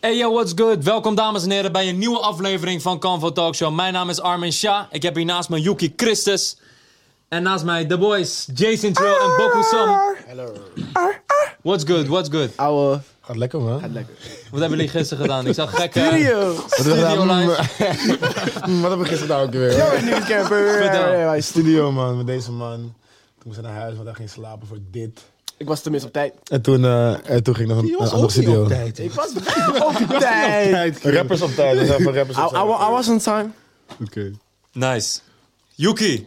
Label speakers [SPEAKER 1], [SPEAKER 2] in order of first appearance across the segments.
[SPEAKER 1] Hey yo, what's good? Welkom dames en heren bij een nieuwe aflevering van Canvo Talk Show. Mijn naam is Armin Shah. Ik heb hier naast me Yuki Christus. En naast mij The Boys, Jason Trill en Boku Som. What's good, what's good?
[SPEAKER 2] Ouwe.
[SPEAKER 3] Gaat Ah, lekker, man.
[SPEAKER 1] Ah, Wat hebben jullie gisteren gedaan? Ik zag gekke...
[SPEAKER 2] Video.
[SPEAKER 1] Studio live.
[SPEAKER 3] Mm, Wat hebben we gisteren nou ook weer?
[SPEAKER 2] Yo, een nieuwe camper.
[SPEAKER 1] Vertel.
[SPEAKER 2] Ja, ja, ja.
[SPEAKER 3] Studio, man, met deze man. Toen moest hij naar huis, want hij ging slapen voor dit.
[SPEAKER 2] Ik was tenminste op tijd.
[SPEAKER 3] En toen, eh, en toen ging hij nog een, een andere studio.
[SPEAKER 2] Ik was op tijd.
[SPEAKER 3] Rappers op tijd, dat is even rappers
[SPEAKER 2] I, I,
[SPEAKER 3] op tijd.
[SPEAKER 2] wa- I was on time.
[SPEAKER 4] Oké.
[SPEAKER 1] Nice. Yuki,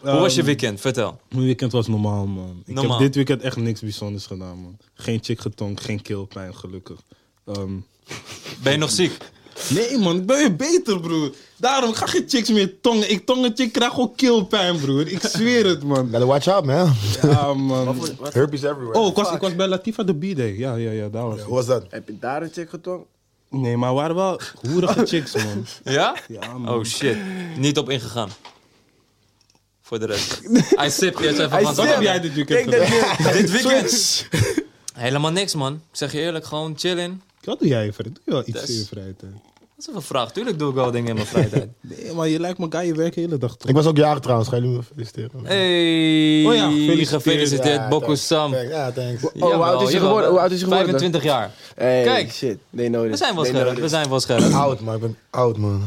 [SPEAKER 1] hoe was je
[SPEAKER 4] Ehm.
[SPEAKER 1] weekend? Vertel.
[SPEAKER 4] Mijn weekend was normaal, man. Ik
[SPEAKER 1] Normaal.
[SPEAKER 4] heb dit weekend echt niks bijzonders gedaan, man. Geen chick getongd, geen keelpijn, gelukkig. Ehm,
[SPEAKER 1] Ben je nog ziek?
[SPEAKER 4] nee, man, ik ben weer beter, broer. Daarom, ik ga geen chicks meer tongen. Ik tong een chick, krijg gewoon keelpijn, broer. Ik zweer het, man.
[SPEAKER 3] Gotta watch out, man.
[SPEAKER 4] Ja, man.
[SPEAKER 3] Herpes everywhere.
[SPEAKER 4] Oh, ik was, ik was bij Latifa de B-Day. Ja, ja, ja, daar was ik.
[SPEAKER 3] Hoe was dat?
[SPEAKER 2] Heb je daar een check getongen?
[SPEAKER 4] Nee, maar we waren wel hoerige chicks, man.
[SPEAKER 1] Ja?
[SPEAKER 4] Ja, man.
[SPEAKER 1] Oh shit. Niet op ingegaan. Voor de rest. Hij sip eerst even van
[SPEAKER 4] Wat heb jij dit weekend gedaan?
[SPEAKER 1] Dit weekend? Helemaal niks man. Ik zeg je eerlijk, gewoon chillen.
[SPEAKER 4] Wat doe jij, Fred? Doe je wel iets
[SPEAKER 1] Tess.
[SPEAKER 4] in je vrije tijd?
[SPEAKER 1] Dat is even een vraag. Tuurlijk doe ik wel dingen in mijn vrije tijd.
[SPEAKER 4] Nee, maar je lijkt me guy, je werkt de hele dag, toch?
[SPEAKER 3] Ik was ook jarig trouwens, ga jullie me feliciteren.
[SPEAKER 1] Hey,
[SPEAKER 4] Oh ja, gefeliciteerd.
[SPEAKER 1] gefeliciteerd
[SPEAKER 3] Ja,
[SPEAKER 1] Boku
[SPEAKER 3] thanks.
[SPEAKER 1] Sam.
[SPEAKER 3] Thanks. Ja, thanks.
[SPEAKER 2] Oh, hoe oud is hij geworden? Hoe oud is hij geworden?
[SPEAKER 1] 25 jaar.
[SPEAKER 2] Hey,
[SPEAKER 1] Kijk.
[SPEAKER 2] shit. Nee, no,
[SPEAKER 1] We zijn wel scherp, we zijn wel scherp.
[SPEAKER 3] Oud, man. Ik ben oud, man.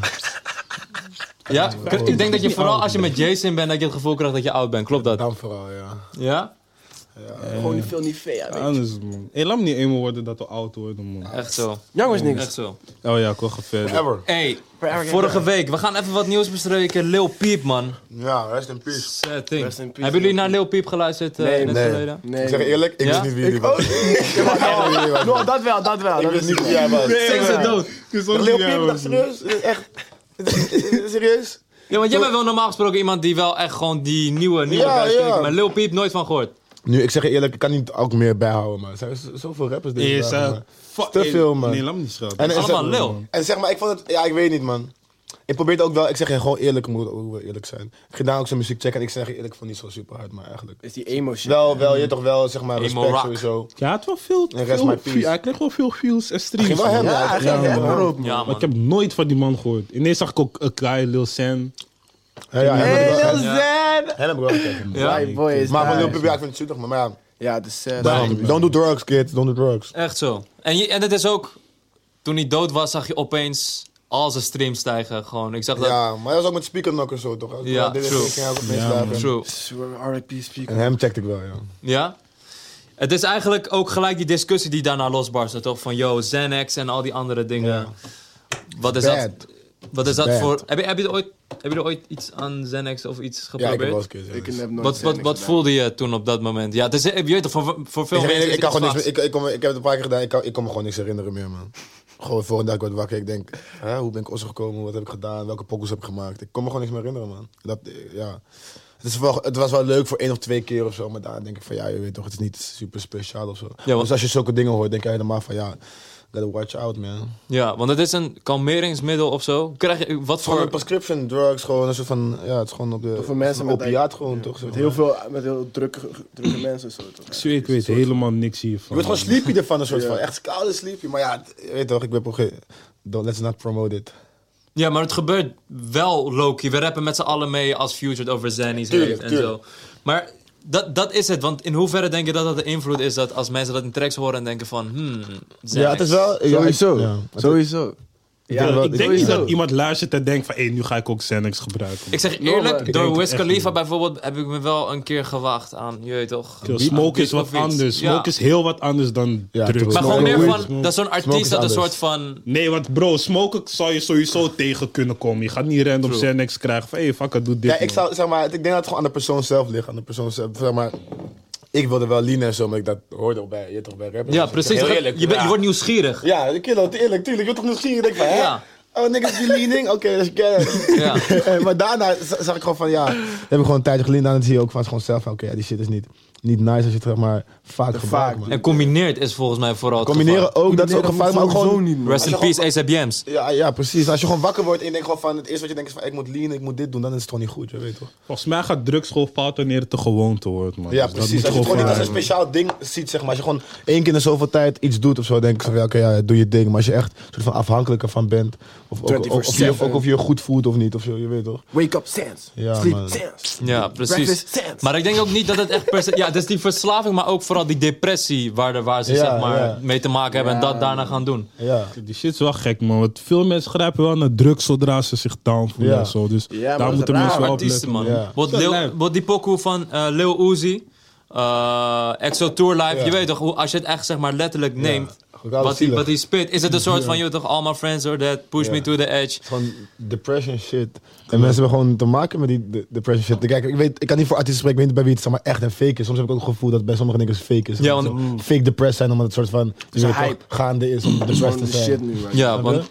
[SPEAKER 1] Ja, ik denk dat je vooral als je met Jason bent, dat je het gevoel krijgt dat je oud bent. Klopt dat?
[SPEAKER 3] Dan vooral, ja.
[SPEAKER 1] Ja?
[SPEAKER 2] Gewoon niet veel niet vea, weet je.
[SPEAKER 4] Anders, man. Hé, laat me niet eenmaal worden dat we oud worden, man.
[SPEAKER 1] Echt zo.
[SPEAKER 2] Jongens, niks.
[SPEAKER 1] Echt zo.
[SPEAKER 4] Oh ja, ik wil gaan verder.
[SPEAKER 3] Ever.
[SPEAKER 1] Hey, vorige week, we gaan even wat nieuws bespreken. Lil Peep, man.
[SPEAKER 3] Ja, rest in peace.
[SPEAKER 1] Sad thing.
[SPEAKER 2] Rest in peace,
[SPEAKER 1] Hebben jullie naar Lil Peep geluisterd eh,
[SPEAKER 2] Nee,
[SPEAKER 1] in het
[SPEAKER 3] nee.
[SPEAKER 1] verleden?
[SPEAKER 2] Nee.
[SPEAKER 3] Ik zeg eerlijk, ik
[SPEAKER 1] Ja?
[SPEAKER 3] wist niet wie jullie was.
[SPEAKER 2] No, dat wel, dat wel.
[SPEAKER 3] Ik
[SPEAKER 2] Dat
[SPEAKER 3] wist
[SPEAKER 2] is
[SPEAKER 3] niet wie jij was.
[SPEAKER 1] Zeg ze dood.
[SPEAKER 3] Lil Peep, dacht serieus? Echt? Serieus?
[SPEAKER 1] Ja, want jij bent wel normaal gesproken iemand die wel echt gewoon die nieuwe, nieuwe
[SPEAKER 3] Ja,
[SPEAKER 1] guys
[SPEAKER 3] ja.
[SPEAKER 1] kent, Maar Lil Peep nooit van gehoord.
[SPEAKER 3] Nu, ik zeg je eerlijk, ik kan niet ook meer bijhouden, maar er zijn z- zoveel rappers deze
[SPEAKER 4] Is
[SPEAKER 3] dagen,
[SPEAKER 4] eh,
[SPEAKER 3] man.
[SPEAKER 4] fuck-
[SPEAKER 3] Te veel, man.
[SPEAKER 4] Nee, laat me niet schelden.
[SPEAKER 3] En, en,
[SPEAKER 1] Allemaal
[SPEAKER 3] zeg,
[SPEAKER 1] Lil.
[SPEAKER 3] en zeg maar, ik vond het, ja, ik weet niet, man. Ik probeerde ook wel, ik zeg je gewoon eerlijk, moet hoe we eerlijk zijn. Ik gedaan ook zijn muziek checken en ik zeg je eerlijk, ik vond niet zo super hard, maar eigenlijk.
[SPEAKER 2] Is die emo shit.
[SPEAKER 3] Wel, wel, je toch wel, zeg maar, respect
[SPEAKER 1] rock.
[SPEAKER 3] sowieso.
[SPEAKER 4] Ja, het had wel veel,
[SPEAKER 3] En rest my
[SPEAKER 4] veel
[SPEAKER 3] peace.
[SPEAKER 4] view- hij kreeg wel veel views en streams.
[SPEAKER 3] Ging wel
[SPEAKER 4] man.
[SPEAKER 3] hem,
[SPEAKER 2] Ja, hij
[SPEAKER 3] ja,
[SPEAKER 2] ging
[SPEAKER 3] ja,
[SPEAKER 2] hem,
[SPEAKER 3] man.
[SPEAKER 2] man.
[SPEAKER 3] Erop, man.
[SPEAKER 1] Ja, man.
[SPEAKER 4] Maar ik heb nooit van die man gehoord. Ineens zag ik ook Akai, Lil Sam.
[SPEAKER 3] Ja, ja, hem heb ik wel- hem-
[SPEAKER 2] Zed!
[SPEAKER 3] hem heb ik wel gekeken.
[SPEAKER 1] Ja.
[SPEAKER 2] My boy is
[SPEAKER 3] Maar van Lil
[SPEAKER 2] nice.
[SPEAKER 3] Peep, ja, ik vind het zoetig, maar ja.
[SPEAKER 2] Ja, dat is eh, sad.
[SPEAKER 3] Daarom, Don't do drugs, kid, don't do drugs.
[SPEAKER 1] Echt zo. En, je, en het is ook, toen hij dood was, zag je opeens al zijn streams stijgen. Gewoon, ik zag dat.
[SPEAKER 3] Ja, maar dat was ook met speakernokken zo, toch? Als ik
[SPEAKER 1] Ja,
[SPEAKER 3] wel dit is,
[SPEAKER 1] true.
[SPEAKER 3] ik ging ook opeens
[SPEAKER 4] Ja,
[SPEAKER 3] slapen.
[SPEAKER 4] man.
[SPEAKER 1] True.
[SPEAKER 2] R.I.P. speaker.
[SPEAKER 3] En hem checkte ik wel, ja.
[SPEAKER 1] Ja? Het is eigenlijk ook gelijk die discussie die daarna losbarstte, toch? Van, yo, Xanax en al die andere dingen. Wat is
[SPEAKER 3] Bad.
[SPEAKER 1] dat? Wat is dat
[SPEAKER 3] Bad.
[SPEAKER 1] voor... Heb je, heb, je er ooit, heb je er ooit iets aan Xanax of iets
[SPEAKER 3] Ja, ik heb
[SPEAKER 1] geprobeerd?
[SPEAKER 3] wel eens een keer
[SPEAKER 2] Ik
[SPEAKER 3] zelfs.
[SPEAKER 2] heb nooit
[SPEAKER 1] wat
[SPEAKER 2] Xanax
[SPEAKER 1] wat, wat
[SPEAKER 2] gedaan.
[SPEAKER 1] voelde je toen op dat moment? Ja, het is, je weet toch, voor, voor veel
[SPEAKER 3] Ik,
[SPEAKER 1] mensen
[SPEAKER 3] ik,
[SPEAKER 1] is
[SPEAKER 3] ik kan
[SPEAKER 1] het
[SPEAKER 3] gewoon niks
[SPEAKER 1] vaag.
[SPEAKER 3] meer- ik, ik, kom- ik heb het een paar keer gedaan, ik kan, ik kan me gewoon niks herinneren meer, man. Gewoon volgende dag ik word wakker, ik denk, hè, hoe ben ik Osso gekomen, wat heb ik gedaan, welke pokkels heb ik gemaakt. Ik kon me gewoon niks meer herinneren, man. Dat, eh, ja. het, is wel, het was wel leuk voor één of twee keer of zo, maar daar denk ik van, ja, je weet toch, het is niet super speciaal of zo.
[SPEAKER 1] want-
[SPEAKER 3] Dus als je zulke dingen hoort, denk je helemaal van, ja, gotta watch out, man.
[SPEAKER 1] Ja, want het is een kalmeringsmiddel of zo. Krijg je, wat
[SPEAKER 3] Gewoon een
[SPEAKER 1] voor...
[SPEAKER 3] prescription drugs, gewoon een soort van, ja, het is gewoon op de...
[SPEAKER 2] Voor mensen met-
[SPEAKER 3] opiaat gewoon, toch? Zo,
[SPEAKER 2] Met heel veel, met heel drukke, drukke mensen zo toch.
[SPEAKER 4] Ik zweer, ik weet helemaal niks
[SPEAKER 3] Je
[SPEAKER 4] hiervan.
[SPEAKER 3] wordt gewoon sleepy ervan, een soort van. Echt koude sleepy. Maar ja, het- je weet toch, ik ben op een Don't Let's not promote it.
[SPEAKER 1] Ja, maar het gebeurt wel, Loki. We rappen met z'n allen mee als Future het over Zannies
[SPEAKER 3] Tuurlijk,
[SPEAKER 1] heeft en
[SPEAKER 3] tuurlijk.
[SPEAKER 1] zo. Maar dat, dat is het. Want in hoeverre denk je dat dat de invloed is dat als mensen dat in tracks horen en denken van... Hmm, Xanax.
[SPEAKER 3] Ja, het is wel...
[SPEAKER 2] Sowieso. Sowieso.
[SPEAKER 4] Ja,
[SPEAKER 3] Ja,
[SPEAKER 4] ik denk niet
[SPEAKER 3] sowieso.
[SPEAKER 4] dat iemand luistert en denkt van, hé, nu ga ik ook Xanax gebruiken.
[SPEAKER 1] Ik zeg
[SPEAKER 2] maar-
[SPEAKER 1] eerlijk,
[SPEAKER 2] Ik
[SPEAKER 1] door
[SPEAKER 4] denk
[SPEAKER 1] Wiz
[SPEAKER 4] het echt
[SPEAKER 1] Khalifa bijvoorbeeld heb ik me wel een keer gewacht aan, je weet toch...
[SPEAKER 4] Yo, Smoke is
[SPEAKER 1] Beat
[SPEAKER 4] wat
[SPEAKER 1] of iets.
[SPEAKER 4] anders.
[SPEAKER 1] Ja.
[SPEAKER 4] Smoke is heel wat anders dan
[SPEAKER 3] Ja,
[SPEAKER 4] drugs.
[SPEAKER 3] tuurlijk.
[SPEAKER 1] Maar gewoon
[SPEAKER 3] Smoke
[SPEAKER 1] meer
[SPEAKER 3] is
[SPEAKER 1] van,
[SPEAKER 3] anders.
[SPEAKER 1] dat zo'n
[SPEAKER 3] Smoke
[SPEAKER 1] artiest
[SPEAKER 3] is
[SPEAKER 1] dat een
[SPEAKER 3] anders.
[SPEAKER 1] soort van...
[SPEAKER 4] Nee, want bro, smoken zou je sowieso tegen kunnen komen. Je gaat niet random
[SPEAKER 1] True.
[SPEAKER 4] Xanax krijgen van, hé, fuck it, doe dit.
[SPEAKER 3] Ja, ik
[SPEAKER 4] man.
[SPEAKER 3] zou, zeg maar, ik denk dat het gewoon aan de persoon zelf ligt. Aan de persoon zelf, zeg maar... Ik wilde wel lean en zo, maar ik dat hoorde ook bij, je toch, bij rappers.
[SPEAKER 1] Ja,
[SPEAKER 3] Dus ik zeg,
[SPEAKER 1] precies.
[SPEAKER 3] heel
[SPEAKER 1] Je,
[SPEAKER 3] eerlijk,
[SPEAKER 1] bent-
[SPEAKER 3] ja.
[SPEAKER 1] je wordt nieuwsgierig.
[SPEAKER 3] Ja, ik wil dat eerlijk, tuurlijk. Je wordt toch nieuwsgierig, denk ik van, hè?
[SPEAKER 1] Ja.
[SPEAKER 3] Oh, niks die leaning? Oké, let's get it.
[SPEAKER 1] Ja.
[SPEAKER 3] Eh, maar daarna z- zag ik gewoon van ja, heb ik gewoon een tijdje geleden aan het zie je ook van het is gewoon zelf van, oké, ja, die shit is niet niet nice als je het zeg maar vaak
[SPEAKER 2] vaak
[SPEAKER 3] gebruikt, man.
[SPEAKER 1] En combineerd is volgens mij vooral het
[SPEAKER 3] Combineren ook, dat is ook gevaarlijk, maar ook gewoon...
[SPEAKER 2] niet,
[SPEAKER 1] geval. Rest in
[SPEAKER 3] Als je
[SPEAKER 1] peace, ASAP Jams.
[SPEAKER 3] Ja, ja, precies. Als je gewoon wakker wordt en je denkt gewoon van... Het eerste wat je denkt is van, ik moet lean, ik moet dit doen. Dan is het gewoon niet goed, je weet toch?
[SPEAKER 4] Volgens mij gaat drugschool fout wanneer het de gewoonte wordt, man.
[SPEAKER 3] Ja,
[SPEAKER 4] Dus dat
[SPEAKER 3] precies.
[SPEAKER 4] moet
[SPEAKER 3] Als je het gewoon niet als een
[SPEAKER 4] veranderen.
[SPEAKER 3] speciaal ding ziet, zeg maar. Als je gewoon één keer in zoveel tijd iets doet of zo, denk ik van ja, oké, ja, doe je ding. Maar als je echt soort van afhankelijk ervan bent, of, ook, of, of, je,
[SPEAKER 2] 24/7.
[SPEAKER 3] ook of je je goed voelt of niet, of zo, je weet toch?
[SPEAKER 2] Wake up sans.
[SPEAKER 3] Ja,
[SPEAKER 2] Sleep
[SPEAKER 3] man.
[SPEAKER 2] sans.
[SPEAKER 1] Ja, precies.
[SPEAKER 2] Breakfast sans.
[SPEAKER 1] Maar ik denk ook niet dat het echt per se... Ja, het is die verslaving, maar ook vooral die depressie waar, de, waar ze
[SPEAKER 3] Ja,
[SPEAKER 1] zeg maar
[SPEAKER 3] ja.
[SPEAKER 1] mee te maken hebben en dat daarna gaan doen.
[SPEAKER 3] Ja.
[SPEAKER 4] Die shit is wel gek, man. Want veel mensen grijpen wel naar drugs zodra ze zich down voelen
[SPEAKER 3] Ja.
[SPEAKER 4] en zo. Dus
[SPEAKER 2] Ja, maar dat
[SPEAKER 4] daar
[SPEAKER 2] is
[SPEAKER 4] moeten
[SPEAKER 2] raar,
[SPEAKER 4] mensen wel op
[SPEAKER 1] Artiesten,
[SPEAKER 4] letten.
[SPEAKER 1] man.
[SPEAKER 3] Ja.
[SPEAKER 1] Wat,
[SPEAKER 4] Dat is
[SPEAKER 1] Lil,
[SPEAKER 4] lijp.
[SPEAKER 1] wat die pokoe van eh Lil Uzi, eh, Exo Tour Live,
[SPEAKER 3] Ja.
[SPEAKER 1] je weet toch, hoe, als je het echt zeg maar letterlijk neemt,
[SPEAKER 3] Ook wel
[SPEAKER 1] wat die,
[SPEAKER 3] zielig.
[SPEAKER 1] wat die spit, is het een soort van, je weet toch, all my friends are dead, push
[SPEAKER 3] Ja.
[SPEAKER 1] me to the edge.
[SPEAKER 3] Gewoon depression shit. En mensen hebben gewoon te maken met die de- depression shit. Kijk, ik, weet, ik kan niet voor artiesten spreken, ik weet niet bij wie het zeg maar, echt en fake is. Soms heb ik ook het gevoel dat bij sommige dingen het fake is.
[SPEAKER 1] Ja,
[SPEAKER 3] Dat
[SPEAKER 1] want-
[SPEAKER 3] ze fake depressed zijn omdat het soort van je
[SPEAKER 2] is een
[SPEAKER 3] weet toch,
[SPEAKER 2] hype.
[SPEAKER 3] gaande is om
[SPEAKER 2] Gewoon
[SPEAKER 3] depressed te
[SPEAKER 2] de
[SPEAKER 3] zijn.
[SPEAKER 2] shit nu, man.
[SPEAKER 1] Ja, want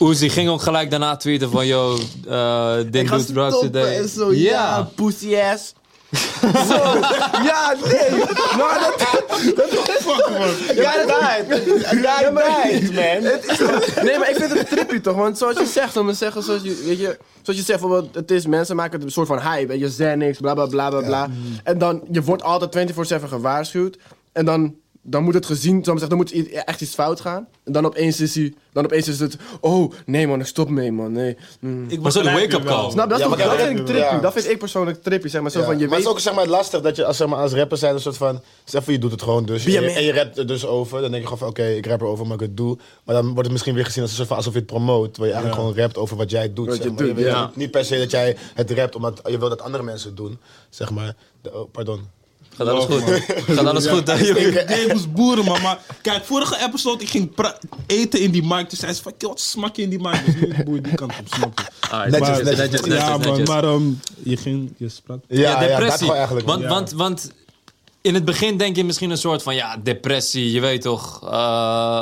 [SPEAKER 1] Uzi ging ook gelijk daarna tweeten van, yo, eh dit
[SPEAKER 2] Ik ga
[SPEAKER 1] doet drugs
[SPEAKER 2] stoppen
[SPEAKER 1] today.
[SPEAKER 2] en zo, ja, pussy ass. Zo, ja, nee. Maar dat... dat Ja, dat Ja, maar- Het is toch- Nee, maar ik vind het een trippie toch, want zoals je zegt, dan zeggen, zoals je, weet je, zoals je zegt, bijvoorbeeld, het is, mensen maken het een soort van hype, weet je, Xanax, bla bla bla bla bla. En dan, je wordt altijd 24-7 gewaarschuwd, en dan... Dan moet het gezien, zal ik maar zeggen, dan moet i- echt iets fout gaan. En dan opeens is hij, dan opeens is het, oh nee man, ik stop mee man, nee. Mm.
[SPEAKER 1] Maar zo'n
[SPEAKER 4] begrijp
[SPEAKER 1] wake-up
[SPEAKER 4] je wel.
[SPEAKER 1] call.
[SPEAKER 2] Snap, Nou, dat, is
[SPEAKER 3] Ja,
[SPEAKER 2] toch-
[SPEAKER 3] maar
[SPEAKER 2] dat
[SPEAKER 3] kijk,
[SPEAKER 2] vind ik
[SPEAKER 3] ja.
[SPEAKER 2] trippy. Dat vind ik persoonlijk trippy, zeg maar. Zo
[SPEAKER 3] Ja,
[SPEAKER 2] van, je
[SPEAKER 3] maar
[SPEAKER 2] weet...
[SPEAKER 3] het is ook zeg maar, lastig dat je als, zeg maar, als rapper zijn een soort van... Zeg van, je doet het gewoon dus. En
[SPEAKER 2] Be a
[SPEAKER 3] je,
[SPEAKER 2] man.
[SPEAKER 3] en je rapt er dus over. Dan denk je gewoon van, oké, ik rap erover, maar ik het doe. Maar dan wordt het misschien weer gezien als een soort van alsof je het promoot. Terwijl je eigenlijk gewoon rapt over wat jij doet.
[SPEAKER 2] Wat
[SPEAKER 3] zeg
[SPEAKER 2] je
[SPEAKER 3] maar.
[SPEAKER 2] doet,
[SPEAKER 3] weet
[SPEAKER 1] ja.
[SPEAKER 3] niet- Niet per se dat jij het rapt, omdat je wil dat andere mensen het doen. Zeg maar. De- oh, pardon.
[SPEAKER 1] Gaat alles goed. Gaat alles goed, hè,
[SPEAKER 4] Ik
[SPEAKER 1] joh.
[SPEAKER 4] ik moest boeren, man. Maar kijk, vorige episode, ik ging pra- eten in die mic. Toen zei ze van, "Kill, wat smak je in die mic? Dus nu boer die kant op, snap je?
[SPEAKER 1] Alright,
[SPEAKER 3] Netjes,
[SPEAKER 1] maar-
[SPEAKER 3] netjes,
[SPEAKER 4] Ah, ja, man,
[SPEAKER 1] netjes.
[SPEAKER 4] maar ehm, je ging, je sprak.
[SPEAKER 1] Ja,
[SPEAKER 3] dat
[SPEAKER 1] depressie.
[SPEAKER 3] gewoon eigenlijk.
[SPEAKER 1] want,
[SPEAKER 3] man.
[SPEAKER 1] want, want in het begin denk je misschien een soort van, ja, depressie, je weet toch. eh,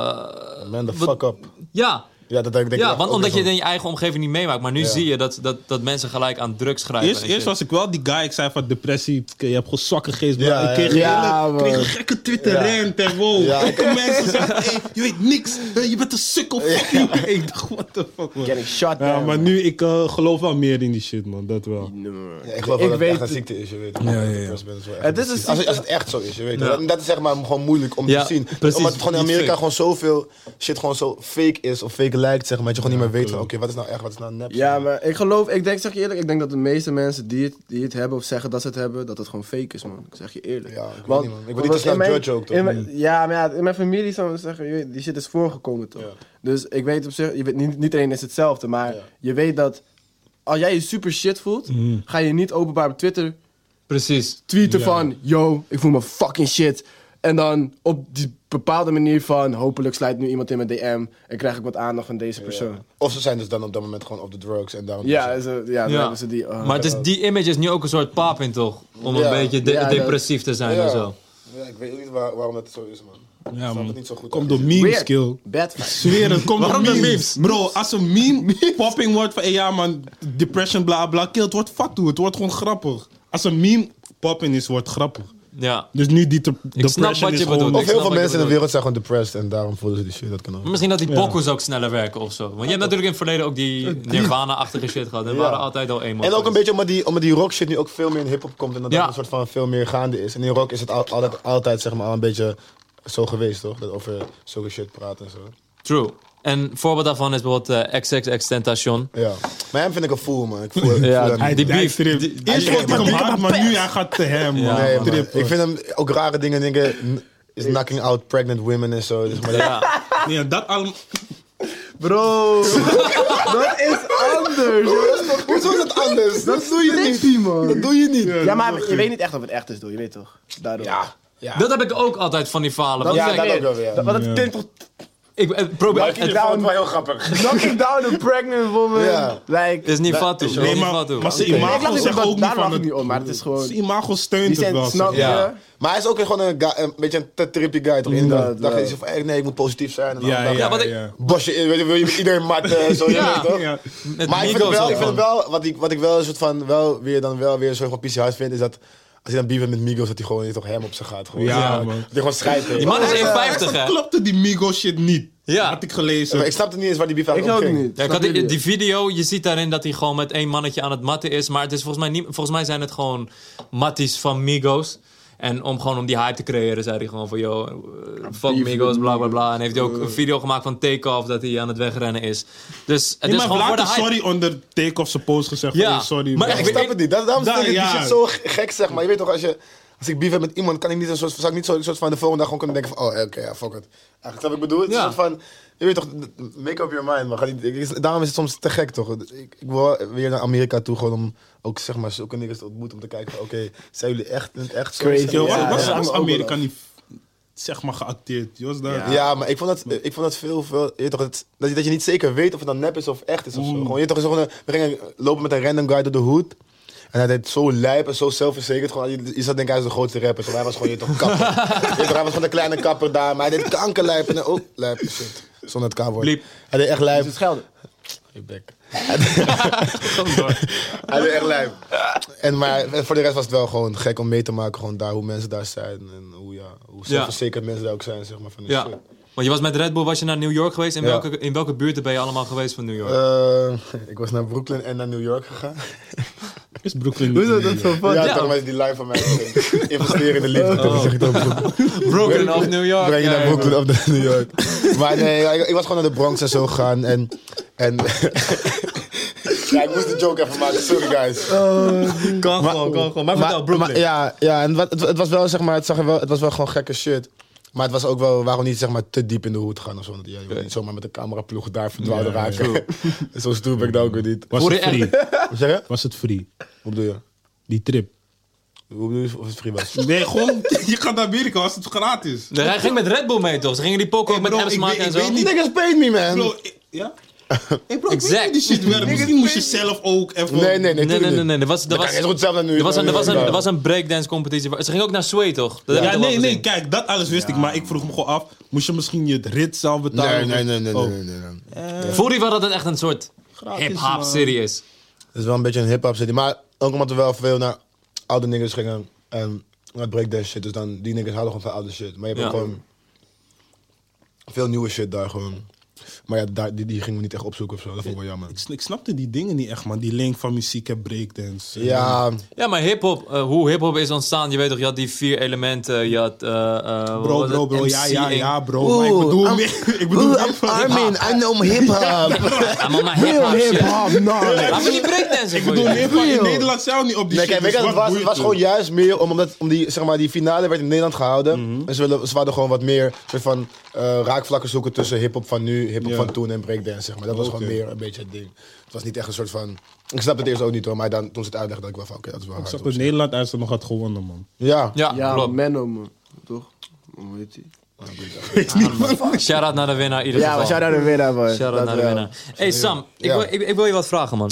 [SPEAKER 3] Man, the
[SPEAKER 1] wat-
[SPEAKER 3] fuck up.
[SPEAKER 1] Ja,
[SPEAKER 3] Ja, dat denk ik
[SPEAKER 1] ja
[SPEAKER 3] echt
[SPEAKER 1] want
[SPEAKER 3] ook
[SPEAKER 1] omdat
[SPEAKER 3] weer
[SPEAKER 1] je het
[SPEAKER 3] zo.
[SPEAKER 1] in je eigen omgeving niet meemaakt. Maar nu
[SPEAKER 3] Ja.
[SPEAKER 1] zie je dat, dat, dat mensen gelijk aan drugs grijpen.
[SPEAKER 4] Eerst,
[SPEAKER 1] en
[SPEAKER 4] eerst
[SPEAKER 1] shit.
[SPEAKER 4] was ik wel die guy, ik zei van depressie, je hebt gewoon zwakke geest. maar
[SPEAKER 3] Ja,
[SPEAKER 4] ik kreeg,
[SPEAKER 2] ja.
[SPEAKER 4] hele,
[SPEAKER 2] Ja,
[SPEAKER 4] kreeg
[SPEAKER 2] man.
[SPEAKER 4] een gekke Twitter rant en wow.
[SPEAKER 3] Ja.
[SPEAKER 4] Gekke mensen zeggen, hey, je weet niks, eh, je bent een sukkel. fuck you." Ik dacht, what the fuck man.
[SPEAKER 2] Getting shot
[SPEAKER 4] Ja,
[SPEAKER 2] down.
[SPEAKER 4] maar nu, ik eh, geloof wel meer in die shit man, dat wel.
[SPEAKER 3] Ja, ik geloof wel
[SPEAKER 2] Ik
[SPEAKER 3] dat het echt
[SPEAKER 2] weet
[SPEAKER 3] een
[SPEAKER 2] het.
[SPEAKER 3] ziekte is, je weet toch? Dat
[SPEAKER 4] ja, ja.
[SPEAKER 3] depressed bent is wel echt
[SPEAKER 2] Het is
[SPEAKER 3] ziekte.
[SPEAKER 2] een
[SPEAKER 3] Als,
[SPEAKER 2] ziekte.
[SPEAKER 3] als het echt zo is, je weet
[SPEAKER 1] Ja.
[SPEAKER 3] toch? En Dat is zeg maar gewoon moeilijk om
[SPEAKER 1] Ja,
[SPEAKER 3] te zien.
[SPEAKER 1] precies.
[SPEAKER 3] Omdat het gewoon in
[SPEAKER 1] Niet
[SPEAKER 3] Amerika
[SPEAKER 1] fake.
[SPEAKER 3] gewoon zoveel shit gewoon zo fake is of fake lijkt, zeg maar. Dat je gewoon niet meer weet van, oké, wat is nou echt, wat is nou nep.
[SPEAKER 2] Ja, maar ik geloof... Ik denk, zeg je eerlijk, ik denk dat de meeste mensen die het, die het hebben of zeggen dat ze het hebben, dat het gewoon fake is, man. Ik zeg je eerlijk.
[SPEAKER 3] Ja, ik weet niet, man. Ik word niet te
[SPEAKER 2] want
[SPEAKER 3] snel
[SPEAKER 2] in mijn-
[SPEAKER 3] judge ook, toch?
[SPEAKER 2] in mijn- ja, maar ja, in mijn familie zou ik zeggen, je weet, die shit is voorgekomen, toch? Dus ik weet op zich... Je weet, niet, niet iedereen is hetzelfde, maar je weet dat... Als jij je super shit voelt, ga je niet openbaar op Twitter
[SPEAKER 1] Precies.
[SPEAKER 2] tweeten van... Yo, ik voel me fucking shit. En dan op die bepaalde manier van... Hopelijk slijt nu iemand in mijn DM... en krijg ik wat aandacht van deze persoon. Ja,
[SPEAKER 3] Of ze zijn dus dan op dat moment gewoon op de drugs en daarom...
[SPEAKER 2] ja, ze- ja dan
[SPEAKER 1] Ja.
[SPEAKER 2] hebben ze die... ah.
[SPEAKER 1] maar het is, die image is nu ook een soort pap in, toch? Om
[SPEAKER 3] Ja.
[SPEAKER 1] een beetje de-
[SPEAKER 2] Ja, dat-
[SPEAKER 1] depressief te zijn
[SPEAKER 3] Ja.
[SPEAKER 1] en zo.
[SPEAKER 3] Ja, ik weet niet waar- waarom dat zo is, man. Ik
[SPEAKER 4] Ja,
[SPEAKER 3] snap
[SPEAKER 4] man.
[SPEAKER 3] het niet zo goed.
[SPEAKER 4] Komt door
[SPEAKER 3] eigenlijk.
[SPEAKER 4] meme
[SPEAKER 2] Weird.
[SPEAKER 4] skill.
[SPEAKER 2] Bad vibes.
[SPEAKER 4] Zweer het, komt door
[SPEAKER 1] Waarom dan
[SPEAKER 4] memes.
[SPEAKER 1] memes?
[SPEAKER 4] Bro, als een meme popping wordt van, hey, ja man, depression, bla bla, kill, het wordt fuck toe, het wordt gewoon grappig. Als een meme popping is, wordt grappig.
[SPEAKER 1] Ja.
[SPEAKER 4] Dus nu die te- depression
[SPEAKER 1] snap wat
[SPEAKER 4] is
[SPEAKER 1] je
[SPEAKER 4] gewoon-
[SPEAKER 1] bedoelt.
[SPEAKER 3] Of
[SPEAKER 1] Ik snap
[SPEAKER 3] heel
[SPEAKER 1] wat
[SPEAKER 3] veel
[SPEAKER 1] je
[SPEAKER 3] mensen in de
[SPEAKER 1] bedoelt.
[SPEAKER 3] wereld zijn gewoon depressed en daarom voelen ze die shit, dat kan ook.
[SPEAKER 1] Misschien dat die bokkoes ook sneller werken of zo. Want je hebt natuurlijk in het verleden ook die Nirvana-achtige shit gehad. Er waren altijd al emo.
[SPEAKER 3] En ook een beetje omdat die, omdat die rock shit nu ook veel meer in hip-hop komt en dat
[SPEAKER 1] Ja.
[SPEAKER 3] dat een soort van veel meer gaande is. En in rock is het al, altijd, altijd zeg maar al een beetje zo geweest, toch? Dat over zulke shit praten en zo.
[SPEAKER 1] True. En een voorbeeld daarvan is bijvoorbeeld eh XXX Tentacion.
[SPEAKER 3] Ja. Maar hem vind ik een fool, man. Ik voel, ik
[SPEAKER 1] Ja,
[SPEAKER 3] voel hem
[SPEAKER 1] hij-
[SPEAKER 3] niet.
[SPEAKER 1] Die
[SPEAKER 4] Die
[SPEAKER 1] beef.
[SPEAKER 4] beef. Eerst wordt hij hem hard, maar nu hij gaat te hem, man.
[SPEAKER 3] Nee, man.
[SPEAKER 4] Trip,
[SPEAKER 3] Ik
[SPEAKER 4] hoor.
[SPEAKER 3] vind hem ook rare dingen denken. n- Is knocking out pregnant women en zo. Dus, maar dat-
[SPEAKER 1] Ja.
[SPEAKER 4] Ja, dat allemaal...
[SPEAKER 2] Bro, dat is anders.
[SPEAKER 3] Hoezo is dat anders? Dat doe je niet.
[SPEAKER 2] Trippy, man.
[SPEAKER 3] Dat doe je niet.
[SPEAKER 2] Ja, maar je weet niet echt of het echt is, door. Je weet toch? Daardoor. Ja,
[SPEAKER 1] Dat heb ik ook altijd van die falen.
[SPEAKER 2] dat
[SPEAKER 1] Want
[SPEAKER 2] is
[SPEAKER 1] kijk,
[SPEAKER 2] het
[SPEAKER 3] dat
[SPEAKER 2] weer.
[SPEAKER 3] ook wel weer.
[SPEAKER 2] Dat- Want het klinkt toch...
[SPEAKER 1] ik eh, probeer...
[SPEAKER 3] Ik
[SPEAKER 1] het-
[SPEAKER 3] vond het wel heel grappig.
[SPEAKER 2] Knocking down a pregnant woman.
[SPEAKER 3] Ja.
[SPEAKER 2] Like...
[SPEAKER 1] is niet fatu. is
[SPEAKER 4] Nee,
[SPEAKER 1] niet
[SPEAKER 4] maar,
[SPEAKER 1] fatu.
[SPEAKER 4] maar zijn
[SPEAKER 3] Oké.
[SPEAKER 2] Nee, ik lach
[SPEAKER 4] imago
[SPEAKER 2] niet om,
[SPEAKER 4] zegt ook
[SPEAKER 2] dat-
[SPEAKER 4] niet
[SPEAKER 2] daar
[SPEAKER 4] van...
[SPEAKER 2] lach ik
[SPEAKER 4] het-
[SPEAKER 2] niet om, maar het is gewoon...
[SPEAKER 4] Zijn imago steunt
[SPEAKER 2] Die
[SPEAKER 4] het
[SPEAKER 2] zijn-
[SPEAKER 4] wel.
[SPEAKER 2] snap
[SPEAKER 4] zeg.
[SPEAKER 2] je?
[SPEAKER 3] Ja. Maar hij is ook gewoon een, guy- een beetje een te trippy guy, toch? Inderdaad. Dan
[SPEAKER 2] ja.
[SPEAKER 3] is hij van, hey, nee, ik moet positief zijn. En dan
[SPEAKER 4] Ja,
[SPEAKER 3] dan-
[SPEAKER 1] Ja,
[SPEAKER 4] ja,
[SPEAKER 1] wat ik-
[SPEAKER 4] ja.
[SPEAKER 3] Bosje in, weet je, wil je met iedereen matten en zo, je
[SPEAKER 1] Ja.
[SPEAKER 3] weet toch?
[SPEAKER 4] Ja.
[SPEAKER 1] Met
[SPEAKER 3] Maar ik vind
[SPEAKER 1] Migos
[SPEAKER 3] wel,
[SPEAKER 1] ook
[SPEAKER 3] ik vind
[SPEAKER 1] gewoon.
[SPEAKER 3] wel wat, ik, wat ik wel een soort van, wel weer dan wel weer een soort van PC hard vind, is dat Als hij dan beef heeft met Migos, dat hij gewoon je toch hem op zijn gaat. Gewoon.
[SPEAKER 4] Ja, man.
[SPEAKER 3] Die gewoon scheidt.
[SPEAKER 1] Die man is
[SPEAKER 4] Hij ver-
[SPEAKER 1] 1,50
[SPEAKER 4] hij
[SPEAKER 1] hè?
[SPEAKER 4] verklapte die Migo shit niet.
[SPEAKER 1] Ja.
[SPEAKER 4] Had ik gelezen.
[SPEAKER 3] Ik snapte niet eens waar die beef
[SPEAKER 2] Ik
[SPEAKER 3] eigenlijk
[SPEAKER 2] ook
[SPEAKER 3] om ging.
[SPEAKER 2] niet.
[SPEAKER 1] Ja, ik
[SPEAKER 2] Snap
[SPEAKER 1] had die,
[SPEAKER 2] jullie?
[SPEAKER 1] die video, je ziet daarin dat hij gewoon met één mannetje aan het matten is. Maar het is volgens mij, niet, volgens mij zijn het gewoon matties van Migos. En om gewoon om die hype te creëren, zei hij gewoon van... Yo, eh, fuck Migos, bla bla bla. En heeft hij ook een video gemaakt van Takeoff dat hij aan het wegrennen is. Dus het
[SPEAKER 4] Nee,
[SPEAKER 1] is
[SPEAKER 4] maar
[SPEAKER 1] gewoon voor de
[SPEAKER 4] later
[SPEAKER 1] hype.
[SPEAKER 4] sorry onder take-off zijn post gezegd.
[SPEAKER 1] Ja.
[SPEAKER 4] Ja. sorry.
[SPEAKER 1] Maar
[SPEAKER 4] man.
[SPEAKER 3] Ik snap het niet. Dat, daarom
[SPEAKER 4] Daar,
[SPEAKER 3] vind ik die
[SPEAKER 4] Nou, ja.
[SPEAKER 3] shit zo g- gek, zeg maar. Je weet toch, als, je, als ik beef heb met iemand, kan ik niet een soort, zou ik niet zo, een soort van de volgende dag gewoon kunnen denken van... Oh, oké, ja, fuck it. Eigenlijk snap ik bedoel? Het is
[SPEAKER 1] Ja.
[SPEAKER 3] een soort van... Je weet toch, d- make up your mind, man. Ga niet- ik- ik- Daarom is het soms te gek, toch? Ik, ik wil weer naar Amerika toe, gewoon om ook, zeg maar, zulke niggers te ontmoeten. Om te kijken van, oké, zijn jullie echt, echt zo?
[SPEAKER 2] Crazy,
[SPEAKER 4] Yo,
[SPEAKER 2] Ja,
[SPEAKER 4] wat- wat
[SPEAKER 2] ja.
[SPEAKER 4] was Amerika niet zeg maar geacteerd? Je was daar.
[SPEAKER 3] Ja, maar ik vond dat, ik vond dat veel, veel je weet toch, het, dat, je, dat je niet zeker weet of het dan nep is of echt is of zo. Gewoon, je weet toch, is gewoon een, we gingen lopen met een random guy door de hoed. En hij deed zo lijp en zo zelfverzekerd. Gewoon, je, je zat denk ik, hij is de grootste rapper. Maar hij was gewoon, je weet toch, kapper. Je weet toch, hij was gewoon de kleine kapper daar. Maar hij deed kankerlijp en ook lijp. Shit, zonder het K-woord.
[SPEAKER 1] Bliep.
[SPEAKER 3] Hij deed echt lijp.
[SPEAKER 2] Het Schelden.
[SPEAKER 3] Je bek. Hij deed echt lijp. En, maar voor de rest was het wel gewoon gek om mee te maken. Gewoon daar, hoe mensen daar zijn. En hoe, ja, hoe zelfverzekerd mensen daar ook zijn, zeg maar. Van
[SPEAKER 4] Dus,
[SPEAKER 3] die
[SPEAKER 1] Ja.
[SPEAKER 3] shit.
[SPEAKER 4] eh,
[SPEAKER 1] Want je was met Red Bull, was je naar New York geweest? In,
[SPEAKER 3] Ja.
[SPEAKER 1] welke, in welke buurten ben je allemaal geweest van New York?
[SPEAKER 3] Eh, ik was naar Brooklyn en naar New York gegaan.
[SPEAKER 4] Is Brooklyn
[SPEAKER 2] Hoe
[SPEAKER 4] niet.
[SPEAKER 2] is dat dat zo van?
[SPEAKER 3] ja,
[SPEAKER 1] ja. Oh.
[SPEAKER 3] toch mensen die live van mij zeggen, investeren in de liefde. Dat zeg ik dan Brooklyn.
[SPEAKER 1] Brooklyn of New York?
[SPEAKER 3] Breng je
[SPEAKER 1] ja,
[SPEAKER 3] naar
[SPEAKER 1] ja,
[SPEAKER 3] Brooklyn of naar New York. Maar nee, ja, ik, ik was gewoon naar de Bronx en zo gegaan. En, en ja, ik moest de joke even maken. Sorry guys.
[SPEAKER 1] bro. Kan gewoon, kan gewoon. Maar vertel, Oh, Brooklyn.
[SPEAKER 3] maar ja, ja, en wat, het, het was wel zeg maar, het, zag er wel, het was wel gewoon gekke shit. Maar het was ook wel, waarom niet zeg maar te diep in de hoed gaan of zo. want Ja, je wil niet zomaar met de cameraploeg daar verdwaalde raken. Dus zo stoer ben ik dat ook weer niet.
[SPEAKER 4] Was
[SPEAKER 1] Voor
[SPEAKER 4] het
[SPEAKER 1] de
[SPEAKER 4] free?
[SPEAKER 3] Wat zeg je?
[SPEAKER 4] Was het free?
[SPEAKER 3] Wat bedoel je?
[SPEAKER 4] Die trip.
[SPEAKER 3] Hoe bedoel je of het free was?
[SPEAKER 4] Nee, gewoon, je gaat naar Amerika, was het gratis.
[SPEAKER 1] Nee, hij ging met Red Bull mee toch? Ze gingen die poker ook met
[SPEAKER 4] Hey, bro,
[SPEAKER 1] apps
[SPEAKER 4] ik
[SPEAKER 1] maken
[SPEAKER 4] weet-
[SPEAKER 1] en
[SPEAKER 4] ik
[SPEAKER 1] zo.
[SPEAKER 4] weet niet-
[SPEAKER 3] Niggas paid me, man.
[SPEAKER 4] Bro, ik- ja? Hey bro, ik weet
[SPEAKER 1] Exact.
[SPEAKER 4] hoe die shit werkt. Misschien moest je zelf ook even...
[SPEAKER 3] Nee, nee, nee.
[SPEAKER 1] Nee, nee,
[SPEAKER 3] tuurlijk
[SPEAKER 1] nee,
[SPEAKER 3] niet.
[SPEAKER 1] nee. Er was, er
[SPEAKER 3] Dat
[SPEAKER 1] was,
[SPEAKER 3] kan je zo goed zelf naar nu-
[SPEAKER 1] er was een, er was een,
[SPEAKER 3] Ja.
[SPEAKER 1] er was een breakdance competitie. Ze ging ook naar Sway, toch? Dat heb je
[SPEAKER 4] Ja,
[SPEAKER 1] toch wel
[SPEAKER 4] nee, nee,
[SPEAKER 1] gezien?
[SPEAKER 4] kijk, dat alles wist ik, maar ik vroeg me gewoon af, moest je misschien je rit zelf betalen?
[SPEAKER 3] Nee, nee, nee, nee,
[SPEAKER 4] Oh,
[SPEAKER 3] nee, nee, nee.
[SPEAKER 1] Voelde je wel dat het echt een soort
[SPEAKER 4] Gratis,
[SPEAKER 1] hip-hop
[SPEAKER 4] man.
[SPEAKER 1] serie is?
[SPEAKER 3] Het is wel een beetje een hip-hop city. Maar ook omdat we wel veel naar oude niggas gingen. En naar breakdance shit. Dus dan die niggas houden gewoon van oude shit. Maar je hebt
[SPEAKER 1] Ja.
[SPEAKER 3] ook gewoon veel nieuwe shit daar gewoon. Maar ja, daar, die, die gingen we niet echt opzoeken of zo. Dat vond ik wel jammer.
[SPEAKER 4] Ik, sn- ik snapte die dingen niet echt, man. Die link van muziek en breakdance.
[SPEAKER 3] Ja,
[SPEAKER 1] Ja, maar hip-hop, eh, hoe hip-hop is ontstaan, je weet toch, je had die vier elementen. Je had. eh, eh, wat
[SPEAKER 4] Bro,
[SPEAKER 1] was
[SPEAKER 4] bro,
[SPEAKER 1] het?
[SPEAKER 4] bro, ja, ja,
[SPEAKER 1] MCing.
[SPEAKER 4] ja, bro. maar ik bedoel
[SPEAKER 3] I'm-
[SPEAKER 4] meer... Ik bedoel meer van-
[SPEAKER 3] I know hip-hop.
[SPEAKER 1] I'm on my hip-hop shit.
[SPEAKER 3] no.
[SPEAKER 1] Laat me die breakdance
[SPEAKER 4] Ik bedoel meer van... In Nederland zelf niet op die
[SPEAKER 3] Nee,
[SPEAKER 4] shit.
[SPEAKER 3] kijk, weet je,
[SPEAKER 4] dus
[SPEAKER 3] wat het
[SPEAKER 4] wat
[SPEAKER 3] was, het was
[SPEAKER 4] boeit het?
[SPEAKER 3] gewoon juist meer om, omdat, om die, zeg maar, die finale werd in Nederland gehouden.
[SPEAKER 4] Mhm.
[SPEAKER 3] En ze, willen, ze wilden gewoon wat meer soort van, eh, raakvlakken zoeken tussen hip-hop van nu, hip-hop
[SPEAKER 4] Ja.
[SPEAKER 3] van toen en breakdance. Zeg maar. Dat was gewoon meer een beetje het ding. Het was niet echt een soort van. Ik snap het eerst ook niet hoor, maar dan, toen ze het uitlegden, dacht ik wel van oké, dat is wel
[SPEAKER 4] Ik
[SPEAKER 3] hard.
[SPEAKER 4] zag dat Nederland eigenlijk nog had gewonnen, man.
[SPEAKER 3] Ja.
[SPEAKER 1] Ja,
[SPEAKER 2] Ja,
[SPEAKER 1] klopt.
[SPEAKER 2] Menno, man. Toch? Oh, Hoe heet die?
[SPEAKER 1] Shout-out naar de winnaar, in ieder
[SPEAKER 2] Ja, we
[SPEAKER 1] geval.
[SPEAKER 2] zouden er weer naar man.
[SPEAKER 1] Shout-out
[SPEAKER 2] Dat
[SPEAKER 1] naar de
[SPEAKER 2] wel.
[SPEAKER 1] winnaar. hey, Sam, ik,
[SPEAKER 3] Ja.
[SPEAKER 1] wil, ik, ik wil je wat vragen, man.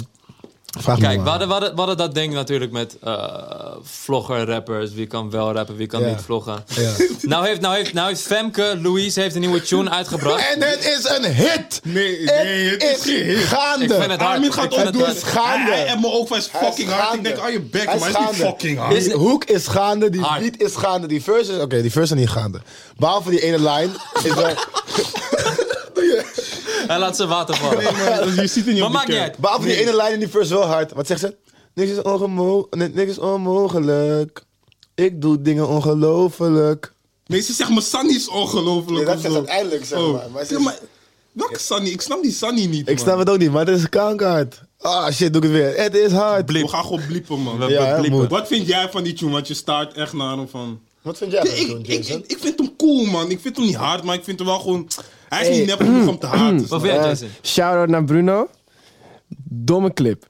[SPEAKER 3] Vraag me
[SPEAKER 1] Kijk,
[SPEAKER 3] maar.
[SPEAKER 1] we hadden, we, hadden, we hadden dat ding natuurlijk met eh, vlogger, rappers. Wie kan wel rappen, wie kan
[SPEAKER 3] Ja.
[SPEAKER 1] niet vloggen.
[SPEAKER 3] Ja.
[SPEAKER 1] Nou, heeft, nou, heeft, nou heeft Femke Louise heeft een nieuwe tune uitgebracht.
[SPEAKER 3] En het is een hit!
[SPEAKER 4] Nee,
[SPEAKER 3] Het
[SPEAKER 4] nee, het
[SPEAKER 3] is
[SPEAKER 4] is geen hit.
[SPEAKER 3] gaande!
[SPEAKER 1] Ik vind het hard.
[SPEAKER 4] Armin gaat
[SPEAKER 1] Ik vind
[SPEAKER 4] ook
[SPEAKER 1] het
[SPEAKER 4] doen.
[SPEAKER 1] hard.
[SPEAKER 3] Gaande.
[SPEAKER 4] Hij en me ook was
[SPEAKER 3] Hij is
[SPEAKER 4] fucking hard. Ik
[SPEAKER 3] gaande.
[SPEAKER 4] denk, oh je bek,
[SPEAKER 3] Hij
[SPEAKER 4] maar hij is niet
[SPEAKER 3] gaande.
[SPEAKER 4] fucking hard.
[SPEAKER 3] Die hoek is gaande, die
[SPEAKER 1] Hard.
[SPEAKER 3] beat is gaande, die verse is... Oké, die verse is niet gaande. Behalve die ene line is wel...
[SPEAKER 1] Hij laat zijn water vallen.
[SPEAKER 4] Dus je ziet
[SPEAKER 1] Maar
[SPEAKER 4] het niet op die
[SPEAKER 1] maakt niet
[SPEAKER 4] kerk.
[SPEAKER 1] uit.
[SPEAKER 3] Behalve die ene lijn in die verse wel hard. Wat zegt ze? Niks is, ongemo- ni- niks is onmogelijk. Ik doe dingen ongelofelijk.
[SPEAKER 4] Nee, ze zegt, maar Sunny is
[SPEAKER 3] Ja,
[SPEAKER 4] ongelooflijk.
[SPEAKER 3] dat
[SPEAKER 4] of
[SPEAKER 3] zegt
[SPEAKER 4] zo.
[SPEAKER 3] ze uiteindelijk, zeg
[SPEAKER 4] Oh.
[SPEAKER 3] maar. Maar ze
[SPEAKER 4] Ja,
[SPEAKER 3] is-
[SPEAKER 4] maar welke Sunny? Ik snap die Sunny niet,
[SPEAKER 3] Ik
[SPEAKER 4] man.
[SPEAKER 3] snap het ook niet, maar het is kankerhard. Ah, shit, doe ik het weer. Het is hard.
[SPEAKER 4] We gaan gewoon bliepen, man.
[SPEAKER 1] We-
[SPEAKER 3] Ja, hè,
[SPEAKER 1] bliepen.
[SPEAKER 3] moet.
[SPEAKER 4] Wat vind jij van die tune? Want je staart echt naar hem van...
[SPEAKER 3] Wat vind jij
[SPEAKER 4] Nee,
[SPEAKER 3] van
[SPEAKER 4] ik,
[SPEAKER 3] zo'n
[SPEAKER 4] ik,
[SPEAKER 3] Jason?
[SPEAKER 4] ik, ik vind hem cool, man. Ik vind hem niet hard, maar ik vind hem wel gewoon... Hij is niet nep genoeg om te haten.
[SPEAKER 1] Wat
[SPEAKER 4] snap
[SPEAKER 1] vind
[SPEAKER 4] je?
[SPEAKER 1] jij,
[SPEAKER 2] Eh,
[SPEAKER 1] Jason? Ah,
[SPEAKER 2] Shout-out naar Bruno. Domme clip.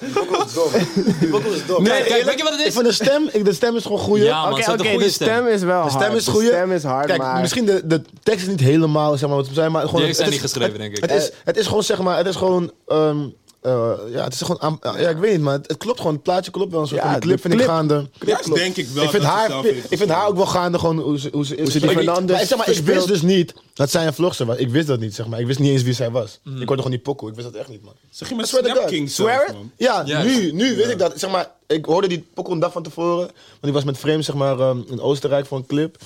[SPEAKER 3] Die boekel is dom.
[SPEAKER 1] Nee,
[SPEAKER 3] Kijk,
[SPEAKER 1] kijk,
[SPEAKER 3] eerlijk,
[SPEAKER 1] weet je wat het is?
[SPEAKER 3] Ik vind de stem, ik, de stem is gewoon goeie.
[SPEAKER 1] Ja, man,
[SPEAKER 2] Oké,
[SPEAKER 1] ze had een
[SPEAKER 2] oké,
[SPEAKER 1] goede
[SPEAKER 2] de
[SPEAKER 1] stem.
[SPEAKER 2] stem is wel
[SPEAKER 3] De
[SPEAKER 2] hard.
[SPEAKER 3] stem is goeie.
[SPEAKER 2] De stem is hard,
[SPEAKER 3] Kijk,
[SPEAKER 2] maar...
[SPEAKER 3] misschien de, de tekst is niet helemaal, zeg maar, wat ze zijn, maar gewoon...
[SPEAKER 1] Die heeft
[SPEAKER 3] het
[SPEAKER 1] zij
[SPEAKER 3] is-
[SPEAKER 1] niet geschreven,
[SPEAKER 3] het-
[SPEAKER 1] denk ik.
[SPEAKER 3] Het is, het is gewoon, zeg maar, het is gewoon... ehm, eh, ja, het is gewoon... aan- ja, ik weet niet, maar het, het klopt gewoon. Het plaatje klopt wel. Een soort
[SPEAKER 2] Ja,
[SPEAKER 3] van de clip
[SPEAKER 2] de
[SPEAKER 3] vind ik
[SPEAKER 2] clip-
[SPEAKER 3] gaande.
[SPEAKER 4] Clips denk ik wel
[SPEAKER 3] ik, vind
[SPEAKER 4] dat ze
[SPEAKER 3] haar,
[SPEAKER 4] zelf heeft
[SPEAKER 3] ik vind haar ook wel gaande gewoon hoe ze, hoe ze, hoe
[SPEAKER 2] ze die Fernandes
[SPEAKER 3] ik, zeg maar, ik wist
[SPEAKER 2] verspeelt.
[SPEAKER 3] dus niet dat zij een vlogster was. Ik wist dat niet, zeg maar. Ik wist niet eens wie zij was.
[SPEAKER 4] Mm.
[SPEAKER 3] Ik hoorde gewoon die pokoe. Ik wist dat echt niet, man.
[SPEAKER 4] Zeg je maar
[SPEAKER 3] I swear to
[SPEAKER 4] Snap
[SPEAKER 3] God.
[SPEAKER 4] King zelf,
[SPEAKER 3] Swear it?
[SPEAKER 4] man.
[SPEAKER 3] Ja,
[SPEAKER 1] Ja.
[SPEAKER 3] nu, nu weet ik dat. Zeg maar, ik hoorde die pokoe een dag van tevoren. Want ik was met Frame zeg maar, ehm, in Oostenrijk voor een clip.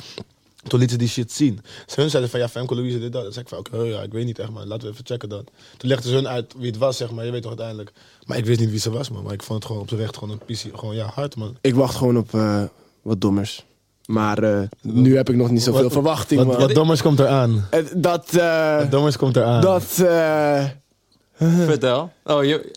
[SPEAKER 3] Toen lieten ze die shit zien. Dus hun zeiden van, ja, Femke Louise, dit, dat. Dan zei ik van, oké, ja, ik weet niet echt, man. Laten we even checken dan. Toen legden ze hun uit wie het was, zeg maar. Je weet toch uiteindelijk. Maar ik wist niet wie ze was, man. Maar ik vond het gewoon op z'n recht gewoon een pissie. Gewoon, ja, hard, man.
[SPEAKER 2] Ik wacht gewoon op eh, wat dommers. Maar eh, nu heb ik nog niet zoveel
[SPEAKER 3] Wat-
[SPEAKER 2] verwachting,
[SPEAKER 3] Wat,
[SPEAKER 2] man.
[SPEAKER 3] wat dommers komt eraan.
[SPEAKER 2] Eh, dat, eh,
[SPEAKER 3] Dommers komt eraan.
[SPEAKER 2] dat, eh,
[SPEAKER 1] Vertel. Oh, je...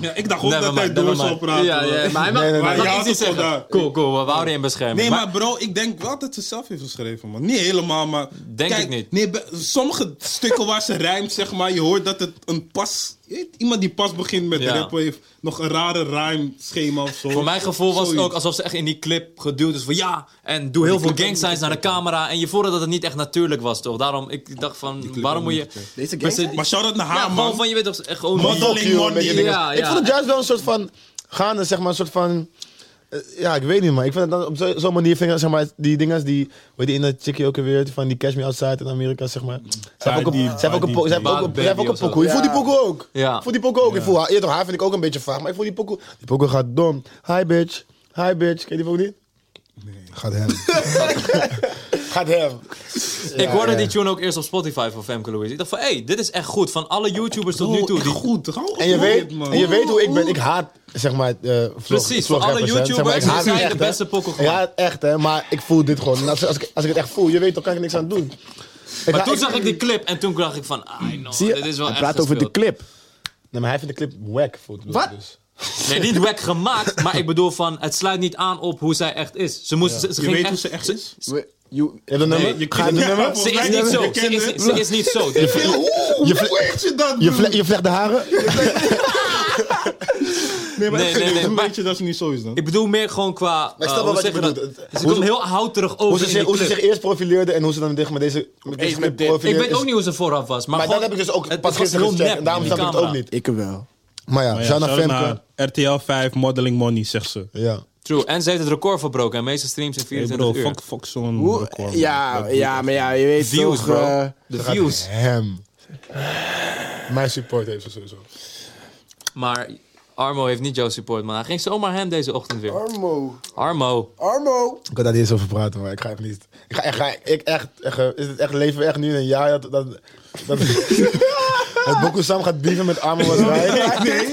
[SPEAKER 4] Ja, ik dacht ook dat hij
[SPEAKER 1] mind,
[SPEAKER 4] door
[SPEAKER 1] never
[SPEAKER 4] zou
[SPEAKER 1] mind.
[SPEAKER 4] praten.
[SPEAKER 1] Ja,
[SPEAKER 4] hoor.
[SPEAKER 1] ja, maar hij mag,
[SPEAKER 3] Nee, nee,
[SPEAKER 1] hij mag
[SPEAKER 4] nee. Je
[SPEAKER 1] iets niet
[SPEAKER 4] had het wel
[SPEAKER 1] zeggen.
[SPEAKER 4] daar.
[SPEAKER 1] Cool, cool. We houden je in bescherming.
[SPEAKER 4] Nee,
[SPEAKER 1] Maar-
[SPEAKER 4] maar bro, ik denk wel dat ze zelf heeft geschreven, man. Niet helemaal, maar...
[SPEAKER 1] Denk ik niet.
[SPEAKER 4] Nee, be- sommige stukken waar ze rijmt, zeg maar, je hoort dat het een pas... je weet, iemand die pas begint met
[SPEAKER 1] Ja.
[SPEAKER 4] rappen heeft nog een rare rijmschema of zo.
[SPEAKER 1] Voor mijn gevoel was het
[SPEAKER 4] Zoiets.
[SPEAKER 1] ook alsof ze echt in die clip geduwd is van ja. En doe heel veel gang signs naar de camera. En je voelde dat het niet echt natuurlijk was, toch? Daarom, ik dacht van, waarom moet je...
[SPEAKER 2] Deze
[SPEAKER 1] Maar ze-
[SPEAKER 4] Maar shout-out naar haar,
[SPEAKER 1] Ja,
[SPEAKER 4] man.
[SPEAKER 1] gewoon van, je weet toch, echt gewoon...
[SPEAKER 4] Model-
[SPEAKER 3] Fuck you, een beetje dingen.
[SPEAKER 1] Ja,
[SPEAKER 3] Ik
[SPEAKER 1] ja.
[SPEAKER 3] vond het juist wel een soort van gaande, zeg maar, een soort van. eh, Ja, ik weet niet, maar ik vind het dan op zo- zo'n manier, vind ik, zeg maar, die dingen die, weet je, in dat chickie ook weer, van die Cash Me Outside in Amerika, zeg maar. Ze hebben ook
[SPEAKER 4] die-
[SPEAKER 3] een- ze hebben ook een
[SPEAKER 4] die-
[SPEAKER 3] po- ze hebben
[SPEAKER 1] Bad
[SPEAKER 3] ook een- ze
[SPEAKER 1] Baby
[SPEAKER 3] hebben ook
[SPEAKER 1] of zo.
[SPEAKER 3] een pokoe. Ik voel die
[SPEAKER 2] Ja.
[SPEAKER 3] pokoe ook.
[SPEAKER 1] Ja.
[SPEAKER 3] Ik voel die pokoe ook. Ik voel haar, eerder haar vind ik ook een beetje vaag, maar ik voel die pokoe, die pokoe gaat dom. Hi bitch, hi bitch, ken je die ook niet? Nee. Gaat hem. gaat hem.
[SPEAKER 1] ik hoorde
[SPEAKER 3] ja.
[SPEAKER 1] die tune ook eerst op Spotify van Femke Louise. Ik dacht van, hé, hey, dit is echt goed. Van alle YouTubers tot nu
[SPEAKER 4] Oh,
[SPEAKER 1] toe.
[SPEAKER 4] echt
[SPEAKER 1] Die...
[SPEAKER 4] goed. Hou op
[SPEAKER 3] En je,
[SPEAKER 4] met
[SPEAKER 3] weet,
[SPEAKER 4] dit, man.
[SPEAKER 3] en je weet hoe ik ben. Ik haat, zeg maar, eh vlog,
[SPEAKER 1] Precies, voor alle
[SPEAKER 3] vlograppers, hè.
[SPEAKER 1] YouTubers
[SPEAKER 3] ik haat
[SPEAKER 1] zijn
[SPEAKER 3] het
[SPEAKER 1] de
[SPEAKER 3] hè.
[SPEAKER 1] beste pokkel
[SPEAKER 3] Ik haat het echt, hè. Maar ik voel dit gewoon. En Als, als, ik, als ik het echt voel, je weet, dan kan ik er niks aan doen. Ik
[SPEAKER 1] Maar
[SPEAKER 3] haat-
[SPEAKER 1] toen zag ik die clip en toen dacht ik van, ah, no,
[SPEAKER 2] Zie je,
[SPEAKER 1] dit is wel
[SPEAKER 2] hij
[SPEAKER 1] echt
[SPEAKER 2] praat over de
[SPEAKER 1] gespeeld.
[SPEAKER 2] clip.
[SPEAKER 3] Nee, maar hij vindt de clip wack. Voelt
[SPEAKER 2] Wat?
[SPEAKER 3] Dus.
[SPEAKER 1] Nee, niet wack gemaakt, maar ik bedoel van, het sluit niet aan op hoe zij echt is. Ze moest, ze, ze
[SPEAKER 4] Je
[SPEAKER 1] ging
[SPEAKER 4] weet
[SPEAKER 1] echt...
[SPEAKER 4] hoe ze echt is.
[SPEAKER 2] We- you-
[SPEAKER 3] Je hebt een nummer?
[SPEAKER 4] je
[SPEAKER 3] Ga je
[SPEAKER 4] kent-
[SPEAKER 3] een nummer?
[SPEAKER 1] Ze is niet zo. Ze is, ze is niet zo.
[SPEAKER 3] Je vle- Je, vle je vlecht de haren?
[SPEAKER 4] Nee, maar
[SPEAKER 1] Nee, nee, nee,
[SPEAKER 4] Hoe
[SPEAKER 1] maar-
[SPEAKER 4] weet je dat ze niet zo is dan?
[SPEAKER 1] Ik bedoel meer gewoon qua.
[SPEAKER 3] ik snap
[SPEAKER 1] eh,
[SPEAKER 3] wel
[SPEAKER 1] hoe
[SPEAKER 3] wat je
[SPEAKER 1] zeg dat?
[SPEAKER 3] bedoelt. Het-
[SPEAKER 1] Ze
[SPEAKER 3] hoe
[SPEAKER 1] komt
[SPEAKER 3] ze-
[SPEAKER 1] heel houterig
[SPEAKER 3] Hoe
[SPEAKER 1] over
[SPEAKER 3] ze,
[SPEAKER 1] in die
[SPEAKER 3] zich, hoe ze
[SPEAKER 1] clip.
[SPEAKER 3] zich eerst profileerde en hoe ze dan tegen met deze, met deze
[SPEAKER 2] met
[SPEAKER 3] clip
[SPEAKER 2] dit.
[SPEAKER 1] Ik
[SPEAKER 3] profileert.
[SPEAKER 1] weet
[SPEAKER 3] is-
[SPEAKER 1] ook niet hoe ze vooraf was. Maar,
[SPEAKER 3] Maar dat
[SPEAKER 1] gewoon-
[SPEAKER 3] heb ik dus ook
[SPEAKER 1] het-
[SPEAKER 3] pas
[SPEAKER 1] het was
[SPEAKER 3] gisteren
[SPEAKER 1] heel
[SPEAKER 3] gecheckt.
[SPEAKER 1] nep
[SPEAKER 3] En daarom
[SPEAKER 1] in
[SPEAKER 3] snap
[SPEAKER 1] die
[SPEAKER 3] ik het ook
[SPEAKER 1] camera.
[SPEAKER 3] niet.
[SPEAKER 2] Ik wel.
[SPEAKER 3] Maar
[SPEAKER 4] Oh
[SPEAKER 3] ja, shout naar Femke.
[SPEAKER 4] RTL 5 Modeling Money, zegt ze.
[SPEAKER 3] Ja.
[SPEAKER 1] True. En ze heeft het record verbroken. En meeste streams in
[SPEAKER 4] Hey bro,
[SPEAKER 1] 24 uur.
[SPEAKER 4] fuck, fuck zo'n
[SPEAKER 2] Hoe-
[SPEAKER 4] record, man.
[SPEAKER 2] ja, ja, maar ja, je weet
[SPEAKER 1] Views,
[SPEAKER 2] toch...
[SPEAKER 1] bro.
[SPEAKER 2] eh,
[SPEAKER 1] De
[SPEAKER 3] Gaat
[SPEAKER 1] views.
[SPEAKER 3] Hem. Mijn support heeft ze sowieso.
[SPEAKER 1] Maar Armo heeft niet jouw support, man. Hij ging zomaar hem deze ochtend weer.
[SPEAKER 2] Armo.
[SPEAKER 1] Armo.
[SPEAKER 2] Armo.
[SPEAKER 3] Ik kan daar niet eens over praten, maar ik ga echt niet. Ik ga, ik ga ik echt, echt, eh, Is het echt leven we echt nu in een jaar dat. dat, dat dat Boko Sam gaat bieven met Armen was wij.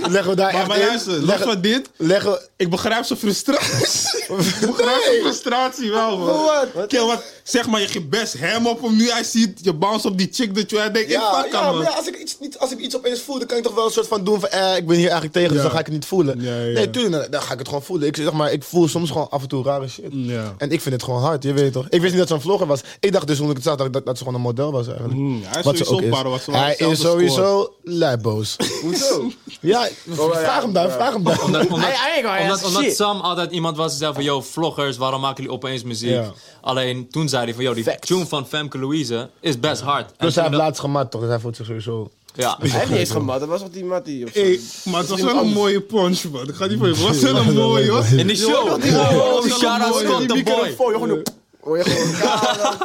[SPEAKER 3] Leggen we daar
[SPEAKER 4] Maar,
[SPEAKER 3] echt
[SPEAKER 4] maar
[SPEAKER 3] in.
[SPEAKER 4] luister, los
[SPEAKER 3] leggen,
[SPEAKER 4] van dit.
[SPEAKER 3] leggen we.
[SPEAKER 4] Ik begrijp zijn frustratie. Ik begrijp zijn frustratie wel, man.
[SPEAKER 3] Voor wat?
[SPEAKER 4] Kill, wat? Zeg maar, je geeft best hem op hem nu. Hij ziet je bounce op die chick dat je... Hij denkt, ik
[SPEAKER 3] Ja,
[SPEAKER 4] pak
[SPEAKER 3] ja,
[SPEAKER 4] hem,
[SPEAKER 3] maar
[SPEAKER 4] man.
[SPEAKER 3] ja, als, ik iets, niet, als ik iets opeens voel, dan kan ik toch wel een soort van doen van... Eh, ik ben hier eigenlijk tegen, dus dan ga ik het niet voelen.
[SPEAKER 4] Ja, ja.
[SPEAKER 3] Nee, tuurlijk, dan, dan ga ik het gewoon voelen. Ik, zeg maar, ik voel soms gewoon af en toe rare shit.
[SPEAKER 4] Ja.
[SPEAKER 3] En ik vind het gewoon hard, je weet toch. Ik wist niet dat ze een vlogger was. Ik dacht dus toen ik het zag dat, dat, dat ze gewoon een model was eigenlijk.
[SPEAKER 4] Hmm, hij is
[SPEAKER 3] Wat ze
[SPEAKER 4] sowieso
[SPEAKER 3] ook is.
[SPEAKER 4] parel, wat ze wel
[SPEAKER 3] Hij
[SPEAKER 4] hetzelfde
[SPEAKER 3] is sowieso lijboos.
[SPEAKER 2] Hoezo?
[SPEAKER 3] ja, vraag hem daar, vraag hem daar.
[SPEAKER 1] Omdat, omdat,
[SPEAKER 2] Hij- hij- hij-
[SPEAKER 1] omdat,
[SPEAKER 2] shit.
[SPEAKER 1] omdat Sam altijd iemand was die zei van... Yo, vloggers, waarom maken jullie opeens muziek?
[SPEAKER 3] Ja.
[SPEAKER 1] Alleen toen zei hij van... Yo, die
[SPEAKER 2] Facts.
[SPEAKER 1] tune van Femke Louise is best hard. En
[SPEAKER 3] Dus hij
[SPEAKER 1] toen
[SPEAKER 3] heeft
[SPEAKER 1] dat-
[SPEAKER 3] laatst gemaakt toch, dus hij voelt zich sowieso... Dus
[SPEAKER 1] Ja.
[SPEAKER 2] Hij heeft niet eens gemat, dat was toch die Mattie? of zo?
[SPEAKER 4] Hey, maar het was wel een mooie punch, man. Ik ga niet van je. Het was wel een mooie, hoor.
[SPEAKER 1] In die show.
[SPEAKER 4] die-
[SPEAKER 1] Oh,
[SPEAKER 4] die-
[SPEAKER 1] shout-out
[SPEAKER 4] die-
[SPEAKER 1] Scott the Boy.
[SPEAKER 2] Microfoon, joh, gewoon- Hoor je gewoon...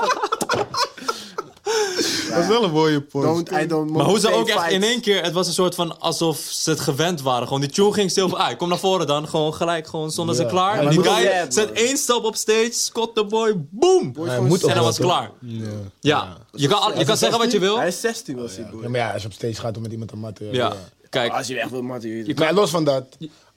[SPEAKER 4] Het was wel een mooie punch.
[SPEAKER 2] Don't, I don't
[SPEAKER 1] Maar hoe ze ook echt
[SPEAKER 2] fight.
[SPEAKER 1] in één keer, het was een soort van alsof ze het gewend waren. Gewoon die tune ging stil van, ah, kom naar voren dan. Gewoon gelijk, gewoon zonder ze klaar. En die
[SPEAKER 2] moet
[SPEAKER 1] guy
[SPEAKER 2] wel red,
[SPEAKER 1] zet één stap op stage, Scott the Boy, boom!
[SPEAKER 3] Hij
[SPEAKER 2] gewoon
[SPEAKER 3] moet
[SPEAKER 1] En dan was het
[SPEAKER 3] opletten.
[SPEAKER 1] klaar. Ja, je kan, al- je kan zeggen wat je wil. Oh,
[SPEAKER 2] Hij is 16 was hij,
[SPEAKER 3] Ja,
[SPEAKER 2] broer.
[SPEAKER 3] maar ja, als je op stage gaat om met iemand te matten...
[SPEAKER 1] Ja, kijk.
[SPEAKER 2] Als je echt wil Mattie.
[SPEAKER 1] Je
[SPEAKER 2] weet
[SPEAKER 1] kan-
[SPEAKER 3] Maar los van dat...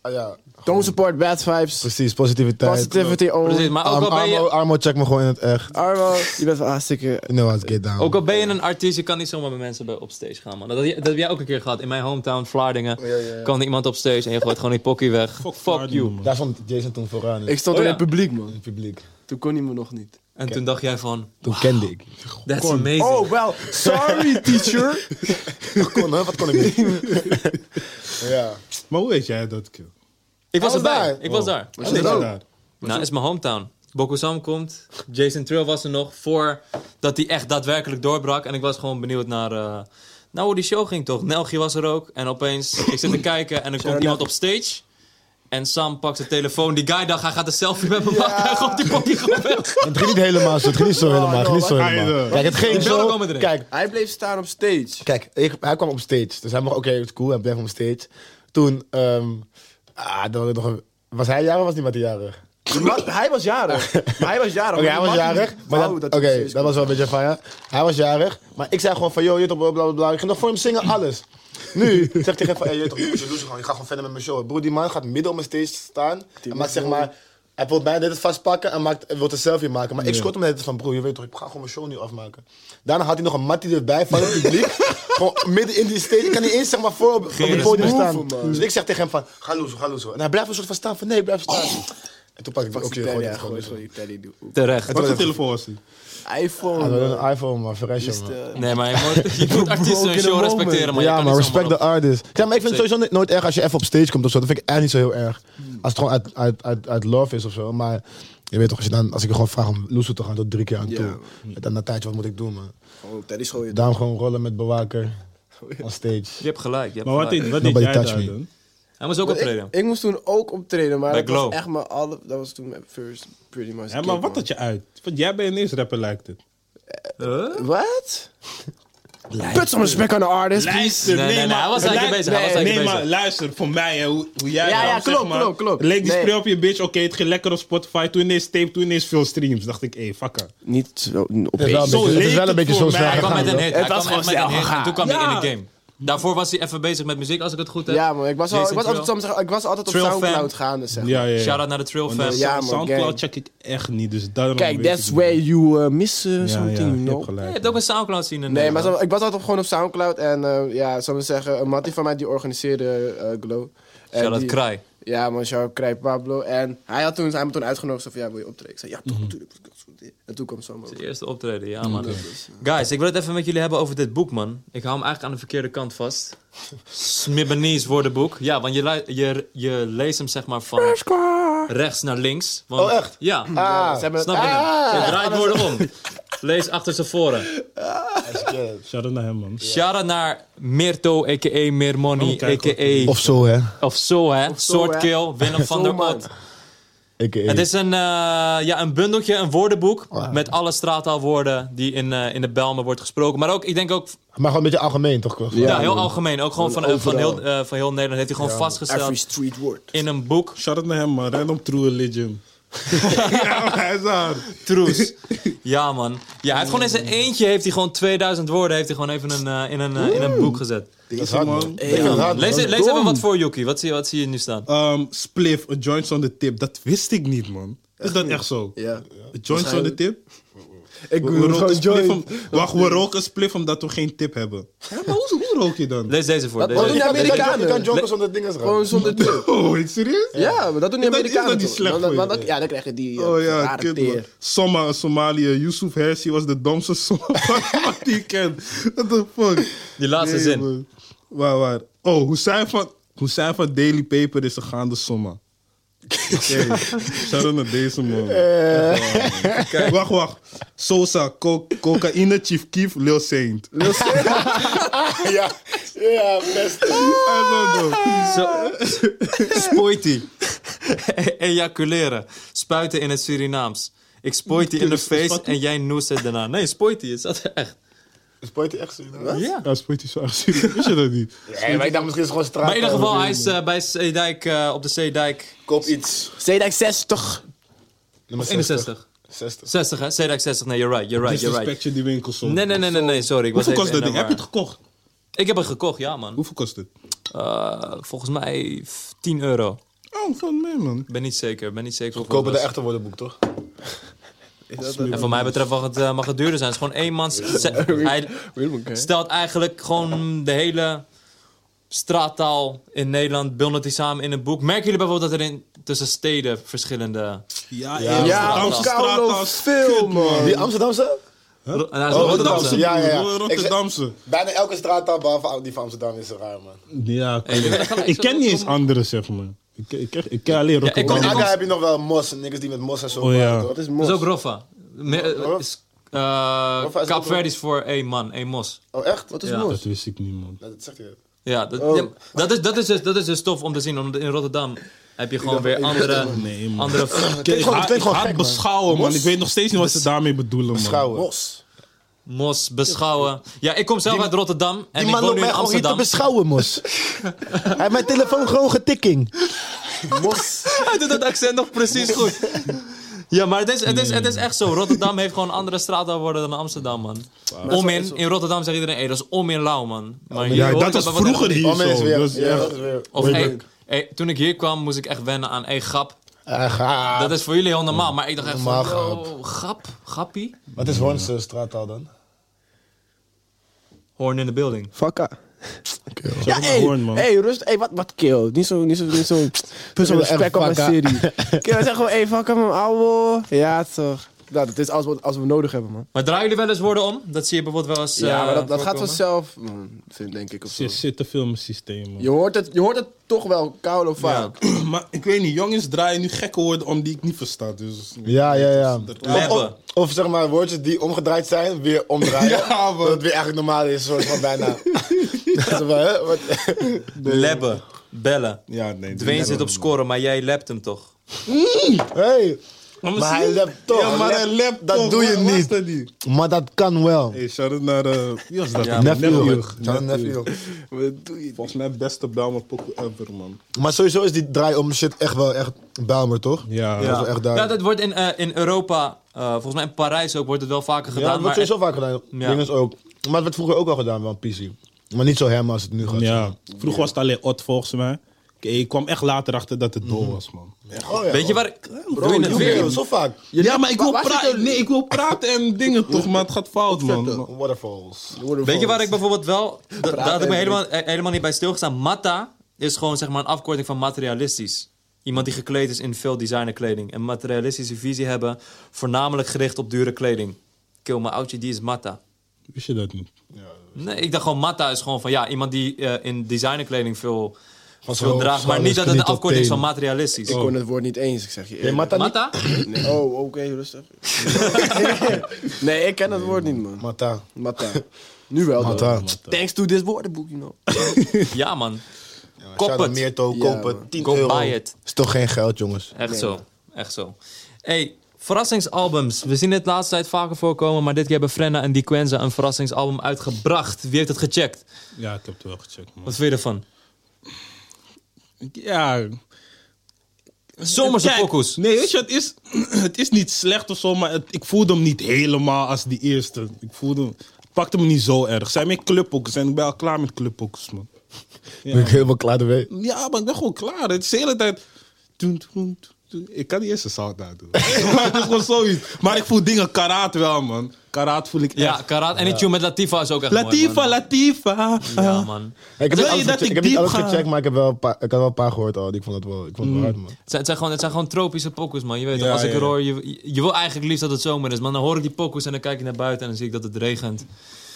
[SPEAKER 3] ah, ja,
[SPEAKER 2] Don't support bad vibes.
[SPEAKER 3] precies, positiviteit.
[SPEAKER 2] Positivity
[SPEAKER 1] Precies,
[SPEAKER 2] only.
[SPEAKER 1] maar ook al,
[SPEAKER 3] Arm-
[SPEAKER 1] ben
[SPEAKER 3] Armo,
[SPEAKER 1] je,
[SPEAKER 3] Armo, check me gewoon in het echt.
[SPEAKER 2] Armo, je bent van hartstikke...
[SPEAKER 3] You know how to get down.
[SPEAKER 1] ook al ben je een artiest, je kan niet zomaar met mensen bij op stage gaan, man. Dat, dat heb jij ook een keer gehad. In mijn hometown, Vlaardingen, kwam er iemand op stage en je gooit gewoon die pokkie weg. Fuck, you.
[SPEAKER 3] Daar stond Jason toen vooraan in
[SPEAKER 2] Ik stond
[SPEAKER 1] Oh,
[SPEAKER 2] in
[SPEAKER 1] ja.
[SPEAKER 2] het publiek, man.
[SPEAKER 3] het publiek.
[SPEAKER 2] Toen kon hij me nog niet.
[SPEAKER 1] En toen dacht jij van,
[SPEAKER 3] Toen kende ik.
[SPEAKER 1] that's amazing.
[SPEAKER 2] Oh, wel. Sorry, teacher.
[SPEAKER 3] kon, hè? Wat kon ik niet? ja.
[SPEAKER 4] Maar hoe weet jij dat, Kill?
[SPEAKER 1] ik was
[SPEAKER 3] was
[SPEAKER 1] erbij.
[SPEAKER 3] daar.
[SPEAKER 1] Ik was daar.
[SPEAKER 4] Was je daar?
[SPEAKER 1] Nou, is mijn hometown. Bokusam komt. Jason Trill was er nog voordat hij echt daadwerkelijk doorbrak. En ik was gewoon benieuwd naar, eh, Nou, hoe die show ging toch? Nelgie was er ook. En opeens, ik zit te kijken en er komt iemand op stage. En Sam pakt zijn telefoon. Die guy dacht, hij gaat een selfie met me maken. Hij gooit die poppy gewoon weg.
[SPEAKER 5] Het ging niet helemaal zo, het ging niet zo
[SPEAKER 3] Oh,
[SPEAKER 5] helemaal. het ging niet zo
[SPEAKER 4] wat
[SPEAKER 5] helemaal.
[SPEAKER 4] geile.
[SPEAKER 5] Kijk, het ging
[SPEAKER 1] beelden
[SPEAKER 5] zo.
[SPEAKER 1] komen erin.
[SPEAKER 5] Kijk,
[SPEAKER 2] Hij bleef staan op stage.
[SPEAKER 3] Kijk, ik, hij kwam op stage. Dus hij mocht, oké, het is cool, hij bleef op stage. Toen, ehm, ah, dan, nog een- was hij jarig of was niemand die jarig?
[SPEAKER 2] Die man- hij was jarig. Maar hij was jarig.
[SPEAKER 3] Oké,
[SPEAKER 2] maar
[SPEAKER 3] hij
[SPEAKER 2] die
[SPEAKER 3] was
[SPEAKER 2] man-
[SPEAKER 3] jarig. Maar
[SPEAKER 2] Wauw,
[SPEAKER 3] dat,
[SPEAKER 2] dat
[SPEAKER 3] oké,
[SPEAKER 2] hij precies
[SPEAKER 3] dat was wel een beetje van ja. Hij was jarig. Maar ik zei gewoon van, joh, je toch, bla, bla, bla. Ik ging nog voor hem zingen, alles. Nu zeg ik tegen hem van, hey, je toch, je doet gewoon. Ik ga gewoon verder met mijn show. Broer, die man gaat midden op mijn stage staan. en maakt zeg maar... Hij wil mij net het vastpakken en maakt, wil een selfie maken. Maar ik schot hem net van, broer, je weet toch, ik ga gewoon mijn show nu afmaken. Daarna had hij nog een mattie erbij van het publiek. gewoon midden in die stage. Ik kan niet eens zeg maar voor op, op het podium staan. Dus ik zeg tegen hem van, ga loezo, ga loezo. En hij blijft een soort van staan van, nee, blijf staan. En toen pak ik, oké,
[SPEAKER 2] Fuck die
[SPEAKER 3] gooi
[SPEAKER 2] telly,
[SPEAKER 3] dit
[SPEAKER 2] Oh. ja,
[SPEAKER 3] gewoon.
[SPEAKER 2] gooi
[SPEAKER 3] loezo.
[SPEAKER 2] gewoon Ah, die telly in de hoek.
[SPEAKER 1] Terecht.
[SPEAKER 4] Wat voor telefoon was die?
[SPEAKER 3] Ja,
[SPEAKER 2] iPhone.
[SPEAKER 3] we
[SPEAKER 2] man.
[SPEAKER 3] hadden een iPhone, man. Fresh,
[SPEAKER 2] Is
[SPEAKER 3] man.
[SPEAKER 2] de-
[SPEAKER 1] Nee, maar je moet, je moet artiesten hun show respecteren. Maar je
[SPEAKER 3] ja,
[SPEAKER 1] kan
[SPEAKER 3] maar
[SPEAKER 1] niet zomaar
[SPEAKER 3] respect the
[SPEAKER 1] op-
[SPEAKER 3] artist. Ja, maar ik vind het sowieso nooit erg als je even op stage komt of zo. Dat vind ik echt niet zo heel erg. Als het gewoon uit, uit, uit, uit love is of zo. Maar je weet toch, als, je dan, als ik je gewoon vraag om loesoe te gaan tot drie keer aan toe. En dan na een tijdje, wat moet ik doen, man?
[SPEAKER 2] Oh, telly is gewoon
[SPEAKER 3] Daarom gewoon rollen met bewaker. On stage.
[SPEAKER 1] Je hebt gelijk, je hebt
[SPEAKER 4] Maar wat
[SPEAKER 1] gelijk.
[SPEAKER 4] deed, wat deed
[SPEAKER 3] Nobody
[SPEAKER 4] jij daar
[SPEAKER 3] touch me.
[SPEAKER 4] dan?
[SPEAKER 1] Hij moest ook optreden.
[SPEAKER 2] Ik, ik moest toen ook optreden, maar
[SPEAKER 1] Bij
[SPEAKER 2] dat was
[SPEAKER 1] Glow.
[SPEAKER 2] echt mijn alle, dat was toen mijn first pretty much.
[SPEAKER 4] Ja,
[SPEAKER 2] gig,
[SPEAKER 4] maar wat
[SPEAKER 2] man.
[SPEAKER 4] had je uit? Want jij bent ineens rapper, lijkt het.
[SPEAKER 2] Wat? Put some respect on the artist.
[SPEAKER 4] Luister,
[SPEAKER 1] Nee, nee, nee, hij was eigenlijk
[SPEAKER 4] lu-
[SPEAKER 1] bezig, hij was
[SPEAKER 4] nee,
[SPEAKER 1] eigenlijk
[SPEAKER 4] nee,
[SPEAKER 1] bezig.
[SPEAKER 4] maar luister, voor mij, hè, hoe, hoe jij.
[SPEAKER 2] Ja,
[SPEAKER 4] nou,
[SPEAKER 2] ja,
[SPEAKER 4] zeg
[SPEAKER 2] klopt,
[SPEAKER 4] maar,
[SPEAKER 2] klopt, klopt.
[SPEAKER 4] Leek die
[SPEAKER 2] Nee.
[SPEAKER 4] spray op je bitch, oké, het ging lekker op Spotify. Toen ineens tape, toen ineens veel streams. Dacht ik, hé, hey, fuck her.
[SPEAKER 2] Niet zo op
[SPEAKER 3] Het is wel een
[SPEAKER 4] Zo
[SPEAKER 3] beetje, het is
[SPEAKER 4] leek
[SPEAKER 3] wel een
[SPEAKER 4] het
[SPEAKER 3] beetje
[SPEAKER 4] voor
[SPEAKER 3] zo
[SPEAKER 4] mij.
[SPEAKER 3] zwaar
[SPEAKER 1] Hij kwam
[SPEAKER 3] gegaan,
[SPEAKER 1] met een
[SPEAKER 3] bro.
[SPEAKER 1] hit.
[SPEAKER 2] Het
[SPEAKER 1] hij
[SPEAKER 2] was
[SPEAKER 1] kwam echt
[SPEAKER 2] gewoon
[SPEAKER 1] met een
[SPEAKER 2] snel
[SPEAKER 1] hit. En
[SPEAKER 2] gegaan.
[SPEAKER 1] toen kwam
[SPEAKER 4] Ja.
[SPEAKER 1] hij in de game. Daarvoor was hij even bezig met muziek, als ik het goed heb.
[SPEAKER 2] Ja, man, ik was, al, ik
[SPEAKER 1] Jason
[SPEAKER 2] was altijd,
[SPEAKER 1] Trill.
[SPEAKER 2] soms, ik was altijd op
[SPEAKER 1] Trill fan.
[SPEAKER 2] Soundcloud gaande, zeg. maar.
[SPEAKER 4] Ja, ja. eh, ja.
[SPEAKER 1] Shout-out naar de Trail
[SPEAKER 4] Want
[SPEAKER 1] fans.
[SPEAKER 2] Ja,
[SPEAKER 4] Sound-
[SPEAKER 2] man, gang.
[SPEAKER 4] Soundcloud check ik echt niet, dus daarom.
[SPEAKER 2] Kijk,
[SPEAKER 4] weet ik
[SPEAKER 2] that's
[SPEAKER 4] niet.
[SPEAKER 2] where you uh, miss uh,
[SPEAKER 4] Ja,
[SPEAKER 2] something,
[SPEAKER 4] ja,
[SPEAKER 2] you
[SPEAKER 4] je hebt
[SPEAKER 2] know.
[SPEAKER 1] Je
[SPEAKER 4] gelijk.
[SPEAKER 1] hebt ook een Soundcloud zien in
[SPEAKER 2] Nee, maar
[SPEAKER 1] Nederland.
[SPEAKER 2] zo- ik was altijd op- gewoon op Soundcloud en eh, ja, zal ik maar zeggen, een mattie van mij die organiseerde eh, Glow. En
[SPEAKER 1] Shout-out
[SPEAKER 2] die-
[SPEAKER 1] Kraai.
[SPEAKER 2] Ja, man, shout out Krij Pablo. En hij had toen, hij had me toen uitgenodigd, zo van, ja, wil je optreden? Ik zei, ja,
[SPEAKER 1] Mhm.
[SPEAKER 2] toch, natuurlijk. En toen kwam Sam
[SPEAKER 1] Het
[SPEAKER 2] ook.
[SPEAKER 1] eerste optreden, ja man. Guys, ik wil het even met jullie hebben over dit boek, man. Ik hou hem eigenlijk aan de verkeerde kant vast. Smibbenese woordenboek. Ja, want je, lu- je, je leest hem zeg maar van rechts naar links. Want,
[SPEAKER 3] Oh, echt?
[SPEAKER 1] Ja.
[SPEAKER 3] Ah,
[SPEAKER 2] Ze hebben
[SPEAKER 1] Snap je?
[SPEAKER 2] Ah,
[SPEAKER 1] hem? Je draait woorden om. Lees achter ze voren.
[SPEAKER 4] Shout-out naar hem, man.
[SPEAKER 1] Shout-out naar Mirto, a.k.a. Meer Money,
[SPEAKER 4] Oh, kijk,
[SPEAKER 1] a.k.a.
[SPEAKER 3] Of zo, hè.
[SPEAKER 1] Of zo, hè?
[SPEAKER 2] zo,
[SPEAKER 1] Soortkill, Willem van der
[SPEAKER 2] Zomaar.
[SPEAKER 1] Ot.
[SPEAKER 3] A.k.a.
[SPEAKER 1] Het is een, eh, ja, een bundeltje, een woordenboek
[SPEAKER 2] Oh,
[SPEAKER 1] met alle straattaalwoorden die in, eh, in de Belmen wordt gesproken. Maar ook, ik denk ook,
[SPEAKER 3] Maar gewoon een beetje algemeen, toch? Klopt?
[SPEAKER 1] ja, heel algemeen, ook gewoon van, eh, van, heel, eh, van heel Nederland heeft hij gewoon
[SPEAKER 2] Every
[SPEAKER 1] vastgesteld
[SPEAKER 2] street word.
[SPEAKER 1] in een boek.
[SPEAKER 4] Shout-out naar hem, man. Random True Religion. ja, maar hij is hard.
[SPEAKER 1] Troes. ja, man. Ja, hij heeft gewoon in zijn eentje, heeft hij gewoon 2000 woorden, heeft hij gewoon even een, eh, in, een, eh, in een boek gezet.
[SPEAKER 3] Dat is hard, man. Ik vind
[SPEAKER 2] Ja,
[SPEAKER 3] het hard, man.
[SPEAKER 1] Lees, lees even wat voor, Yuki. Wat zie, wat zie je nu staan?
[SPEAKER 2] Oh.
[SPEAKER 4] Ehm, spliff, a joint on the tip. Dat wist ik niet, man. Is dat echt zo?
[SPEAKER 2] Ja.
[SPEAKER 4] A joint on the tip?
[SPEAKER 2] Ik
[SPEAKER 4] We, roken spliff om, wacht, we roken spliff omdat we geen tip hebben. Ja, maar hoe, hoe rook je dan?
[SPEAKER 1] Lees deze voor.
[SPEAKER 2] wat
[SPEAKER 1] Deze.
[SPEAKER 2] doe
[SPEAKER 3] Je
[SPEAKER 2] je-
[SPEAKER 1] deze.
[SPEAKER 3] kan- je kan- Je
[SPEAKER 2] Amerikanen.
[SPEAKER 3] kan jonkers onder dingen raken.
[SPEAKER 2] Gewoon zonder deur.
[SPEAKER 4] Oh, serieus?
[SPEAKER 2] Ja, maar dat doen die
[SPEAKER 4] Is dat- is
[SPEAKER 2] Amerikanen
[SPEAKER 4] dat niet
[SPEAKER 2] toch?
[SPEAKER 4] slecht
[SPEAKER 2] Want dat-
[SPEAKER 4] voor je?
[SPEAKER 2] want dat- Ja, dan krijg je die eh,
[SPEAKER 4] Oh ja,
[SPEAKER 2] rare
[SPEAKER 4] kid, man.
[SPEAKER 2] teer.
[SPEAKER 4] Soma, Somalië. Yusuf Hersi was de domste Somalië die ik ken. What the fuck?
[SPEAKER 1] Die laatste zin.
[SPEAKER 4] man. Waar, waar? Oh, Hussein van, Hussein van Daily Paper is een gaande Soma. Oké, shout-out naar deze man. Echt waar,
[SPEAKER 1] Eh.
[SPEAKER 4] man. Kijk, Wacht, wacht. Sosa, co- cocaïne, Chief Keef, Lil Saint. Lil
[SPEAKER 3] Ja, ja, best.
[SPEAKER 1] Zo. Spoiti. Ejaculeren. Spuiten in het Surinaams. Ik spoiti in de face en jij noest het daarna. Nee, spoiti is dat echt.
[SPEAKER 3] Is Poetie echt zo? Ja,
[SPEAKER 1] Ja.
[SPEAKER 4] Ja, spijt is zo erg serieus. Wist je dat niet?
[SPEAKER 3] maar ik dacht misschien is het gewoon straat.
[SPEAKER 1] Maar in ieder geval, hij is eh, bij Zeedijk, eh, op de Zeedijk
[SPEAKER 3] Koop iets.
[SPEAKER 2] Zedijk 60.
[SPEAKER 3] Nummer
[SPEAKER 1] 61.
[SPEAKER 3] 60.
[SPEAKER 1] 60 hè? Zeedijk 60. Nee, you're right, you're right, you're
[SPEAKER 4] Disrespect
[SPEAKER 1] right.
[SPEAKER 4] je die winkel zo.
[SPEAKER 1] Nee, nee, nee, nee, nee, sorry. Ik was
[SPEAKER 4] Hoeveel
[SPEAKER 1] even
[SPEAKER 4] kost
[SPEAKER 1] in
[SPEAKER 4] dat ding?
[SPEAKER 1] de
[SPEAKER 4] Heb je het
[SPEAKER 1] war.
[SPEAKER 4] gekocht?
[SPEAKER 1] Ik heb het gekocht, ja man.
[SPEAKER 4] Hoeveel kost het?
[SPEAKER 1] Eh, volgens mij f- 10 euro.
[SPEAKER 4] Oh, van mij, man.
[SPEAKER 1] Ik ben niet zeker, ben niet zeker. hoeveel
[SPEAKER 3] Kopen
[SPEAKER 1] het
[SPEAKER 3] de
[SPEAKER 1] was.
[SPEAKER 3] echte woordenboek, toch?
[SPEAKER 1] En voor mij betreft mag het, eh, mag het duurder zijn. Het is gewoon één man. Hij, stelt eigenlijk gewoon de hele straattaal in Nederland, bundelt hij samen in een boek. Merken jullie bijvoorbeeld dat er in, tussen steden verschillende...
[SPEAKER 3] Ja,
[SPEAKER 4] Ja,
[SPEAKER 2] Ja,
[SPEAKER 4] Amsterdamse straat
[SPEAKER 2] Kaulo
[SPEAKER 4] als
[SPEAKER 2] veel,
[SPEAKER 4] kut,
[SPEAKER 2] man.
[SPEAKER 3] Die Amsterdamse?
[SPEAKER 1] Ro- en hij is
[SPEAKER 3] Oh,
[SPEAKER 1] Rotterdamse.
[SPEAKER 3] Rotterdamse. Ja, ja, ja.
[SPEAKER 4] Ro- Rotterdamse.
[SPEAKER 3] Bijna elke straattaal, behalve die van Amsterdam, is raar, man.
[SPEAKER 4] Ja,
[SPEAKER 1] Hey, je bent gelijk
[SPEAKER 4] ik
[SPEAKER 1] zo-
[SPEAKER 4] ken niet eens
[SPEAKER 1] kom-
[SPEAKER 4] anderen, zeg maar. Ik, ik, ik, ik ken alleen
[SPEAKER 1] ik
[SPEAKER 4] Rotterdam.
[SPEAKER 1] kom-
[SPEAKER 3] In
[SPEAKER 1] ik
[SPEAKER 3] Aga heb je nog wel mos en niks die met mos en zo.
[SPEAKER 4] Oh, ja.
[SPEAKER 3] praten, toch?
[SPEAKER 2] Dat is
[SPEAKER 1] Dat
[SPEAKER 2] mos.
[SPEAKER 1] is ook Roffa. Me- eh, is eh,
[SPEAKER 3] Of hij is ook
[SPEAKER 1] Kaapverdisch voor één man, één mos.
[SPEAKER 3] Oh, echt? Wat
[SPEAKER 2] is
[SPEAKER 1] Ja.
[SPEAKER 2] mooi?
[SPEAKER 4] Dat wist ik niet, man.
[SPEAKER 3] Dat zegt hij.
[SPEAKER 1] Ja, dat,
[SPEAKER 2] Oh.
[SPEAKER 1] ja, dat, is, dat, is dus, dat is dus tof om te zien. Omdat in Rotterdam heb je gewoon weer andere...
[SPEAKER 4] Nee, man.
[SPEAKER 1] andere
[SPEAKER 4] Ik
[SPEAKER 3] gewoon-
[SPEAKER 4] haat
[SPEAKER 3] klinkt gewoon
[SPEAKER 4] ik haat
[SPEAKER 3] gek, man.
[SPEAKER 4] beschouwen, man. Ik weet nog steeds niet wat ze daarmee bedoelen, man.
[SPEAKER 3] Schouwen.
[SPEAKER 1] mos beschouwen. Ja, ik kom zelf uit Rotterdam. En
[SPEAKER 5] Die
[SPEAKER 1] ik
[SPEAKER 5] man
[SPEAKER 1] woon
[SPEAKER 5] loopt
[SPEAKER 1] nu in
[SPEAKER 5] mij gewoon hier te
[SPEAKER 1] Amsterdam.
[SPEAKER 5] beschouwen, mos. Hij heeft mijn telefoon gewoon getikking.
[SPEAKER 3] Mos.
[SPEAKER 1] Hij doet dat accent nog precies goed. Ja, maar het is, het, is, het is echt zo. Rotterdam heeft gewoon andere straatwoorden dan Amsterdam, man. Om in, in Rotterdam zegt iedereen, hey, dat is om in Lauw, man. Maar
[SPEAKER 4] Ja,
[SPEAKER 1] hier hoort
[SPEAKER 4] dat
[SPEAKER 1] het
[SPEAKER 4] was
[SPEAKER 1] bij wat-
[SPEAKER 4] vroeger hier
[SPEAKER 3] Oh, mensen
[SPEAKER 4] zo.
[SPEAKER 3] weer.
[SPEAKER 4] Dat is
[SPEAKER 3] Ja,
[SPEAKER 4] dus echt-
[SPEAKER 3] dat is weer-
[SPEAKER 1] Of, hey, hey, toen ik hier kwam, moest ik echt wennen aan, hey, grap. Dat is voor jullie heel normaal, maar ik dacht echt van,
[SPEAKER 3] Normaal
[SPEAKER 1] yo, grap, grappie.
[SPEAKER 3] Wat is Hornse straattaal dan?
[SPEAKER 1] Horn in the building.
[SPEAKER 2] Fakka.
[SPEAKER 4] Ja,
[SPEAKER 2] Ja, hey,
[SPEAKER 4] Hoorn, man.
[SPEAKER 2] hey, rust. Hey, wat, wat kill. Niet zo, niet zo, niet zo, niet zo
[SPEAKER 5] wil echt
[SPEAKER 2] respect op mijn
[SPEAKER 5] fakka.
[SPEAKER 2] serie. Kill, zeg gewoon, hey, fakka man, ouwe. Ja, toch. Nou, dat is alles wat als we nodig hebben, man.
[SPEAKER 1] Maar draaien jullie wel eens woorden om? Dat zie je bijvoorbeeld wel eens
[SPEAKER 2] Ja,
[SPEAKER 1] eh,
[SPEAKER 2] maar dat, dat gaat
[SPEAKER 1] voorkomen.
[SPEAKER 2] vanzelf, man, vind, denk ik. Of zo.
[SPEAKER 4] Zit, zit te veel in mijn systeem, man.
[SPEAKER 2] Je, hoort het, je hoort het toch wel koud of vaak.
[SPEAKER 4] Maar ik weet niet, jongens draaien nu gekke woorden om die ik niet versta. Dus...
[SPEAKER 3] Ja, ja, ja.
[SPEAKER 1] Leppen.
[SPEAKER 3] Of, of zeg maar woordjes die omgedraaid zijn, weer omdraaien.
[SPEAKER 4] Ja, man.
[SPEAKER 3] dat het weer eigenlijk normaal is, soort van bijna. Zo van, hè, wat-
[SPEAKER 1] Lebben, bellen.
[SPEAKER 4] Ja, nee.
[SPEAKER 1] Dwayne zit op scoren, maar jij lapt hem toch?
[SPEAKER 3] hey. Maar hij
[SPEAKER 4] lap
[SPEAKER 3] lept toch.
[SPEAKER 4] Ja, maar hij
[SPEAKER 3] Lap-
[SPEAKER 4] lept
[SPEAKER 3] Dat
[SPEAKER 4] toch.
[SPEAKER 3] doe je
[SPEAKER 4] Wat- wat is
[SPEAKER 3] niet.
[SPEAKER 4] Oh, dat niet.
[SPEAKER 5] Maar dat kan wel.
[SPEAKER 4] Hey, shout-out naar... eh wie was dat?
[SPEAKER 1] Ja,
[SPEAKER 5] Nephew.
[SPEAKER 3] Shout-out nephew.
[SPEAKER 2] Wat doe je?
[SPEAKER 4] Volgens mij beste Belmer pokoe ever, man.
[SPEAKER 3] Maar sowieso is die draai om shit echt wel echt Bijlmer, toch?
[SPEAKER 4] Ja.
[SPEAKER 3] Dat is wel echt
[SPEAKER 1] Ja,
[SPEAKER 3] duidelijk.
[SPEAKER 1] dat wordt in, eh, in Europa, eh, volgens mij in Parijs ook, wordt het wel vaker
[SPEAKER 3] Ja,
[SPEAKER 1] gedaan.
[SPEAKER 3] dat
[SPEAKER 1] maar
[SPEAKER 3] wordt sowieso vaak gedaan.
[SPEAKER 1] Ja.
[SPEAKER 3] Dingen is ook. Maar het werd vroeger ook al gedaan, wel een PC. Maar niet zo hem als het nu gaat.
[SPEAKER 4] Ja. Vroeger was het alleen Ot, volgens mij. Oké, Ik kwam echt later achter dat het dol was, man.
[SPEAKER 3] Oh, ja.
[SPEAKER 1] Weet je waar ik... Doe je het
[SPEAKER 3] Bro,
[SPEAKER 1] weer?
[SPEAKER 3] Zo vaak.
[SPEAKER 4] ja, maar ik wil,
[SPEAKER 2] waar zit
[SPEAKER 4] praten.
[SPEAKER 2] het-
[SPEAKER 4] nee, ik wil praten en dingen toch, maar het gaat fout, man.
[SPEAKER 3] Waterfalls.
[SPEAKER 1] Weet je waar ik bijvoorbeeld wel... da- Daar had ik me helemaal, eh, helemaal niet bij stilgestaan. Matta is gewoon zeg maar een afkorting van materialistisch. Iemand die gekleed is in veel designerkleding. Een materialistische visie hebben, voornamelijk gericht op dure kleding. Kill, mijn oudje, die is Matta.
[SPEAKER 4] Wist je dat niet?
[SPEAKER 1] Nee, ik dacht gewoon Matta is gewoon van ja, iemand die eh, in designerkleding veel, veel
[SPEAKER 3] zo
[SPEAKER 1] draagt. Maar niet dat het een
[SPEAKER 5] knie tot
[SPEAKER 1] afkorting is van
[SPEAKER 5] teen.
[SPEAKER 1] materialistisch.
[SPEAKER 2] Ik kon het woord niet eens, ik zeg je eerlijk.
[SPEAKER 3] Mata niet.
[SPEAKER 1] Matta?
[SPEAKER 2] Nee. Oh, oké, rustig. nee, ik ken het woord niet, man.
[SPEAKER 3] Mata.
[SPEAKER 2] Mata. Nu wel, dan.
[SPEAKER 3] Mata.
[SPEAKER 2] Thanks to this woordenboek, you know.
[SPEAKER 1] Ja, man. Kop
[SPEAKER 3] Shout out
[SPEAKER 1] het.
[SPEAKER 3] Meerto,
[SPEAKER 2] Ja,
[SPEAKER 3] koop
[SPEAKER 2] man.
[SPEAKER 3] het. 10
[SPEAKER 1] Go
[SPEAKER 3] eh, euro.
[SPEAKER 1] buy it.
[SPEAKER 3] Is toch geen geld, jongens.
[SPEAKER 1] Echt zo. Echt zo. hey, verrassingsalbums. We zien het de laatste tijd vaker voorkomen, maar dit keer hebben Frenna en Diquenza een verrassingsalbum uitgebracht. Wie heeft het gecheckt?
[SPEAKER 4] Ja, ik heb het wel gecheckt, man.
[SPEAKER 1] Wat vind je ervan?
[SPEAKER 4] Ja.
[SPEAKER 1] Zomerse
[SPEAKER 4] Kijk,
[SPEAKER 1] pokoes.
[SPEAKER 4] Nee, weet je, het is, het is niet slecht of zo, maar het- ik voelde hem niet helemaal als die eerste. Ik voelde hem, het pakte me niet zo erg. Zijn meer clubpokkers en ik ben al klaar met clubpokkers, man.
[SPEAKER 3] Ben ik helemaal klaar ermee.
[SPEAKER 4] Ja, maar ik ben gewoon klaar. Het is de hele tijd. Toen, toen, toen. Ik kan niet eens een sound uit doen. maar het is gewoon zoiets. Maar ik voel dingen karaat wel, man. Karaat voel ik echt.
[SPEAKER 1] Ja, Karat en die tune met Latifa is ook echt
[SPEAKER 4] Latifa,
[SPEAKER 1] mooi,
[SPEAKER 4] Latifa.
[SPEAKER 1] man. Ja, man.
[SPEAKER 3] Ik heb
[SPEAKER 4] Wil
[SPEAKER 3] niet
[SPEAKER 4] je
[SPEAKER 3] alles
[SPEAKER 4] dat
[SPEAKER 3] gecheckt-
[SPEAKER 4] ik
[SPEAKER 3] ik heb niet
[SPEAKER 4] diep
[SPEAKER 3] alles
[SPEAKER 4] ga?
[SPEAKER 3] gecheckt, maar ik heb wel een paar, ik heb wel een paar gehoord al. die Ik vond het wel, ik vond het wel hard, man.
[SPEAKER 1] Het zijn, het zijn gewoon, het zijn gewoon tropische pokoes, man. Je weet toch,
[SPEAKER 4] Ja,
[SPEAKER 1] als ik
[SPEAKER 4] ja,
[SPEAKER 1] er
[SPEAKER 4] ja.
[SPEAKER 1] hoor, je, je- je wil eigenlijk liefst dat het zomer is. Maar dan hoor ik die pokoes en dan kijk ik naar buiten en dan zie ik dat het regent.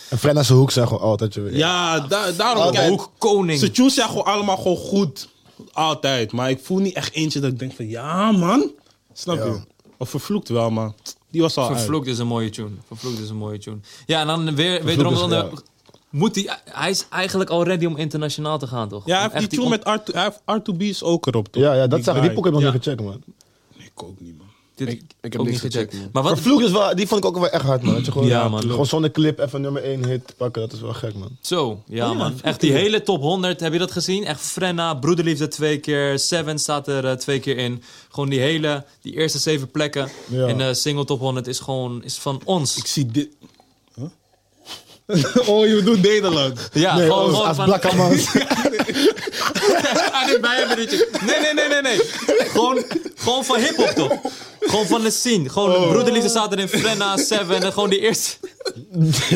[SPEAKER 3] En Frenna's hoek zijn gewoon altijd je weer.
[SPEAKER 4] Ja, da- daarom.
[SPEAKER 1] Oh, de
[SPEAKER 4] kijk,
[SPEAKER 1] hoek koning.
[SPEAKER 4] Ze tunes zijn gewoon allemaal gewoon goed. Altijd. Maar ik voel niet echt eentje dat ik denk van ja, man. Snap je? Of vervloekt wel, maar die was al
[SPEAKER 1] Vervloekt is dus een mooie tune. Vervloekt is een mooie tune. Ja, en dan weer, wederom...
[SPEAKER 3] is-
[SPEAKER 2] dus,
[SPEAKER 1] dan,
[SPEAKER 3] ja.
[SPEAKER 1] eh, Moet hij, hij is eigenlijk al ready om internationaal te gaan, toch?
[SPEAKER 4] uit. Ja, hij
[SPEAKER 1] Om
[SPEAKER 4] heeft
[SPEAKER 1] echt
[SPEAKER 4] die tune
[SPEAKER 1] on-
[SPEAKER 4] met R2, hij heeft R2B's ook erop, toch?
[SPEAKER 3] Ja, ja, dat zag ik. Die
[SPEAKER 4] guy.
[SPEAKER 3] poek heb ik nog
[SPEAKER 1] Ja.
[SPEAKER 3] niet gecheckt, man.
[SPEAKER 4] Nee, Ik ook niet, man.
[SPEAKER 1] Dit-
[SPEAKER 2] Ik- ik heb
[SPEAKER 1] ook
[SPEAKER 2] niks
[SPEAKER 1] niet
[SPEAKER 2] gecheckt, man.
[SPEAKER 1] Maar
[SPEAKER 3] Maar
[SPEAKER 1] wat...
[SPEAKER 3] Vloek is wel, die vond ik ook wel echt hard, man. Dat je gewoon,
[SPEAKER 1] Ja, man.
[SPEAKER 3] gewoon zonder clip even nummer 1 hit pakken, dat is wel gek, man.
[SPEAKER 1] Zo, ja, man. Echt die hele top 100, heb je dat gezien? Echt Frenna, Broederliefde twee keer, Seven staat er eh, twee keer in. Gewoon die hele, die eerste zeven plekken
[SPEAKER 3] Ja.
[SPEAKER 1] in de single top 100 is gewoon is van ons.
[SPEAKER 4] Ik zie dit. Huh? oh, je bedoelt Nederland.
[SPEAKER 1] Ja,
[SPEAKER 3] Nee,
[SPEAKER 1] gewoon,
[SPEAKER 3] oh,
[SPEAKER 1] gewoon
[SPEAKER 3] als
[SPEAKER 1] van...
[SPEAKER 3] blakke man.
[SPEAKER 1] Aan dit bijenberichtje. Nee, nee, nee, nee, nee. Gewoon, gewoon van hip-hop toch? Gewoon van de scene. Gewoon
[SPEAKER 3] Oh.
[SPEAKER 1] broederliefde staat er in Frenna, Seven. En gewoon die eerste.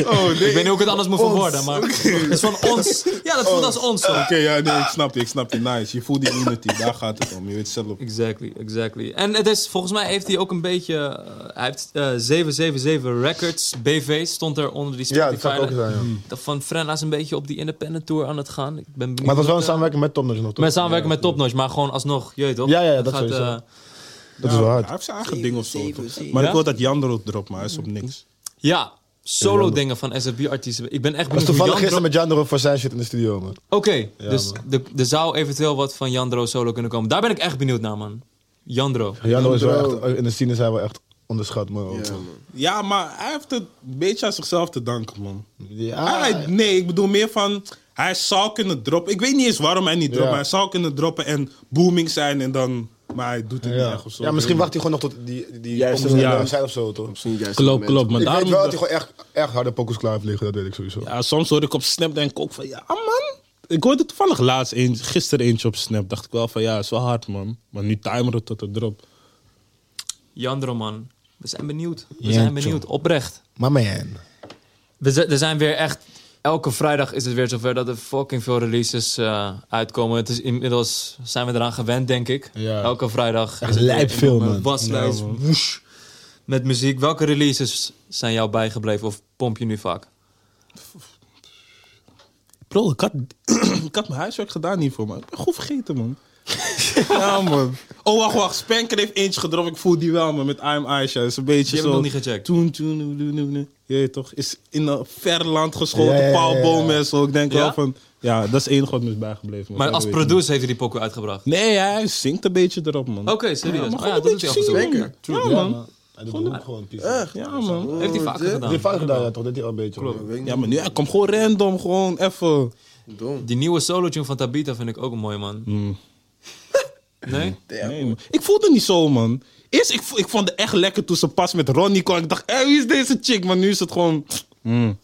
[SPEAKER 4] Oh, nee.
[SPEAKER 1] Ik weet niet hoe ik het anders moet verwoorden, maar. Het is van ons. Ja, dat voelt als ons zo.
[SPEAKER 4] Oké, ja, nee, ik snap je, ik snap je. Nice. Je voelt die unity, daar gaat het om. Je weet zelf.
[SPEAKER 1] Exactly, exactly. En het is, volgens mij heeft hij ook een beetje. eh, hij heeft eh, 777 Records, BV, stond er onder die
[SPEAKER 3] Ja,
[SPEAKER 1] Spotify.
[SPEAKER 3] dat zou ik ook zijn, ja. Maar
[SPEAKER 1] Dat Van Frenna is een beetje op die independent tour aan het gaan. Ik ben benieuwd
[SPEAKER 3] het was wel
[SPEAKER 1] wat,
[SPEAKER 3] een
[SPEAKER 1] eh,
[SPEAKER 3] samenwerking met Tom Notch nog, toch?
[SPEAKER 1] Met samenwerken met Topnotch, maar gewoon alsnog, je weet toch?
[SPEAKER 3] Ja, ja, ja, dat
[SPEAKER 1] gaat,
[SPEAKER 3] sowieso.
[SPEAKER 1] eh,
[SPEAKER 3] Dat is wel
[SPEAKER 4] Hij
[SPEAKER 3] hard.
[SPEAKER 4] heeft zijn eigen ding of zo. toch?
[SPEAKER 2] zeven.
[SPEAKER 4] Maar
[SPEAKER 1] Ja?
[SPEAKER 4] ik wil dat Jandro erop, maar hij is op niks.
[SPEAKER 1] Ja, solo dingen van SFB-artiesten. Ik ben echt
[SPEAKER 3] was
[SPEAKER 1] benieuwd hoe
[SPEAKER 3] toevallig
[SPEAKER 1] Jandro...
[SPEAKER 3] gisteren met Jandro voor zijn shit in de studio, man.
[SPEAKER 1] Oké, dus de- er zou eventueel wat van Jandro solo kunnen komen. Daar ben ik echt benieuwd naar, man. Jandro.
[SPEAKER 3] Jandro is wel echt, in de scene zijn we echt onderschat, man. Ja,
[SPEAKER 4] Ja, maar hij heeft het een beetje aan zichzelf te danken, man.
[SPEAKER 3] Ja.
[SPEAKER 4] Hij- nee, ik bedoel meer van... Hij zou kunnen droppen. Ik weet niet eens waarom hij niet dropt.
[SPEAKER 3] Ja.
[SPEAKER 4] maar Hij zou kunnen droppen en booming zijn en dan... Maar hij doet het niet echt of zo.
[SPEAKER 3] misschien wacht hij gewoon nog tot die, die
[SPEAKER 2] Juist,
[SPEAKER 3] pokoes
[SPEAKER 2] ja.
[SPEAKER 3] er zijn of zo, toch?
[SPEAKER 2] Misschien juist
[SPEAKER 4] Klopt,
[SPEAKER 2] op het moment.
[SPEAKER 4] klopt. Maar
[SPEAKER 3] ik
[SPEAKER 4] daarom...
[SPEAKER 3] weet wel dat hij gewoon echt, echt harde pokus klaar heeft liggen, dat weet ik sowieso.
[SPEAKER 4] Ja, soms hoor ik op Snap denk ik ook van... Ja, ah, man. Ik hoorde toevallig laatst eentje, gisteren eentje op Snap. Dacht ik wel van, ja, is wel hard, man. Maar nu timer het tot de drop.
[SPEAKER 1] Jandro, man. We zijn benieuwd. We
[SPEAKER 3] Jantjo.
[SPEAKER 1] zijn benieuwd, oprecht.
[SPEAKER 3] Maar man.
[SPEAKER 1] We zi- er zijn weer echt... Elke vrijdag is het weer zover dat er fucking veel releases eh, uitkomen. Het is inmiddels zijn we eraan gewend, denk ik.
[SPEAKER 3] Ja.
[SPEAKER 1] Elke vrijdag is het
[SPEAKER 3] lijp
[SPEAKER 1] weer
[SPEAKER 3] veel,
[SPEAKER 1] een
[SPEAKER 3] man.
[SPEAKER 1] waslijst. woesh, met muziek. Welke releases zijn jou bijgebleven of pomp je nu vaak?
[SPEAKER 4] Bro, ik had, ik had mijn huiswerk gedaan hiervoor, man. Ik ben goed vergeten, man. ja, man. Oh, wacht, wacht. Spanker heeft eentje gedropt. Ik voel die wel, man. Met I'm Aisha. is een beetje
[SPEAKER 1] Die heb ik
[SPEAKER 4] zo...
[SPEAKER 1] nog niet gecheckt.
[SPEAKER 4] Toen, toen, toen, toen, toen, toen. Je weet toch? Is in een ver land geschoten.
[SPEAKER 3] Ja, ja, ja,
[SPEAKER 4] Paul
[SPEAKER 3] ja.
[SPEAKER 4] Bomen en zo. Ik denk
[SPEAKER 1] Ja?
[SPEAKER 4] wel van... Ja, dat is het enige wat me is bijgebleven. man.
[SPEAKER 1] Maar
[SPEAKER 4] Verder
[SPEAKER 1] als
[SPEAKER 4] weet ik niet.
[SPEAKER 1] producer heeft hij die pokoe uitgebracht.
[SPEAKER 4] Nee, hij zingt een beetje erop, man.
[SPEAKER 1] Oké, serieus. Oh
[SPEAKER 4] Ja,
[SPEAKER 1] Ja, maar
[SPEAKER 4] maar
[SPEAKER 1] ja,
[SPEAKER 4] gewoon
[SPEAKER 1] dat doet
[SPEAKER 4] een
[SPEAKER 1] hij
[SPEAKER 4] beetje
[SPEAKER 1] af en toe.
[SPEAKER 4] zingen.
[SPEAKER 1] Zeker.
[SPEAKER 4] Ja, man.
[SPEAKER 3] Hij doet hem ook gewoon piece.
[SPEAKER 2] Echt?
[SPEAKER 3] Die
[SPEAKER 4] Ja, man.
[SPEAKER 1] Heeft hij vaker gedaan.
[SPEAKER 3] heeft vaak gedaan, ja, toch? Dat hij al een beetje. hoor.
[SPEAKER 2] Weet ik
[SPEAKER 4] Ja, maar nu, hij komt gewoon random, gewoon even.
[SPEAKER 2] niet, dom.
[SPEAKER 1] Die nieuwe solo tune van Tabita vind ik ook een mooie man.
[SPEAKER 3] Mm.
[SPEAKER 1] Nee?
[SPEAKER 4] Nee, man. Ik voelde niet zo, man. Eerst, ik, vo- ik vond het echt lekker toen ze pas met Ronnie kwam. Ik dacht, hé, wie is deze chick? Maar nu is het gewoon... Mm.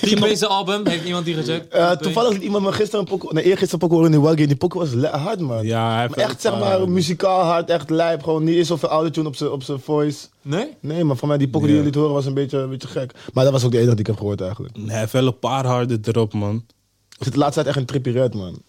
[SPEAKER 1] Die deze album, heeft iemand die gecheckt?
[SPEAKER 3] Eh, toevallig liet iemand me gisteren een pokoe, nee, eergisteren een pokoe horen in die Waggy. Die pokoe was le- hard, man.
[SPEAKER 4] Ja, hij heeft
[SPEAKER 3] Maar echt, zeg
[SPEAKER 4] Ah,
[SPEAKER 3] maar, muzikaal hard, echt lijp. Gewoon niet eens zoveel autotune op zijn- op zijn voice.
[SPEAKER 1] Nee?
[SPEAKER 3] Nee, maar voor mij die pokoe die
[SPEAKER 4] Ja.
[SPEAKER 3] jullie
[SPEAKER 4] Mm.
[SPEAKER 3] liet horen was een beetje, een beetje gek. Maar dat was ook de enige die ik heb gehoord eigenlijk.
[SPEAKER 4] Hij heeft wel een paar harde erop, man.
[SPEAKER 3] Ik zit de laatste tijd echt een trippy red, man.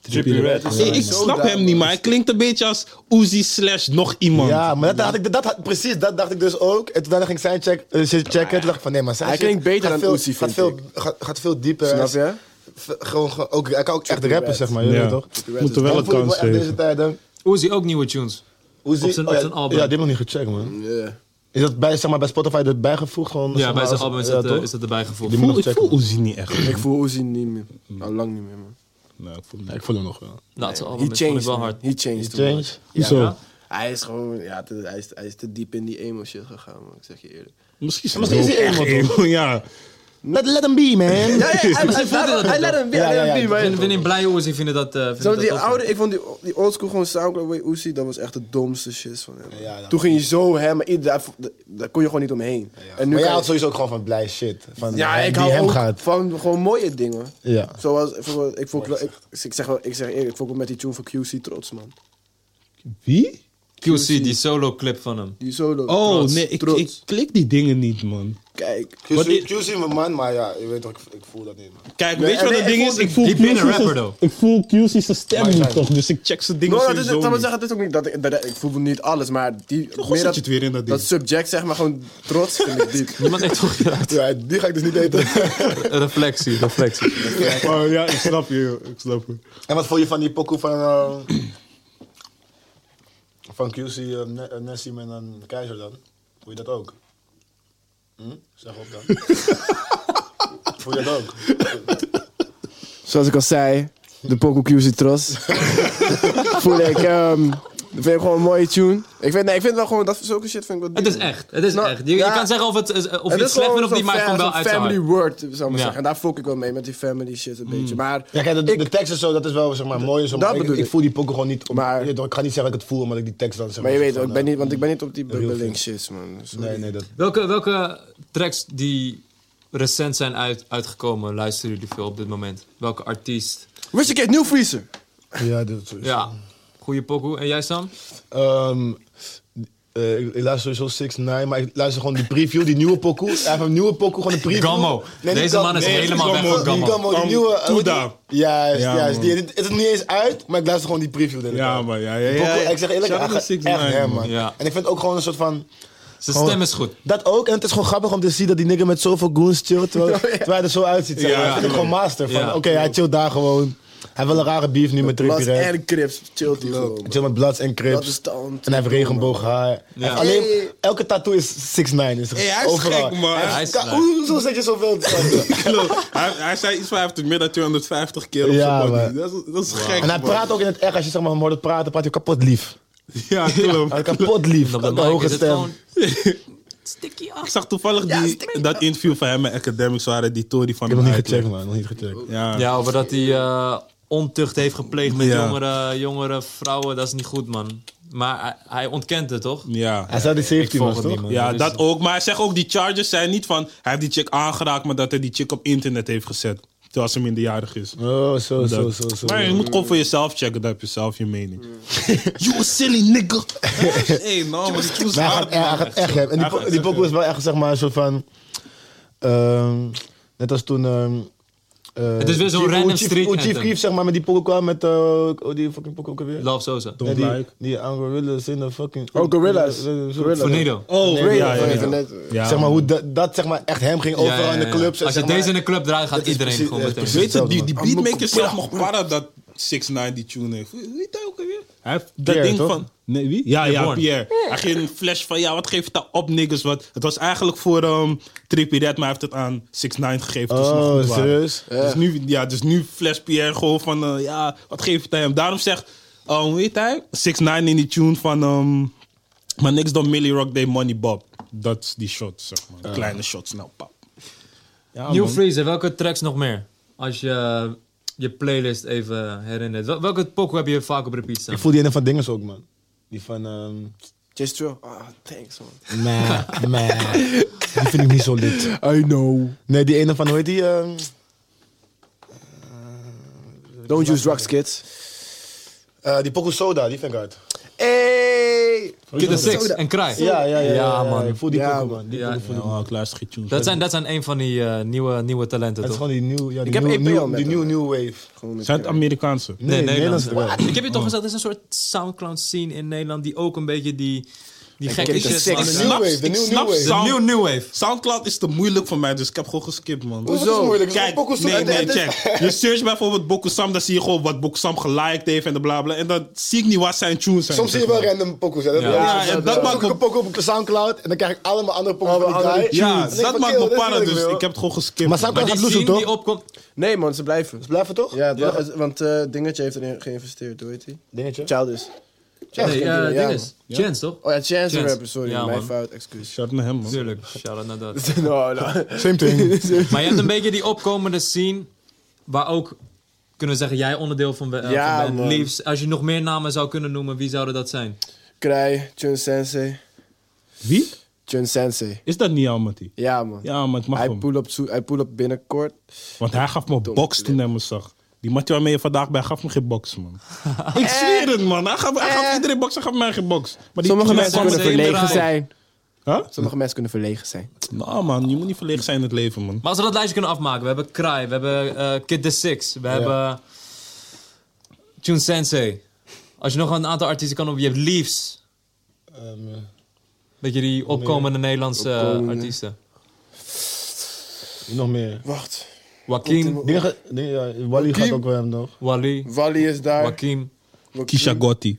[SPEAKER 2] Trippie Red is
[SPEAKER 4] ik
[SPEAKER 2] zo
[SPEAKER 4] snap
[SPEAKER 2] daar,
[SPEAKER 4] hem niet, maar hij klinkt een beetje als Uzi slash nog iemand.
[SPEAKER 3] Ja, maar dat, had ik, dat had, precies, dat dacht ik dus ook. En toen daarna ging ik zijn check, eh, shit checken. Toen dacht ik van nee, maar zijn
[SPEAKER 2] Hij
[SPEAKER 3] shit
[SPEAKER 2] klinkt beter
[SPEAKER 3] gaat
[SPEAKER 2] dan
[SPEAKER 3] veel,
[SPEAKER 2] Uzi,
[SPEAKER 3] gaat
[SPEAKER 2] vind
[SPEAKER 3] veel,
[SPEAKER 2] ik.
[SPEAKER 3] Gaat, gaat veel dieper.
[SPEAKER 2] Snap je?
[SPEAKER 3] V- gewoon, gewoon- ook, hij kan ook echt
[SPEAKER 2] Trippie
[SPEAKER 3] rappen,
[SPEAKER 2] Red.
[SPEAKER 3] zeg maar. jullie
[SPEAKER 4] Ja.
[SPEAKER 3] toch?
[SPEAKER 2] Red
[SPEAKER 4] Moeten
[SPEAKER 2] is
[SPEAKER 4] wel
[SPEAKER 3] Dat voel
[SPEAKER 4] een
[SPEAKER 3] ik wel
[SPEAKER 4] kans
[SPEAKER 3] echt deze
[SPEAKER 4] geven.
[SPEAKER 3] tijd, dan.
[SPEAKER 1] Uzi ook nieuwe tunes.
[SPEAKER 3] Hoe zie-
[SPEAKER 1] zijn-
[SPEAKER 3] oh ja,
[SPEAKER 1] op zijn album.
[SPEAKER 3] Ja, die heb ik nog niet gecheckt, man.
[SPEAKER 2] Ja.
[SPEAKER 3] Is dat bij, zeg maar, bij Spotify erbij gevoegd? Gewoon, zeg
[SPEAKER 1] Ja,
[SPEAKER 3] maar,
[SPEAKER 1] bij zijn
[SPEAKER 3] als-
[SPEAKER 1] album is,
[SPEAKER 3] ja,
[SPEAKER 1] dat, eh,
[SPEAKER 3] toch?
[SPEAKER 1] is dat erbij gevoegd.
[SPEAKER 3] Die
[SPEAKER 4] Ik
[SPEAKER 3] moet
[SPEAKER 4] voel,
[SPEAKER 3] nog
[SPEAKER 4] ik
[SPEAKER 3] checken.
[SPEAKER 4] voel Uzi niet echt.
[SPEAKER 2] Ik voel Uzi niet meer. Al lang niet meer, man.
[SPEAKER 4] Nee, ik voel hem
[SPEAKER 3] Ja,
[SPEAKER 4] niet.
[SPEAKER 3] ik voel hem nog wel.
[SPEAKER 1] Nou, het
[SPEAKER 2] He
[SPEAKER 1] album is vond ik
[SPEAKER 2] changed,
[SPEAKER 1] wel
[SPEAKER 2] man.
[SPEAKER 1] hard.
[SPEAKER 2] He changed. too
[SPEAKER 3] Change?
[SPEAKER 2] much.
[SPEAKER 3] Hoezo?
[SPEAKER 1] ja.
[SPEAKER 2] Hij is gewoon, ja, te- hij, is, hij is te diep in die emo shit gegaan, man. Ik zeg je eerlijk.
[SPEAKER 4] Misschien is hij
[SPEAKER 3] Misschien is hij
[SPEAKER 4] ook
[SPEAKER 3] emo,
[SPEAKER 4] echt emo, Ja.
[SPEAKER 3] Let, let him be, man.
[SPEAKER 2] Ja, ja, hij, hij,
[SPEAKER 1] voelde dat ook
[SPEAKER 2] hij
[SPEAKER 1] wel.
[SPEAKER 2] let hem
[SPEAKER 3] Ja, ja,
[SPEAKER 2] weer,
[SPEAKER 3] ja, ik
[SPEAKER 1] Ik ben,
[SPEAKER 2] man.
[SPEAKER 1] ben in blij Uzi vinden dat... eh vinden
[SPEAKER 2] Zo
[SPEAKER 1] dat
[SPEAKER 2] die
[SPEAKER 1] tof.
[SPEAKER 2] oude, ik vond die, die oldschool gewoon Soundcloud Way Uzi, dat was echt de domste shit van hem.
[SPEAKER 3] Ja, dat-
[SPEAKER 2] Toen ging je zo hem, maar ieder, daar, daar kon je gewoon niet omheen. En nu
[SPEAKER 3] maar jij
[SPEAKER 2] kan je-
[SPEAKER 3] houdt sowieso ook gewoon van blij shit. Van
[SPEAKER 2] ja,
[SPEAKER 3] hem-
[SPEAKER 2] ik
[SPEAKER 3] die
[SPEAKER 2] hou
[SPEAKER 3] hem
[SPEAKER 2] ook
[SPEAKER 3] gaat.
[SPEAKER 2] van gewoon mooie dingen.
[SPEAKER 3] Ja.
[SPEAKER 2] Zoals, bijvoorbeeld, ik, vond, wel- ik, ik zeg wel, ik zeg eerlijk, ik vond wel met die tune van QC trots, man.
[SPEAKER 4] Wie?
[SPEAKER 1] QC, die solo clip van hem.
[SPEAKER 2] Die solo.
[SPEAKER 4] Oh,
[SPEAKER 2] trots,
[SPEAKER 4] nee, ik,
[SPEAKER 2] trots.
[SPEAKER 4] ik klik die dingen niet, man.
[SPEAKER 2] Kijk,
[SPEAKER 4] Wat i-
[SPEAKER 3] QC mijn man, maar ja, je weet toch, ik, ik voel dat niet, man.
[SPEAKER 4] Kijk,
[SPEAKER 2] Nee,
[SPEAKER 4] weet je wat
[SPEAKER 2] nee,
[SPEAKER 4] het
[SPEAKER 2] ik
[SPEAKER 4] ding
[SPEAKER 2] voel
[SPEAKER 4] is?
[SPEAKER 2] die-
[SPEAKER 4] Ik voel
[SPEAKER 1] Ik ben een
[SPEAKER 4] QC's
[SPEAKER 1] rapper, though.
[SPEAKER 4] Ik voel QC's zijn stem niet, toch? Dus ik check zijn dingen
[SPEAKER 2] No, dat is,
[SPEAKER 4] sowieso
[SPEAKER 2] dat wil
[SPEAKER 4] niet.
[SPEAKER 2] zeggen, dit is ook niet dat, ik- dat, ik voel niet alles, maar die
[SPEAKER 4] Toch zit je het weer in dat ding.
[SPEAKER 2] dat subject zeg maar gewoon trots vind ik diep.
[SPEAKER 1] Niemand heeft toch geraakt.
[SPEAKER 3] Ja, die ga ik dus niet eten.
[SPEAKER 1] Reflectie, reflectie.
[SPEAKER 4] Oh, ja, ik snap je, joh. ik snap je.
[SPEAKER 3] en wat vond je van die pokoe van... eh, van QC, eh, Ne- eh, Nessim en eh, Keizer dan? Voel je dat ook? Hm? Zeg op dan. voel je dat ook?
[SPEAKER 2] Zoals ik al zei, de Poco QC trots. voel ik, ehm vind ik gewoon een mooie tune. Ik vind, nee, ik vind wel gewoon, dat zulke shit vind ik wel
[SPEAKER 1] Het
[SPEAKER 2] diep.
[SPEAKER 1] is echt, het is
[SPEAKER 2] Nou,
[SPEAKER 1] echt. Je, je
[SPEAKER 2] ja.
[SPEAKER 1] kan zeggen of, het, is- of je
[SPEAKER 2] Het
[SPEAKER 1] het slecht
[SPEAKER 2] is gewoon
[SPEAKER 1] vindt of niet, maar
[SPEAKER 2] zo'n
[SPEAKER 1] het komt
[SPEAKER 2] fa-
[SPEAKER 1] wel
[SPEAKER 2] zo'n
[SPEAKER 1] uit zijn
[SPEAKER 2] family
[SPEAKER 1] hart.
[SPEAKER 2] word, zou ik maar
[SPEAKER 1] Ja. Mm.
[SPEAKER 2] zeggen. En daar fok ik wel mee met die family shit een beetje. Maar
[SPEAKER 3] Ja, kijk, de,
[SPEAKER 2] ik,
[SPEAKER 3] de tekst is zo, dat is wel zeg maar, mooi. Zo,
[SPEAKER 2] Dat
[SPEAKER 3] maar ik,
[SPEAKER 2] bedoel
[SPEAKER 3] ik
[SPEAKER 2] ik.
[SPEAKER 3] voel die pokoe gewoon niet. Om,
[SPEAKER 2] Maar-
[SPEAKER 3] je weet toch, ik ga niet zeggen dat ik het voel, omdat ik die tekst dan zeg
[SPEAKER 2] maar je weet,
[SPEAKER 3] van,
[SPEAKER 2] ik ben
[SPEAKER 3] eh,
[SPEAKER 2] niet, want ik ben niet op die
[SPEAKER 3] veel.
[SPEAKER 2] bubbeling shit, man. Dus, eh, Sorry.
[SPEAKER 3] Nee, nee, dat...
[SPEAKER 1] Welke, welke tracks die recent zijn uit, uitgekomen luisteren jullie veel op dit moment? Welke artiest?
[SPEAKER 2] Wist ik het, Nieuw Vriezer.
[SPEAKER 3] Ja, dat is...
[SPEAKER 1] Ja, goede pokoe. En jij Sam?
[SPEAKER 3] Ehm, eh, ik, ik luister sowieso 6 9 maar ik luister gewoon die preview, die nieuwe pokoe. Hij heeft een nieuwe pokoe, gewoon een preview.
[SPEAKER 1] Gammo.
[SPEAKER 3] niet
[SPEAKER 1] Deze man is helemaal
[SPEAKER 3] niet
[SPEAKER 1] weg van
[SPEAKER 3] Die
[SPEAKER 1] Gammo.
[SPEAKER 3] Gammo, die
[SPEAKER 4] Gam-
[SPEAKER 3] nieuwe... eh, hoe die-
[SPEAKER 4] Toeda.
[SPEAKER 3] Juist,
[SPEAKER 4] Ja,
[SPEAKER 3] juist.
[SPEAKER 4] man.
[SPEAKER 3] Die, het is niet eens uit, maar ik luister gewoon die preview. de hele
[SPEAKER 4] Ja,
[SPEAKER 3] tijd.
[SPEAKER 4] maar ja, ja,
[SPEAKER 3] Die
[SPEAKER 4] ja.
[SPEAKER 3] pokoe, Ik zeg eerlijk,
[SPEAKER 4] Shout
[SPEAKER 3] hij
[SPEAKER 4] out
[SPEAKER 3] gaat
[SPEAKER 4] to 6ix9ine,
[SPEAKER 3] echt hem,
[SPEAKER 4] man.
[SPEAKER 3] man.
[SPEAKER 1] Ja.
[SPEAKER 3] En ik vind ook gewoon een soort van...
[SPEAKER 1] Zijn
[SPEAKER 3] Gewoon-
[SPEAKER 1] stem is goed.
[SPEAKER 3] Dat ook, en het is gewoon grappig om te zien dat die nigger met zoveel goons chillt, terwijl, terwijl hij er zo uitziet. Zeg.
[SPEAKER 4] Ja,
[SPEAKER 3] maar. dat vind ik gewoon master. Van,
[SPEAKER 1] Ja.
[SPEAKER 3] Oké, hij chillt daar gewoon. Hij wil een rare beef nu met Trippie
[SPEAKER 2] Bloods
[SPEAKER 3] Red.
[SPEAKER 2] en Crips, chillt die gewoon.
[SPEAKER 3] Chill met Bloods en
[SPEAKER 2] Dat is
[SPEAKER 3] Crips.
[SPEAKER 2] de
[SPEAKER 3] En
[SPEAKER 2] ont-
[SPEAKER 3] hij heeft regenbooghaar. Hij heeft Alleen,
[SPEAKER 2] Hey.
[SPEAKER 3] elke tattoo is 6 9 is
[SPEAKER 4] Hey, hij is
[SPEAKER 3] overal.
[SPEAKER 4] gek, man.
[SPEAKER 1] Hij is
[SPEAKER 3] Ka-
[SPEAKER 1] gek.
[SPEAKER 3] Hoezo zet je zoveel?
[SPEAKER 4] Klopt. hij, hij zei iets van hij heeft meer dan 250 keer op
[SPEAKER 3] Ja,
[SPEAKER 4] zijn body.
[SPEAKER 3] man.
[SPEAKER 4] Dat is, dat is gek.
[SPEAKER 3] En hij
[SPEAKER 4] man.
[SPEAKER 3] praat ook in het echt. Als je zeg maar hem hoort praten, praat hij kapot lief.
[SPEAKER 4] Ja, klopt.
[SPEAKER 3] Hij kapot lief.
[SPEAKER 1] En op de
[SPEAKER 3] Op de
[SPEAKER 1] mic
[SPEAKER 3] hoge
[SPEAKER 1] is het
[SPEAKER 3] stem.
[SPEAKER 1] gewoon-
[SPEAKER 4] Ik zag toevallig die, dat interview van hem en Academics waren die Tory van
[SPEAKER 3] Ik heb nog niet
[SPEAKER 4] uitlegde.
[SPEAKER 3] gecheckt, man. Nog niet gecheckt.
[SPEAKER 4] Ja.
[SPEAKER 1] Ja, over dat hij eh, ontucht heeft gepleegd met
[SPEAKER 4] Ja.
[SPEAKER 1] jongere, jongere vrouwen. Dat is niet goed, man. Maar hij, hij ontkent het, toch?
[SPEAKER 4] Ja.
[SPEAKER 3] Hij zou die 17
[SPEAKER 1] volg
[SPEAKER 3] was,
[SPEAKER 1] het niet,
[SPEAKER 3] toch?
[SPEAKER 1] man.
[SPEAKER 4] Ja, dat ook. Maar hij zegt ook, die charges zijn niet van... Hij heeft die chick aangeraakt, maar dat hij die chick op internet heeft gezet. Terwijl ze minderjarig is.
[SPEAKER 3] Oh, zo, zo,
[SPEAKER 4] Dat-
[SPEAKER 3] zo, zo.
[SPEAKER 4] Maar je moet gewoon voor jezelf checken. Dan heb je zelf je mening. you a silly nigga. hey, nou, maar die was
[SPEAKER 3] Maar hij
[SPEAKER 4] hard.
[SPEAKER 3] gaat, hij gaat echt hebben. En die,
[SPEAKER 4] Hij
[SPEAKER 3] po-
[SPEAKER 4] gaat
[SPEAKER 3] die
[SPEAKER 4] echt
[SPEAKER 3] pokoe is wel echt, zeg maar, een soort van... ehm, net als toen... ehm, eh,
[SPEAKER 1] Het is weer zo'n
[SPEAKER 3] Chief-
[SPEAKER 1] random
[SPEAKER 3] hoe Chief-
[SPEAKER 1] street
[SPEAKER 3] hoe Chief
[SPEAKER 1] anthem.
[SPEAKER 3] Keef, zeg maar, met die pokoe kwam met... eh, oh, die fucking pokoe ook alweer?
[SPEAKER 1] Love Sosa.
[SPEAKER 3] Nee, die,
[SPEAKER 4] like.
[SPEAKER 3] die aan gorillas in de fucking...
[SPEAKER 2] Oh, gorillas. Gorillas.
[SPEAKER 1] Voor Nido.
[SPEAKER 4] Oh,
[SPEAKER 2] Ray,
[SPEAKER 4] ja, ja,
[SPEAKER 2] van
[SPEAKER 4] ja.
[SPEAKER 2] internet.
[SPEAKER 4] Ja,
[SPEAKER 3] zeg maar,
[SPEAKER 4] man.
[SPEAKER 3] hoe dat, dat, zeg maar, echt hem ging
[SPEAKER 1] Ja,
[SPEAKER 3] overal
[SPEAKER 1] ja,
[SPEAKER 3] in de
[SPEAKER 1] ja.
[SPEAKER 3] clubs.
[SPEAKER 1] Als je
[SPEAKER 3] zeg maar,
[SPEAKER 1] deze in de club draait, gaat
[SPEAKER 3] dat is
[SPEAKER 1] iedereen
[SPEAKER 3] precies-
[SPEAKER 1] gewoon
[SPEAKER 3] ja,
[SPEAKER 1] meteen.
[SPEAKER 3] precies
[SPEAKER 4] Weet je,
[SPEAKER 3] hetzelfde,
[SPEAKER 4] die,
[SPEAKER 3] man.
[SPEAKER 4] die beatmaker zelf nog para dat 6ix9ine die tune heeft. Wie wie dat ook alweer? Hij heeft dat
[SPEAKER 3] Pierre,
[SPEAKER 4] ding
[SPEAKER 3] toch?
[SPEAKER 4] van... Nee, wie? Ja, ja,
[SPEAKER 1] Bourne.
[SPEAKER 4] Pierre. Hij ging een flash van, ja, wat geeft dat op, niggas? Wat? Het was eigenlijk voor ehm Trippie Red, maar hij heeft het aan 6ix9ine gegeven. toen ze nog
[SPEAKER 3] Oh,
[SPEAKER 4] goed waren.
[SPEAKER 3] serieus?
[SPEAKER 4] Dus, nu, ja, dus nu flash Pierre gewoon van, eh, ja, wat geeft het aan hem? Daarom zegt, eh, hoe heet hij? 6ix9ine in die tune van... ehm, maar niks dan Millie Rock Day Money Bob. Dat is die shot, zeg maar. De Kleine shot, snel, pap. Ja,
[SPEAKER 1] New
[SPEAKER 4] man.
[SPEAKER 1] Freezer, welke tracks nog meer? Als je eh, je playlist even herinnert. Wel- welke pokoe heb je vaak op repeat staan?
[SPEAKER 3] Ik voel die ene van Dinges ook, man. Die van... ehm
[SPEAKER 2] Just true. Ah, thanks man.
[SPEAKER 3] meh, meh. Die vind ik niet zo lid.
[SPEAKER 2] I know.
[SPEAKER 3] Nee, die ene van, hoe heet die? ehm,
[SPEAKER 2] Don't use drugs, kids.
[SPEAKER 3] eh, die pokoe Soda, die vind ik uit.
[SPEAKER 2] Hey!
[SPEAKER 1] Kid the Six
[SPEAKER 2] Soda.
[SPEAKER 1] en Cry.
[SPEAKER 3] Ja, ja, ja.
[SPEAKER 1] Ja, man.
[SPEAKER 3] Ik voel die
[SPEAKER 2] Ja,
[SPEAKER 3] pokoe,
[SPEAKER 2] man.
[SPEAKER 3] man. Die
[SPEAKER 1] Ja,
[SPEAKER 3] pokoe
[SPEAKER 1] ja.
[SPEAKER 3] voel ik.
[SPEAKER 4] Ja, oh, ik luister geen tunes.
[SPEAKER 1] Dat zijn, dat zijn een van die eh, nieuwe, nieuwe talenten,
[SPEAKER 3] Het is
[SPEAKER 1] toch?
[SPEAKER 3] gewoon die nieuw, ja, die
[SPEAKER 2] heb
[SPEAKER 3] nieuw,
[SPEAKER 2] EP
[SPEAKER 3] nieuw-
[SPEAKER 2] al met
[SPEAKER 3] die
[SPEAKER 2] hem.
[SPEAKER 3] nieuwe new wave.
[SPEAKER 2] Gewoon met-
[SPEAKER 4] Zijn het Amerikaanse?
[SPEAKER 1] Nee,
[SPEAKER 3] Nee, Nederlands
[SPEAKER 1] Nederlands.
[SPEAKER 3] is wel.
[SPEAKER 1] Ik heb je toch gezegd, er is een soort soundcloud scene in Nederland die ook een beetje die, die gekke
[SPEAKER 2] Kid the
[SPEAKER 1] shit
[SPEAKER 2] Six.
[SPEAKER 1] maakt.
[SPEAKER 4] Ik
[SPEAKER 3] De
[SPEAKER 4] snap-
[SPEAKER 3] new wave, de
[SPEAKER 4] ik
[SPEAKER 3] new-
[SPEAKER 4] snap
[SPEAKER 3] new wave.
[SPEAKER 1] De
[SPEAKER 4] Sound-
[SPEAKER 1] nieuwe New Wave.
[SPEAKER 4] Soundcloud is te moeilijk voor mij, dus ik heb gewoon geskipt, man.
[SPEAKER 3] Hoezo? Dat is moeilijk. Het is
[SPEAKER 4] Kijk,
[SPEAKER 3] Bokusam.
[SPEAKER 4] nee,
[SPEAKER 3] Het-
[SPEAKER 4] nee,
[SPEAKER 3] het is-
[SPEAKER 4] check. Je search bijvoorbeeld Bokusam, dan zie je gewoon wat Bokusam geliked heeft en de blabla. En dan zie ik niet wat zijn tunes zijn.
[SPEAKER 3] Soms zie je
[SPEAKER 4] zeg
[SPEAKER 3] wel
[SPEAKER 4] maar.
[SPEAKER 3] random pokoes. hè. Dat-
[SPEAKER 1] Ja.
[SPEAKER 4] Ja, en dat
[SPEAKER 3] Soms
[SPEAKER 4] maakt
[SPEAKER 3] zoek ik
[SPEAKER 4] me-
[SPEAKER 3] een pokoe op Soundcloud en dan krijg ik allemaal andere pokoes van
[SPEAKER 2] Allemaal
[SPEAKER 3] die
[SPEAKER 2] andere
[SPEAKER 3] guy.
[SPEAKER 4] Ja,
[SPEAKER 3] En ik
[SPEAKER 4] dat
[SPEAKER 3] van,
[SPEAKER 4] maakt
[SPEAKER 3] "Kill,
[SPEAKER 4] me
[SPEAKER 3] dit wil
[SPEAKER 4] para,
[SPEAKER 3] ik
[SPEAKER 4] dus
[SPEAKER 3] wel."
[SPEAKER 4] ik heb het gewoon
[SPEAKER 3] Maar
[SPEAKER 4] geskipt.
[SPEAKER 1] Maar
[SPEAKER 4] man.
[SPEAKER 3] Soundcloud
[SPEAKER 1] die
[SPEAKER 3] gaat loezen,
[SPEAKER 1] scene die
[SPEAKER 3] toch?
[SPEAKER 1] opkomt...
[SPEAKER 2] Nee man, ze blijven.
[SPEAKER 3] Ze blijven toch?
[SPEAKER 2] Ja, het wa- het- want eh, Dingetje heeft erin geïnvesteerd, hoe heet hij?
[SPEAKER 3] Dingetje.
[SPEAKER 2] Childish.
[SPEAKER 1] Nee,
[SPEAKER 2] Childish.
[SPEAKER 1] eh,
[SPEAKER 2] Ja,
[SPEAKER 1] ding is. Chance, toch?
[SPEAKER 2] man. Oh ja, Chance
[SPEAKER 1] Chance.
[SPEAKER 2] the Rapper, sorry.
[SPEAKER 1] Ja,
[SPEAKER 2] mijn
[SPEAKER 1] man.
[SPEAKER 2] fout, excuus.
[SPEAKER 4] Shout naar hem, man.
[SPEAKER 1] Tuurlijk, shout-out naar dat.
[SPEAKER 2] no, no.
[SPEAKER 3] Same thing.
[SPEAKER 1] Maar je hebt een beetje die opkomende scene waar ook, kunnen we zeggen, jij onderdeel van, be- eh,
[SPEAKER 2] Ja,
[SPEAKER 1] van bent.
[SPEAKER 2] man.
[SPEAKER 1] Liefst, als je nog meer namen zou kunnen noemen, wie zouden dat zijn?
[SPEAKER 2] Krij, Chun Sensei.
[SPEAKER 4] Wie?
[SPEAKER 2] Chun Sensei.
[SPEAKER 4] Is dat niet Almaty?
[SPEAKER 2] Ja man.
[SPEAKER 4] Ja, maar ik mag
[SPEAKER 2] Hij
[SPEAKER 4] hem.
[SPEAKER 2] pull up, zo- hij pull up binnenkort.
[SPEAKER 4] Want hij gaf me box toen hij me zag. Die matje waarmee je vandaag bent, gaf me geen box, man. ik zweer het, man. Hij gaf, hij
[SPEAKER 3] Eh.
[SPEAKER 4] gaf iedereen box, hij gaf mij geen box. Maar die
[SPEAKER 2] Sommige
[SPEAKER 4] die-
[SPEAKER 2] mensen kunnen
[SPEAKER 1] Sensei
[SPEAKER 2] verlegen
[SPEAKER 1] draait.
[SPEAKER 2] zijn.
[SPEAKER 4] Huh?
[SPEAKER 2] Sommige mensen kunnen verlegen zijn.
[SPEAKER 4] Nou, man, je moet niet verlegen zijn in het leven, man.
[SPEAKER 1] Maar als we dat lijstje kunnen afmaken, we hebben Cry, we hebben eh, Kid The Six, we hebben Tune Sensei. Als je nog een aantal artiesten kan noemen, je hebt Leaves. Beetje die opkomende Nederlandse eh,
[SPEAKER 2] Opkomende.
[SPEAKER 1] artiesten.
[SPEAKER 3] Nog meer.
[SPEAKER 2] Wacht.
[SPEAKER 1] Joaquin,
[SPEAKER 3] Dingen ga- dingen- ja, Wally gaat ook wel hem, toch?
[SPEAKER 1] Wally,
[SPEAKER 2] Wally is daar.
[SPEAKER 1] Joaquin.
[SPEAKER 4] Kisha Gotti.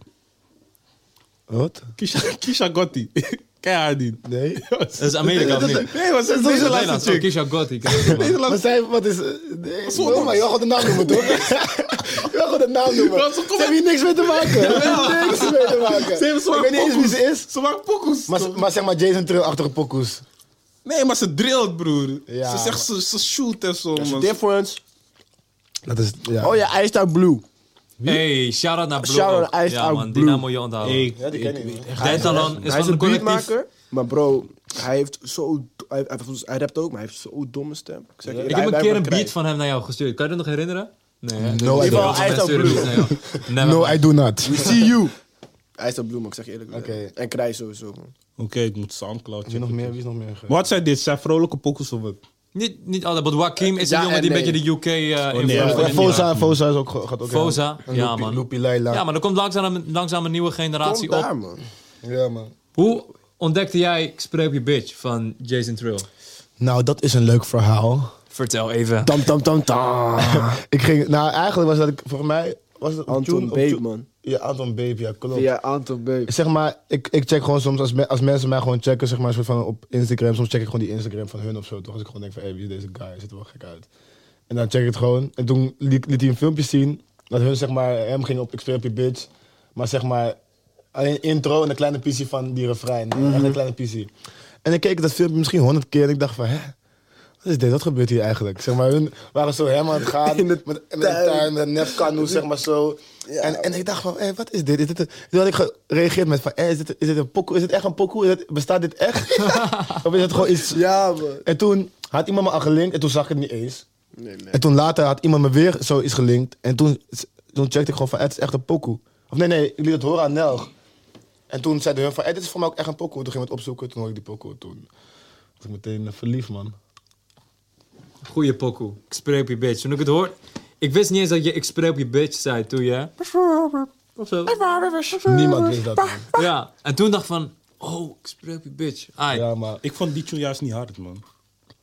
[SPEAKER 3] Wat?
[SPEAKER 4] Kisha, Kisha Gotti. Ken je haar niet?
[SPEAKER 3] Nee.
[SPEAKER 1] Dat is Amerika of niet?
[SPEAKER 4] Nee, wat is deze
[SPEAKER 1] Nederlands,
[SPEAKER 4] laatste
[SPEAKER 1] oh,
[SPEAKER 4] chick?
[SPEAKER 1] Kisha Gotti. kijk maar.
[SPEAKER 4] Deze
[SPEAKER 3] Maar
[SPEAKER 4] laatste
[SPEAKER 3] zij, wat is... eh, Nee, oh, maar je wil gewoon de naam noemen, toch? je wil gewoon de naam noemen.
[SPEAKER 4] Ja, ze
[SPEAKER 3] Ze hebben hier niks mee te maken. Ze hebben niks mee te maken.
[SPEAKER 4] Ze hebben
[SPEAKER 3] Ik
[SPEAKER 4] zwaar
[SPEAKER 3] weet niet eens wie ze is.
[SPEAKER 4] Ze maakt pokoes.
[SPEAKER 3] Maar, ze- maar zeg maar Jason Trill-achtige pokoes.
[SPEAKER 4] Nee, maar ze drillt, broer.
[SPEAKER 3] Ja,
[SPEAKER 4] ze zegt, ze, ze shoot en zo, man.
[SPEAKER 2] Difference.
[SPEAKER 3] Dat is... Ja.
[SPEAKER 2] Oh ja, hij is daar blue.
[SPEAKER 1] Hey, shout-out naar Blue.
[SPEAKER 2] Shout-out
[SPEAKER 1] ook.
[SPEAKER 2] naar Ice
[SPEAKER 1] ja,
[SPEAKER 2] Out
[SPEAKER 1] man, die
[SPEAKER 2] Blue.
[SPEAKER 1] naam moet je onthouden.
[SPEAKER 4] Hey,
[SPEAKER 3] Ja, die ken ik niet.
[SPEAKER 1] Dentalon is
[SPEAKER 2] hij
[SPEAKER 1] van
[SPEAKER 2] is een
[SPEAKER 1] een collectief.
[SPEAKER 2] beatmaker. Maar bro, hij heeft zo... Hij, hij, hij rapt ook, maar hij heeft zo'n domme stem. Ik, zeg je,
[SPEAKER 1] Ik
[SPEAKER 2] hij-
[SPEAKER 1] heb een
[SPEAKER 2] hij
[SPEAKER 1] keer een
[SPEAKER 2] wordt
[SPEAKER 1] beat
[SPEAKER 2] krijt.
[SPEAKER 1] van hem naar jou gestuurd. Kan je dat nog herinneren? Nee. hè?
[SPEAKER 3] No, I
[SPEAKER 1] Ik
[SPEAKER 3] do
[SPEAKER 1] wil
[SPEAKER 3] not.
[SPEAKER 1] mensen
[SPEAKER 2] Ice Out
[SPEAKER 1] sturen
[SPEAKER 2] Blue.
[SPEAKER 1] iets naar jou. Never
[SPEAKER 3] No,
[SPEAKER 1] mind.
[SPEAKER 3] I do not.
[SPEAKER 2] See you. Hij is daar blue, maar ik zeg je eerlijk.
[SPEAKER 3] Oké.
[SPEAKER 2] En Krij sowieso, man.
[SPEAKER 4] Oké, okay, ik moet Soundcloud
[SPEAKER 3] Wie
[SPEAKER 4] checken.
[SPEAKER 3] nog meer? Wie is nog meer?
[SPEAKER 4] Maar wat zijn dit? Zijn vrolijke pokoes of wat?
[SPEAKER 1] Niet, niet altijd, maar Joaquim is
[SPEAKER 2] Ja
[SPEAKER 1] een jongen
[SPEAKER 2] en
[SPEAKER 1] die een
[SPEAKER 2] nee.
[SPEAKER 1] beetje de UK eh
[SPEAKER 4] nee,
[SPEAKER 1] invloed
[SPEAKER 4] dat
[SPEAKER 1] heeft.
[SPEAKER 4] is niet
[SPEAKER 3] Fosa, Fosa is ook, gaat ook
[SPEAKER 1] Fosa,
[SPEAKER 3] heel-
[SPEAKER 1] ja
[SPEAKER 3] Loopy-
[SPEAKER 1] man.
[SPEAKER 3] Loopy Laila.
[SPEAKER 1] Ja, maar er komt langzaam, een- langzaam een nieuwe generatie
[SPEAKER 2] Kom daar,
[SPEAKER 1] op.
[SPEAKER 2] man.
[SPEAKER 3] Ja, man.
[SPEAKER 1] Hoe ontdekte jij Ik Spreek Je Bitch van Jason Trill?
[SPEAKER 3] Nou, dat is een leuk verhaal.
[SPEAKER 1] Vertel even.
[SPEAKER 5] Tam, tam, tam, tam.
[SPEAKER 3] Ik ging, nou eigenlijk was dat ik, volgens mij, was het op
[SPEAKER 2] Anton
[SPEAKER 3] tune- op tune-
[SPEAKER 2] Beekman.
[SPEAKER 3] Ja, Anton Beep, ja, klopt.
[SPEAKER 2] Via Anton Beep.
[SPEAKER 3] Zeg maar, ik, ik check gewoon soms, als, me- als mensen mij gewoon checken, zeg maar, soort van op Instagram, soms check ik gewoon die Instagram van hun of zo, toch? Als ik gewoon denk van, hé, wie is deze guy? Hij Ziet er wel gek uit. En dan check ik het gewoon. En toen liet, liet hij een filmpje zien, dat hun, zeg maar, hem ging op, ik speel op je bitch. Maar zeg maar, alleen intro en een kleine pissie van die refrein. Echt
[SPEAKER 2] Mhm.
[SPEAKER 3] een kleine pissie. En ik keek dat filmpje misschien honderd keer en ik dacht van, hè? Wat is dit? Wat gebeurt hier eigenlijk? Zeg maar, hun waren zo helemaal aan het gaan.
[SPEAKER 2] In de
[SPEAKER 3] met, met een
[SPEAKER 2] tuin.
[SPEAKER 3] tuin, met een nefkanoe, zeg maar zo. En, en ik dacht van, hé, wat is dit? Is dit een... Toen had ik gereageerd met van, hé, is, dit, is dit een pokoe? Is dit echt een pokoe? Is dit- bestaat dit echt? of is het gewoon iets...
[SPEAKER 2] Ja, man.
[SPEAKER 3] En toen had iemand me al gelinkt en toen zag ik het niet eens. En toen later had iemand me weer zoiets gelinkt. En toen, toen checkte ik gewoon van, hé, het is echt een pokoe. Of nee, nee, ik liet het horen aan Nelg. En toen zeiden hun van, hé, dit is voor mij ook echt een pokoe. Toen ging ik het opzoeken, toen hoorde ik die pokoe. Toen was ik meteen eh, verliefd, man.
[SPEAKER 1] Goeie pokoe. Ik spreek op je bitch. Toen ik het hoor... Ik wist niet eens dat je ik spreek op je bitch zei toen je... Of zo.
[SPEAKER 3] Niemand wist dat. man.
[SPEAKER 1] Ja. En toen dacht ik van... Oh, ik spreek op je bitch. Ai.
[SPEAKER 3] Ja, maar
[SPEAKER 4] Ik vond die tune juist niet hard, man.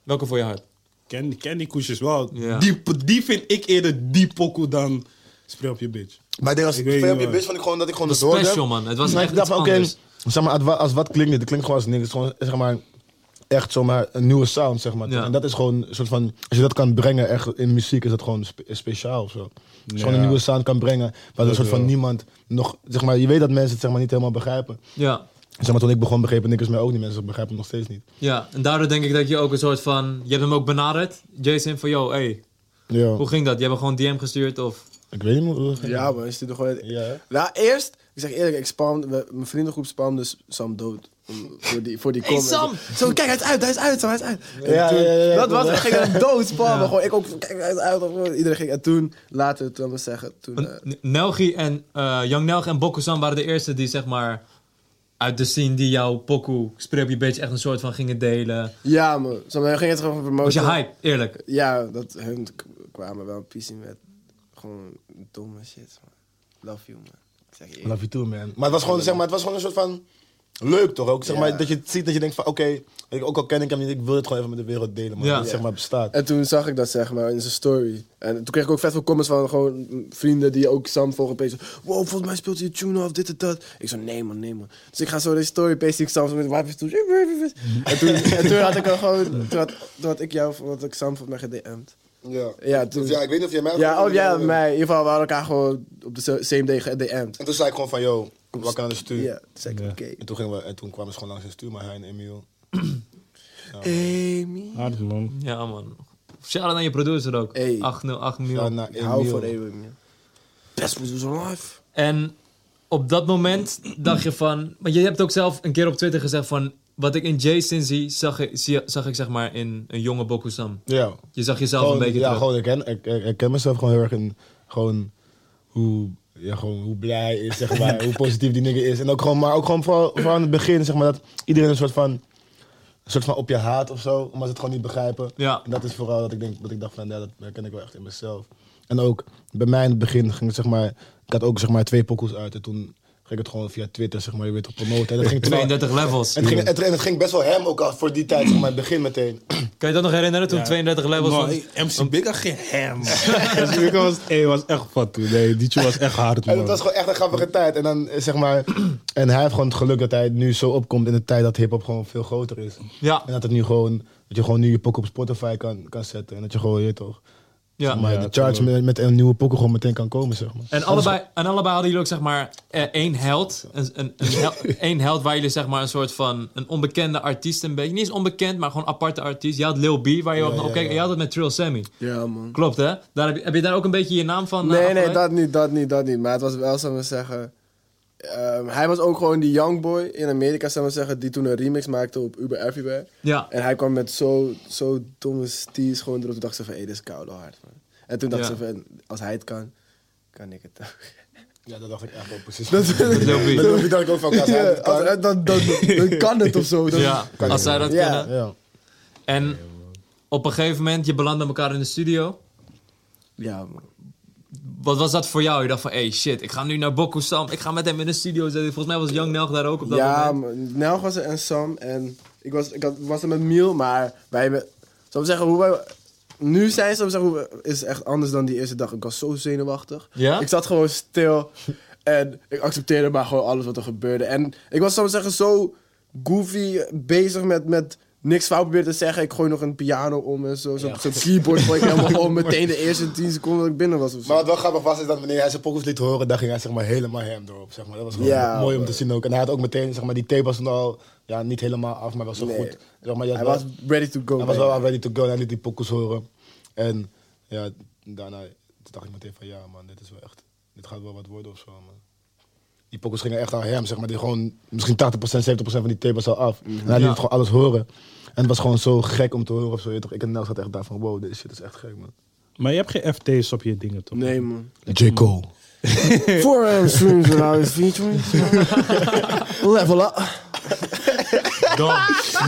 [SPEAKER 1] Welke voor je hart?
[SPEAKER 4] Ken, ken die koesjes wel.
[SPEAKER 1] Ja.
[SPEAKER 4] Die, die vind ik eerder die pokoe dan spray op je bitch.
[SPEAKER 3] Maar ik denk als
[SPEAKER 4] Ik
[SPEAKER 3] ik
[SPEAKER 4] weet
[SPEAKER 3] veel op
[SPEAKER 4] niet,
[SPEAKER 3] je
[SPEAKER 4] man.
[SPEAKER 3] bus vond ik gewoon dat ik gewoon
[SPEAKER 1] Dat
[SPEAKER 3] het
[SPEAKER 1] was
[SPEAKER 3] hoorde.
[SPEAKER 1] special, man. Het was
[SPEAKER 3] Maar
[SPEAKER 1] echt
[SPEAKER 3] ik dacht
[SPEAKER 1] iets
[SPEAKER 3] van, oké,
[SPEAKER 1] anders.
[SPEAKER 3] zeg maar, als wa- als wat klinkt dit? Het klinkt gewoon als niks. Het is gewoon, zeg maar, echt zomaar een nieuwe sound, zeg maar.
[SPEAKER 1] Ja.
[SPEAKER 3] En dat is gewoon een soort van, als je dat kan brengen echt in muziek, is dat gewoon spe- speciaal of zo. Als je gewoon een nieuwe sound kan brengen, waar een soort van niemand nog, zeg maar, je weet dat mensen het zeg maar niet helemaal begrijpen.
[SPEAKER 1] Ja.
[SPEAKER 3] Zeg maar, toen ik begon begrepen niks mij ook niet. Mensen begrijpen het nog steeds niet.
[SPEAKER 1] Ja. En daardoor denk ik dat je ook een soort van... Je hebt hem ook benaderd. Jason van, yo, hey.
[SPEAKER 3] Ja,
[SPEAKER 1] Hoe ging dat? Je hebt hem gewoon DM gestuurd of...
[SPEAKER 3] ik weet niet hoe hoe-
[SPEAKER 2] Ja, man. Is dit gewoon...
[SPEAKER 3] Ja.
[SPEAKER 2] Nou, eerst... Ik zeg eerlijk, ik spam, we- mijn vriendengroep spamde dus Sam dood. om- Voor die, voor die
[SPEAKER 1] Hey,
[SPEAKER 2] comment.
[SPEAKER 1] Sam!
[SPEAKER 2] Zo, kijk, hij is uit, hij is uit, Sam, hij is uit. En
[SPEAKER 3] Ja, ja, ja, ja,
[SPEAKER 2] dat was,
[SPEAKER 3] ja.
[SPEAKER 2] ik ging hem dood spammen. Gewoon, ik ook, kijk, hij is uit. of gewoon, Iedereen ging, en toen, later, toen we zeggen, toen... eh,
[SPEAKER 1] N- Nelgi en eh Young Nelgi en Bokusan waren de eerste die zeg maar uit de scene die jouw pokoe Spray op je bitch echt een soort van gingen delen.
[SPEAKER 2] ja, man. Sam, hij ging het gewoon promoten.
[SPEAKER 1] Was je hype, eerlijk.
[SPEAKER 2] Ja, dat hun k- kwamen wel een pissie met gewoon domme shit, man. Love you, man. Ik zeg je eerlijk.
[SPEAKER 3] Love you too, man. Maar het was gewoon, zeg maar, het was gewoon een soort van... Leuk toch ook? Zeg
[SPEAKER 2] Ja.
[SPEAKER 3] maar, dat je het ziet, dat je denkt van... Oké, ik- ook al ken ik hem niet, ik wil het gewoon even met de wereld delen. Man.
[SPEAKER 1] Ja.
[SPEAKER 3] Dat het, zeg maar, bestaat.
[SPEAKER 2] En toen zag ik dat, zeg maar, in zijn story. En toen kreeg ik ook vet veel comments van gewoon mm, vrienden die ook Sam volgen op Instagram. Wow, volgens mij speelt hij een tune of dit en dat. Ik zo, nee man, nee man. Dus ik ga zo deze story paste ik Sam zo met wapens toe. En toen, en toen had ik al gewoon, toen had, toen had ik jou, want ik Sam volgens mij gedm'd.
[SPEAKER 3] Ja.
[SPEAKER 2] Ja, toen-
[SPEAKER 3] Dus ja, ik weet niet of jij mij...
[SPEAKER 2] Ja, oh ja, mij. In ieder geval, we hadden elkaar gewoon op de same day gedm'd.
[SPEAKER 3] En toen zei ik gewoon van, yo, wat kan aan de stuur?
[SPEAKER 2] Ja, toen zei ik, oké.
[SPEAKER 3] En toen, gingen we, en toen kwamen ze gewoon langs de stuur, maar hij en Emiel.
[SPEAKER 2] Amy.
[SPEAKER 4] Hard, man.
[SPEAKER 1] Ja man. Shout out aan je producer ook.
[SPEAKER 2] Hey.
[SPEAKER 1] 808
[SPEAKER 3] Ja,
[SPEAKER 1] miljoen.
[SPEAKER 3] naar
[SPEAKER 2] Ik hou van
[SPEAKER 3] Emiel.
[SPEAKER 2] Amy. Best moest zo'n life.
[SPEAKER 1] En op dat moment dacht je van, want je hebt ook zelf een keer op Twitter gezegd van wat ik in Jason zie, zag ik, zie- zag ik zeg maar in een jonge Bokusan.
[SPEAKER 3] Ja.
[SPEAKER 1] Je zag jezelf
[SPEAKER 3] Gewoon,
[SPEAKER 1] een beetje
[SPEAKER 3] ja,
[SPEAKER 1] terug.
[SPEAKER 3] gewoon, ik, ken, ik, ik, ik ken mezelf gewoon heel erg in gewoon hoe, ja, gewoon hoe blij hij is, zeg maar, hoe positief die nigger is. En ook gewoon, maar ook gewoon vooral, vooral aan het begin, zeg maar, dat iedereen een soort van, een soort van op je haat of zo, omdat ze het gewoon niet begrijpen.
[SPEAKER 1] Ja.
[SPEAKER 3] En dat is vooral dat ik, denk, dat ik dacht van, ja, dat herken ik wel echt in mezelf. En ook bij mij in het begin ging het, zeg maar, ik had ook zeg maar twee pokoes uit en toen ging ik het gewoon via Twitter, zeg maar, je weet toch, promoten. En dat ging terwijl-
[SPEAKER 1] 32 levels.
[SPEAKER 3] en het, ging, het, en het ging best wel hem ook af voor die tijd, zeg maar, in het begin meteen.
[SPEAKER 1] Kan je dat nog herinneren toen 32 levels
[SPEAKER 4] Man,
[SPEAKER 1] van Oh.
[SPEAKER 4] hey, MC Big had geen hem. MC Big was, hey, was echt vat toen. Nee, die tune was echt hard,
[SPEAKER 3] En
[SPEAKER 4] man.
[SPEAKER 3] het was gewoon echt een grappige tijd. En dan eh, zeg maar. En hij heeft gewoon het geluk dat hij nu zo opkomt in de tijd dat hip-hop gewoon veel groter is.
[SPEAKER 1] Ja.
[SPEAKER 3] En dat het nu gewoon. Dat je gewoon nu je pok op Spotify kan, kan zetten. En dat je gewoon, je weet toch.
[SPEAKER 1] Ja.
[SPEAKER 3] maar de charge met, met een nieuwe pokken gewoon meteen kan komen, zeg maar.
[SPEAKER 1] En allebei, en allebei hadden jullie ook zeg maar eh, één held. Een, een, een, hel- één held waar jullie zeg maar een soort van een onbekende artiest een beetje. Niet eens onbekend, maar gewoon aparte artiest. Je had Lil B, waar je ook naar
[SPEAKER 3] ja,
[SPEAKER 1] op keek. En je had het met Trill Sammy.
[SPEAKER 2] Ja, man.
[SPEAKER 1] Klopt hè? Daar heb, je, heb je daar ook een beetje je naam van? eh,
[SPEAKER 2] Nee, nee,
[SPEAKER 1] afgeleid?
[SPEAKER 2] dat niet, dat niet, dat niet. Maar het was wel, zullen we zeggen... ehm, hij was ook gewoon die young boy in Amerika, zullen we zeggen... die toen een remix maakte op Uber Everywhere.
[SPEAKER 1] Ja.
[SPEAKER 2] En hij kwam met zo, zo domme steez gewoon erop. Toen dacht ze van, hé, dit is koude hard, man. En toen dacht
[SPEAKER 1] Ja.
[SPEAKER 2] ze van, als hij het kan, kan ik het ook.
[SPEAKER 3] Ja, dat dacht ik echt wel precies.
[SPEAKER 2] Dat-
[SPEAKER 3] Dat
[SPEAKER 1] Lil B.
[SPEAKER 3] dacht ik ook van elkaar.
[SPEAKER 2] Ja, als hij- dan, dan, dan kan het of zo. Dan-
[SPEAKER 1] Ja,
[SPEAKER 3] Kan
[SPEAKER 1] als
[SPEAKER 3] ik
[SPEAKER 1] zij
[SPEAKER 3] wel.
[SPEAKER 1] dat
[SPEAKER 2] Ja.
[SPEAKER 1] kunnen.
[SPEAKER 3] Ja.
[SPEAKER 1] En op een gegeven moment, je belandde elkaar in de studio.
[SPEAKER 2] ja, man.
[SPEAKER 1] Wat was dat voor jou? Je dacht van, hey shit, ik ga nu naar Bokusam. Ik ga met hem in de studio zitten. Volgens mij was Young Nelg daar ook op dat
[SPEAKER 2] ja,
[SPEAKER 1] moment.
[SPEAKER 2] man, Nelg was er en Sam. En ik was, ik had, was er met Miel, maar wij hebben... Zal ik zeggen, hoe wij... nu zijn ze, zeg maar, is echt anders dan die eerste dag. Ik was zo zenuwachtig.
[SPEAKER 1] Ja?
[SPEAKER 2] Ik zat gewoon stil en ik accepteerde maar gewoon alles wat er gebeurde. En ik was, zou ik zeggen, zo goofy bezig met, met niks fout proberen te zeggen. Ik gooi nog een piano om en zo. Zo'n zo'n keyboard gooi ik helemaal om. Meteen de eerste 10 seconden dat ik binnen was of zo.
[SPEAKER 3] Maar wat wel grappig was, is dat wanneer hij zijn pokkels liet horen, dan ging hij zeg maar helemaal hem erop. Zeg maar. Dat was gewoon
[SPEAKER 2] Ja,
[SPEAKER 3] mooi om te zien ook. En hij had ook meteen, zeg maar, die tape was nog al ja, niet helemaal af, maar was zo
[SPEAKER 2] Nee.
[SPEAKER 3] goed. Zeg maar, je had
[SPEAKER 2] Hij
[SPEAKER 3] wel-
[SPEAKER 2] was ready to go.
[SPEAKER 3] hij was
[SPEAKER 2] man.
[SPEAKER 3] wel al ready to go en hij liet die pokkels horen. En ja, daarna dacht ik meteen van ja man, dit is wel echt, dit gaat wel wat worden of zo man. Die pokkels gingen echt aan hem, zeg maar. Die gewoon, misschien 80%, 70% van die tape was al af. En hij liet het gewoon alles horen. En het was gewoon zo gek om te horen of zo. Je weet toch? Ik en Nels had echt daar van, wow, dit shit is echt gek man.
[SPEAKER 4] Maar je hebt geen FT's op je dingen, toch?
[SPEAKER 2] Nee, man.
[SPEAKER 3] J. Cole.
[SPEAKER 2] Voor een streams en nou is featuring. Level up.